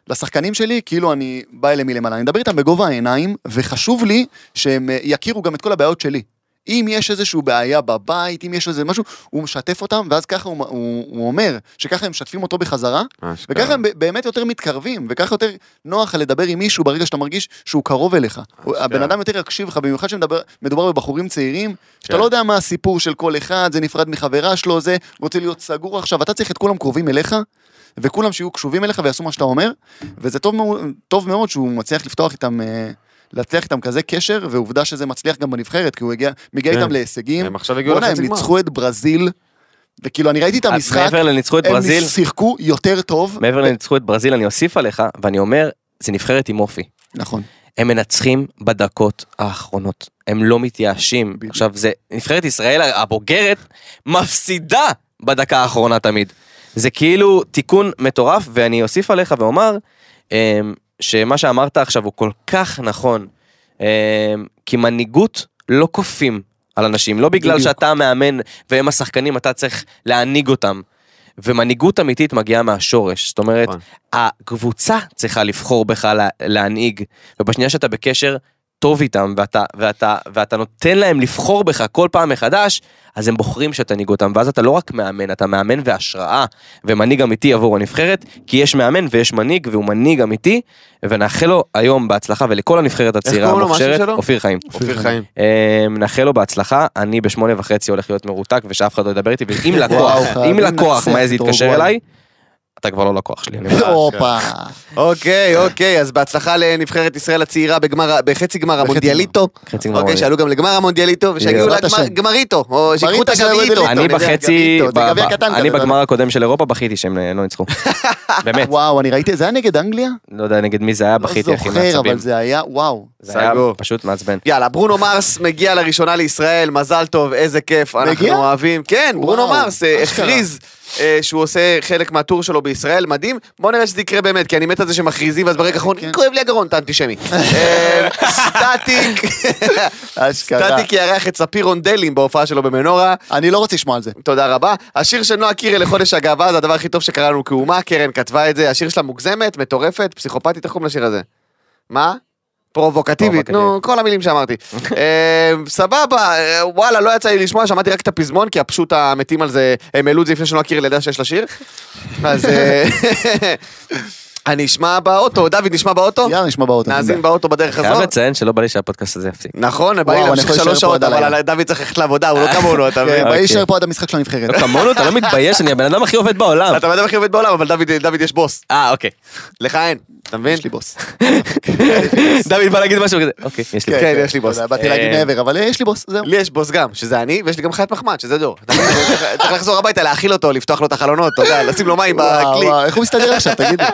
D: לשחקנים שלי, כאילו אני בא אליהם מלמעלה. אני מדבר איתם בגובה העיניים, וחשוב לי שהם אה, יכירו גם את כל הבעיות שלי. אם יש איזושהי בעיה בבית, אם יש איזה משהו, הוא משתף אותם, ואז ככה הוא, הוא, הוא אומר, שככה הם משתפים אותו בחזרה,
B: אה,
D: וככה הם ב- באמת יותר מתקרבים, וככה יותר נוח לך לדבר עם מישהו ברגע שאתה מרגיש שהוא קרוב
B: אה,
D: אליך. הוא- הבן אדם יותר יקשיב לך, במיוחד שמדובר בבחורים צעירים, שאתה
B: כן.
D: לא יודע מה הסיפור של כל אחד, זה נפרד מחברה שלו, זה רוצה להיות סגור עכשיו, אתה צריך את כולם קרובים אליך, וכולם שיהיו קשובים אליך ויעשו מה שאתה אומר, וזה טוב, מאו- טוב מאוד שהוא מצליח לפתוח איתם, אה, להצליח איתם כזה קשר, ועובדה שזה מצליח גם בנבחרת, כי הוא הגיע, מגיע
B: כן.
D: איתם להישגים.
B: הם עכשיו הגיעו
D: בוא'נה, הם
B: לחצי גמר.
D: ניצחו את ברזיל, וכאילו, אני ראיתי את המשחק,
C: מעבר לניצחו את
D: הם
C: ברזיל,
D: שיחקו יותר טוב.
C: מעבר לניצחו את ברזיל, אני אוסיף עליך, ואני אומר, זה נבחרת עם אופי.
D: נכון.
C: הם מנצחים בדקות האחרונות. הם לא מתייאשים.
D: בדיוק.
C: עכשיו, זה נבחרת ישראל הבוגרת מפסידה בדקה האחרונה תמיד. זה כאילו תיקון מטורף, ואני אוסיף עליך ואומר אמ, שמה שאמרת עכשיו הוא כל כך נכון. אמ, כי מנהיגות לא כופים על אנשים, לא בגלל
D: בדיוק.
C: שאתה המאמן והם השחקנים, אתה צריך להנהיג אותם. ומנהיגות אמיתית מגיעה מהשורש. זאת אומרת,
B: נכון.
C: הקבוצה צריכה לבחור בך לה, להנהיג, ובשנייה שאתה בקשר טוב איתם, ואתה, ואתה, ואתה נותן להם לבחור בך כל פעם מחדש, אז הם בוחרים שתנהיג אותם, ואז אתה לא רק מאמן, אתה מאמן והשראה, ומנהיג אמיתי עבור הנבחרת, כי יש מאמן ויש מנהיג, והוא מנהיג אמיתי, ונאחל לו היום בהצלחה, ולכל הנבחרת הצעירה
B: קוראים לו? מה השם
C: המוכשרת,
B: שלו?
C: אופיר חיים.
B: אופיר חיים.
C: אה, נאחל לו בהצלחה, אני בשמונה וחצי הולך להיות מרותק ושאף אחד לא ידבר איתי, ואם לקוח,
D: וואו,
C: אם
D: חייבים
C: לקוח
D: לנצח
C: מעז
D: את
C: להתקשר
D: אורוגוואי.
C: אליי, אתה כבר לא לקוח שלי, אני אומר.
D: הופה.
C: אה,
B: אוקיי, אוקיי, אז בהצלחה לנבחרת ישראל הצעירה בגמר- בחצי גמר
D: בחצי
B: המונדיאליטו.
C: חצי גמר
B: אוקיי,
C: המונדיאל.
B: שעלו גם לגמר המונדיאליטו, ושיגיעו
D: בעזרת
B: לגמר-
D: השם.
B: גמריטו, או שיקחו את
D: גמריטו של
B: הגמריטו.
D: המונדיאליטו.
C: אני
D: אתה מבין,
C: בחצי,
D: גביע,
C: ב-
D: זה גביע
C: ב-
D: קטן
C: אני
D: כזה,
C: בגמר הקודם של אירופה בכיתי שהם אה, לא ניצחו. באמת,
D: וואו, אני ראיתי, זה היה נגד אנגליה?
C: לא יודע נגד מי זה היה,
D: לא
C: בכיתי הכי
D: זוכר,
C: מעצבים.
D: אבל זה היה, וואו.
C: זה היה
B: סגור. כן,
C: פשוט מעצבן.
B: יאללה, ברונו מרס מגיע לראשונה לישראל, מזל טוב, איזה כיף, אנחנו
D: מגיע?
B: אוהבים. כן, ברונו
D: וואו,
B: מרס אה,
D: אשכרה.
B: הכריז אה, שהוא עושה חלק מהטור שלו בישראל, מדהים. בוא נראה שזה יקרה באמת, כי אני מת על זה שמכריזים, ואז ברגע האחרון,
D: כן.
B: כואב לי הגרון, אתה אנטישמי. אה, סטטיק,
D: אשכרה.
B: סטטיק יארח את ספיר רונדלים בהופעה שלו במנורה.
D: אני לא רוצה לשמוע על זה.
B: תודה רבה. השיר של נועה קירל לחודש הגאווה זה הדבר הכי טוב שקרה לנו כאומה, קרן כתבה את זה, השיר שלה מוגזמת, מטורפת, פסיכופתית, איך קוראים לשיר הזה? מה? פרובוקטיבית,
C: פרובוקטיבית.
B: נו, כל המילים שאמרתי. אה, סבבה, אה, וואלה, לא יצא לי לשמוע, שמעתי רק את הפזמון, כי הפשוט המתים על זה, הם העלו את זה לפני שנועה קירל ידעה שיש לה שיר. אז אה, אני אשמע באוטו, דוד נשמע באוטו?
D: יאללה, נשמע באוטו.
B: נאזין באוטו בדרך
C: חייב
B: הזו.
C: לציין שלא בא לי שהפודקאסט הזה יפסיק.
B: נכון, בא
D: וואו,
B: לי
D: אני
B: להמשיך
D: יכול
B: שלוש
D: להישאר פה
B: שעות,
D: עד הלילה.
B: אבל דוד צריך ללכת לעבודה, הוא לא כמונו, אתה מבין?
D: כן,
C: אוקיי.
D: באיש שר פה עד המשחק של הנבחרת.
C: לא כמונו, אתה לא מתבייש, אני הבן אדם הכי עובד בעולם.
B: אתה בן אדם הכי עובד בעולם, אבל דוד- דוד יש בוס.
C: אה, אוקיי.
B: לך אין, אתה מבין?
D: יש לי בוס.
C: דוד בא להגיד משהו כזה. אוקיי, יש לי.
B: כן, יש לי בוס.
D: אתה לא יודע, באתי להגיד
C: אה,
D: מעבר, אבל אה, יש לי בוס, זהו.
B: לי יש בוס גם, שזה אני, ויש לי גם חיית מחמד, שזה דור. אתה מבין? צריך- צריך לחזור הביתה, להאכיל אותו, לפתוח לו את החלונות, אתה יודע, לשים לו מים
D: וואו,
B: בכלי.
D: וואו, איך הוא מסתדר עכשיו, תגיד לי.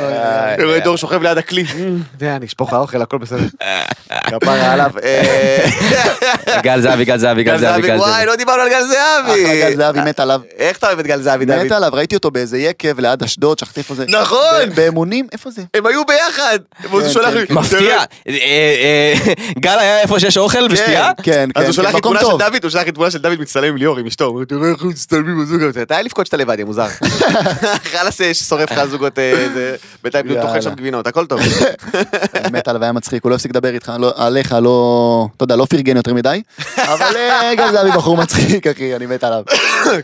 D: אה,
B: אני אה, רואה דור שוכב ליד הכלי. אתה יודע, אני אשפוך לך אוכל, הכל בסדר. כפרה עליו. אה,
C: גל זהבי, גל זהבי, גל זהבי, גל זהבי.
B: וואי, לא דיברנו על גל
D: אחלה,
B: זהבי. אה,
D: גל זהבי מת עליו.
B: איך אתה אוהב את גל זהבי,
D: מת
B: דוד?
D: עליו, ראיתי אותו באיזה יקב ליד אשדוד, שכחתי איפה זה.
B: נכון!
D: ב- באמונים, איפה זה?
B: הם היו ביחד. והוא
D: כן,
B: שולח
D: כן,
B: לי...
C: מפתיע,
B: תראה,
C: אה, אה, אה, גל היה איפה שיש אוכל ושתייה?
D: כן, כן.
B: אה? אז הוא שולח לי
D: מקום
B: תמונה של
D: טוב.
B: דוד, הוא שלח לי תמונה של דוד מצטלם עם ליאור, עם אשתו, הוא אומר, תראה איך הם מצטלמים בזוג הזה, אתה היה לבכות שאתה לבד, יא מוזר. חלאס אה, ששורף לך זוגות, אה, זה- בינתיים הוא טוחן
D: יאללה.
B: שם גבינות, הכל טוב.
D: מת עליו, היה מצחיק, הוא לא הפסיק לדבר איתך, לא- עליך, לא... אתה יודע, לא פרגן יותר מדי. אולי, אבל אה, גם דוד בחור מצחיק, אחי, אני מת עליו.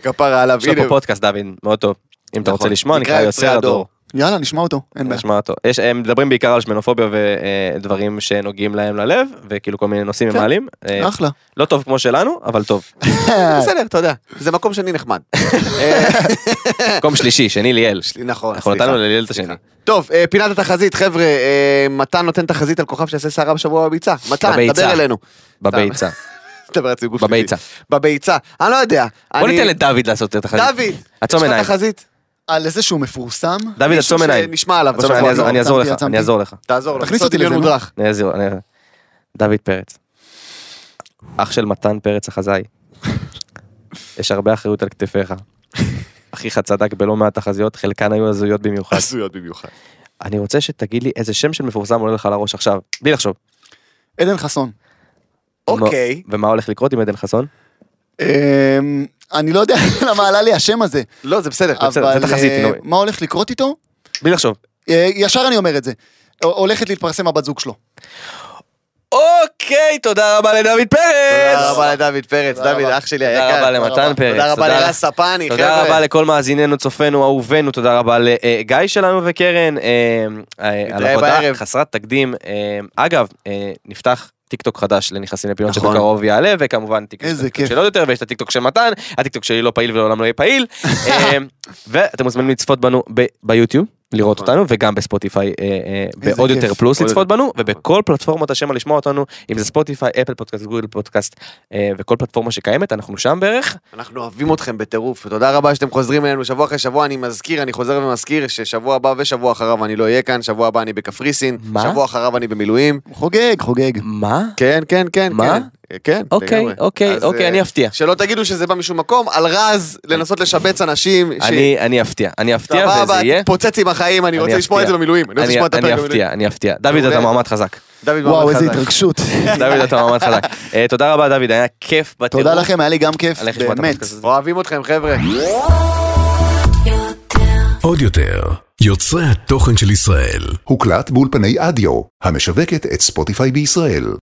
B: כפרה עליו,
C: יש לו
B: הנה.
C: פה פודקאסט, דוד, מאוד טוב. אם אתה
B: נכון.
C: רוצה לשמוע,
B: נקרא
C: נקרא
B: יוצרי
C: יוצרי
B: הדור.
C: הדור.
D: יאללה, נשמע אותו, אין בעיה.
C: נשמע אותו. יש, הם מדברים בעיקר על שמנופוביה ודברים שנוגעים להם ללב, וכאילו כל מיני נושאים הם
D: כן.
C: מעלים. אה,
D: אחלה.
C: לא טוב כמו שלנו, אבל טוב.
B: בסדר, אתה יודע. זה מקום שני נחמד.
C: מקום שלישי, שני ליאל.
B: שלי, נכון,
C: אנחנו
B: סליחה.
C: נתנו לליאל את השני.
B: טוב, אה, פינת התחזית, חבר'ה, אה, מתן נותן תחזית על כוכב שיעשה סערה בשבוע בביצה. מתן,
C: בביצה.
B: דבר אלינו.
C: בביצה.
B: דבר אצלי גוף
C: בביצה.
B: שלישי. בביצה. אני לא יודע.
C: בוא
B: אני-
C: ניתן לדוד לעשות את החזית.
B: דוד,
C: עצום
B: יש לך
C: עיניים.
B: תחזית?
D: על איזה שהוא מפורסם,
C: דוד,
B: מישהו
C: עצום עיניים.
B: שנשמע נכון, עליו
C: עצום
B: בשבוע
C: עיניים,
B: הבא.
C: אני אעזור- אני אעזור
D: עצמתי,
C: לך,
D: עצמתי.
C: אני אעזור לך.
B: תעזור לו.
D: תכניס אותי
B: לעליון
D: לזה, נו.
B: מודרך.
C: אני אעזור, אני... דוד פרץ. אח של מתן פרץ החזאי. יש הרבה אחריות על כתפיך. אחיך צדק בלא מעט תחזיות, חלקן היו הזויות במיוחד.
B: חסויות במיוחד.
C: אני רוצה שתגיד לי איזה שם של מפורסם עולה לך על הראש עכשיו, בלי לחשוב.
D: עדן חסון.
B: אוקיי.
C: מה- ומה הולך לקרות עם עדן חסון?
D: אמ, אני לא יודע למה עלה לי השם הזה,
B: לא, זה בסדר.
C: בסדר, זה
D: אבל
C: תחזית,
D: אה,
C: נו.
D: מה הולך לקרות איתו?
C: בלי לחשוב.
D: אה, ישר אני אומר את זה. הולכת להתפרסם הבת זוג שלו.
C: אוקיי, תודה רבה לדוד פרץ!
B: תודה רבה לדוד פרץ,
D: תודה
B: דוד,
D: רבה.
B: אח שלי היקר.
C: תודה רבה למתן
D: תודה
C: פרץ.
B: תודה רבה
C: לך.
B: לרז ספני,
C: תודה
B: חבר'ה.
C: רבה לכל מאזיננו, צופינו, אהובינו, תודה רבה לגיא שלנו וקרן, אה, אה, על
B: נתראה
C: עבודה
B: בערב.
C: חסרת תקדים. אה, אגב, אה, נפתח טיקטוק חדש לנכנסים לפינות
B: נכון.
C: שבקרוב יעלה, וכמובן טיקטוק
D: איזה
C: הטיקטוק
D: כיף.
C: של עוד יותר, ויש את הטיקטוק של מתן, הטיקטוק שלי לא פעיל ולעולם לא יהיה פעיל. אה, ואתם מוזמנים לצפות בנו ב- ביוטיוב. לראות
B: נכון.
C: אותנו וגם בספוטיפיי אה, אה,
D: איזה
C: בעוד
D: כיף.
C: יותר פלוס
B: עוד
C: לצפות בנו ובכל פלטפורמות השם לשמוע אותנו אם זה ספוטיפיי אפל פודקאסט גוגל פודקאסט אה, וכל פלטפורמה שקיימת אנחנו שם בערך
B: אנחנו אוהבים אתכם בטירוף, תודה רבה שאתם חוזרים אלינו שבוע אחרי שבוע, אני מזכיר, אני חוזר ומזכיר ששבוע הבא ושבוע אחריו אני לא אהיה כאן, שבוע הבא אני בקפריסין,
C: מה?
B: שבוע אחריו אני במילואים.
D: הוא חוגג, חוגג.
C: מה
B: כן, כן, כן,
C: מה?
B: כן. כן,
C: אוקיי,
B: לגמרי.
C: אוקיי,
B: אז,
C: אוקיי,
B: אה,
C: אני אפתיע.
B: שלא תגידו שזה בא משום מקום, על רז לנסות לשבץ אנשים. ש-
C: אני אני אפתיע, אני אפתיע וזה
B: סבבה,
C: יהיה.
B: תתפוצץ עם החיים, אני רוצה
C: אני
B: לשמוע את זה
C: אפתיע.
B: במילואים. אני רוצה
C: אני
B: לשמוע את הפרק
C: אני
B: במילואים.
C: אפתיע, אני אפתיע. דוד
B: מעולה.
C: אתה מעמד חזק.
B: דוד
C: לא
D: וואו,
B: מעמד
D: איזה
B: חזק.
D: התרגשות.
C: דוד אתה מעמד חזק. אה, תודה רבה דוד, היה כיף בטירוף.
D: תודה לכם, היה לי גם כיף,
C: הלך לשמוע את
D: באמת.
C: הפודקאסט הזה.
B: אוהבים אתכם, חבר'ה.
A: עוד יותר, יוצרי התוכן של ישראל.
E: הוקלט באולפני אדיו, המשווקת את ספוטיפיי בישראל.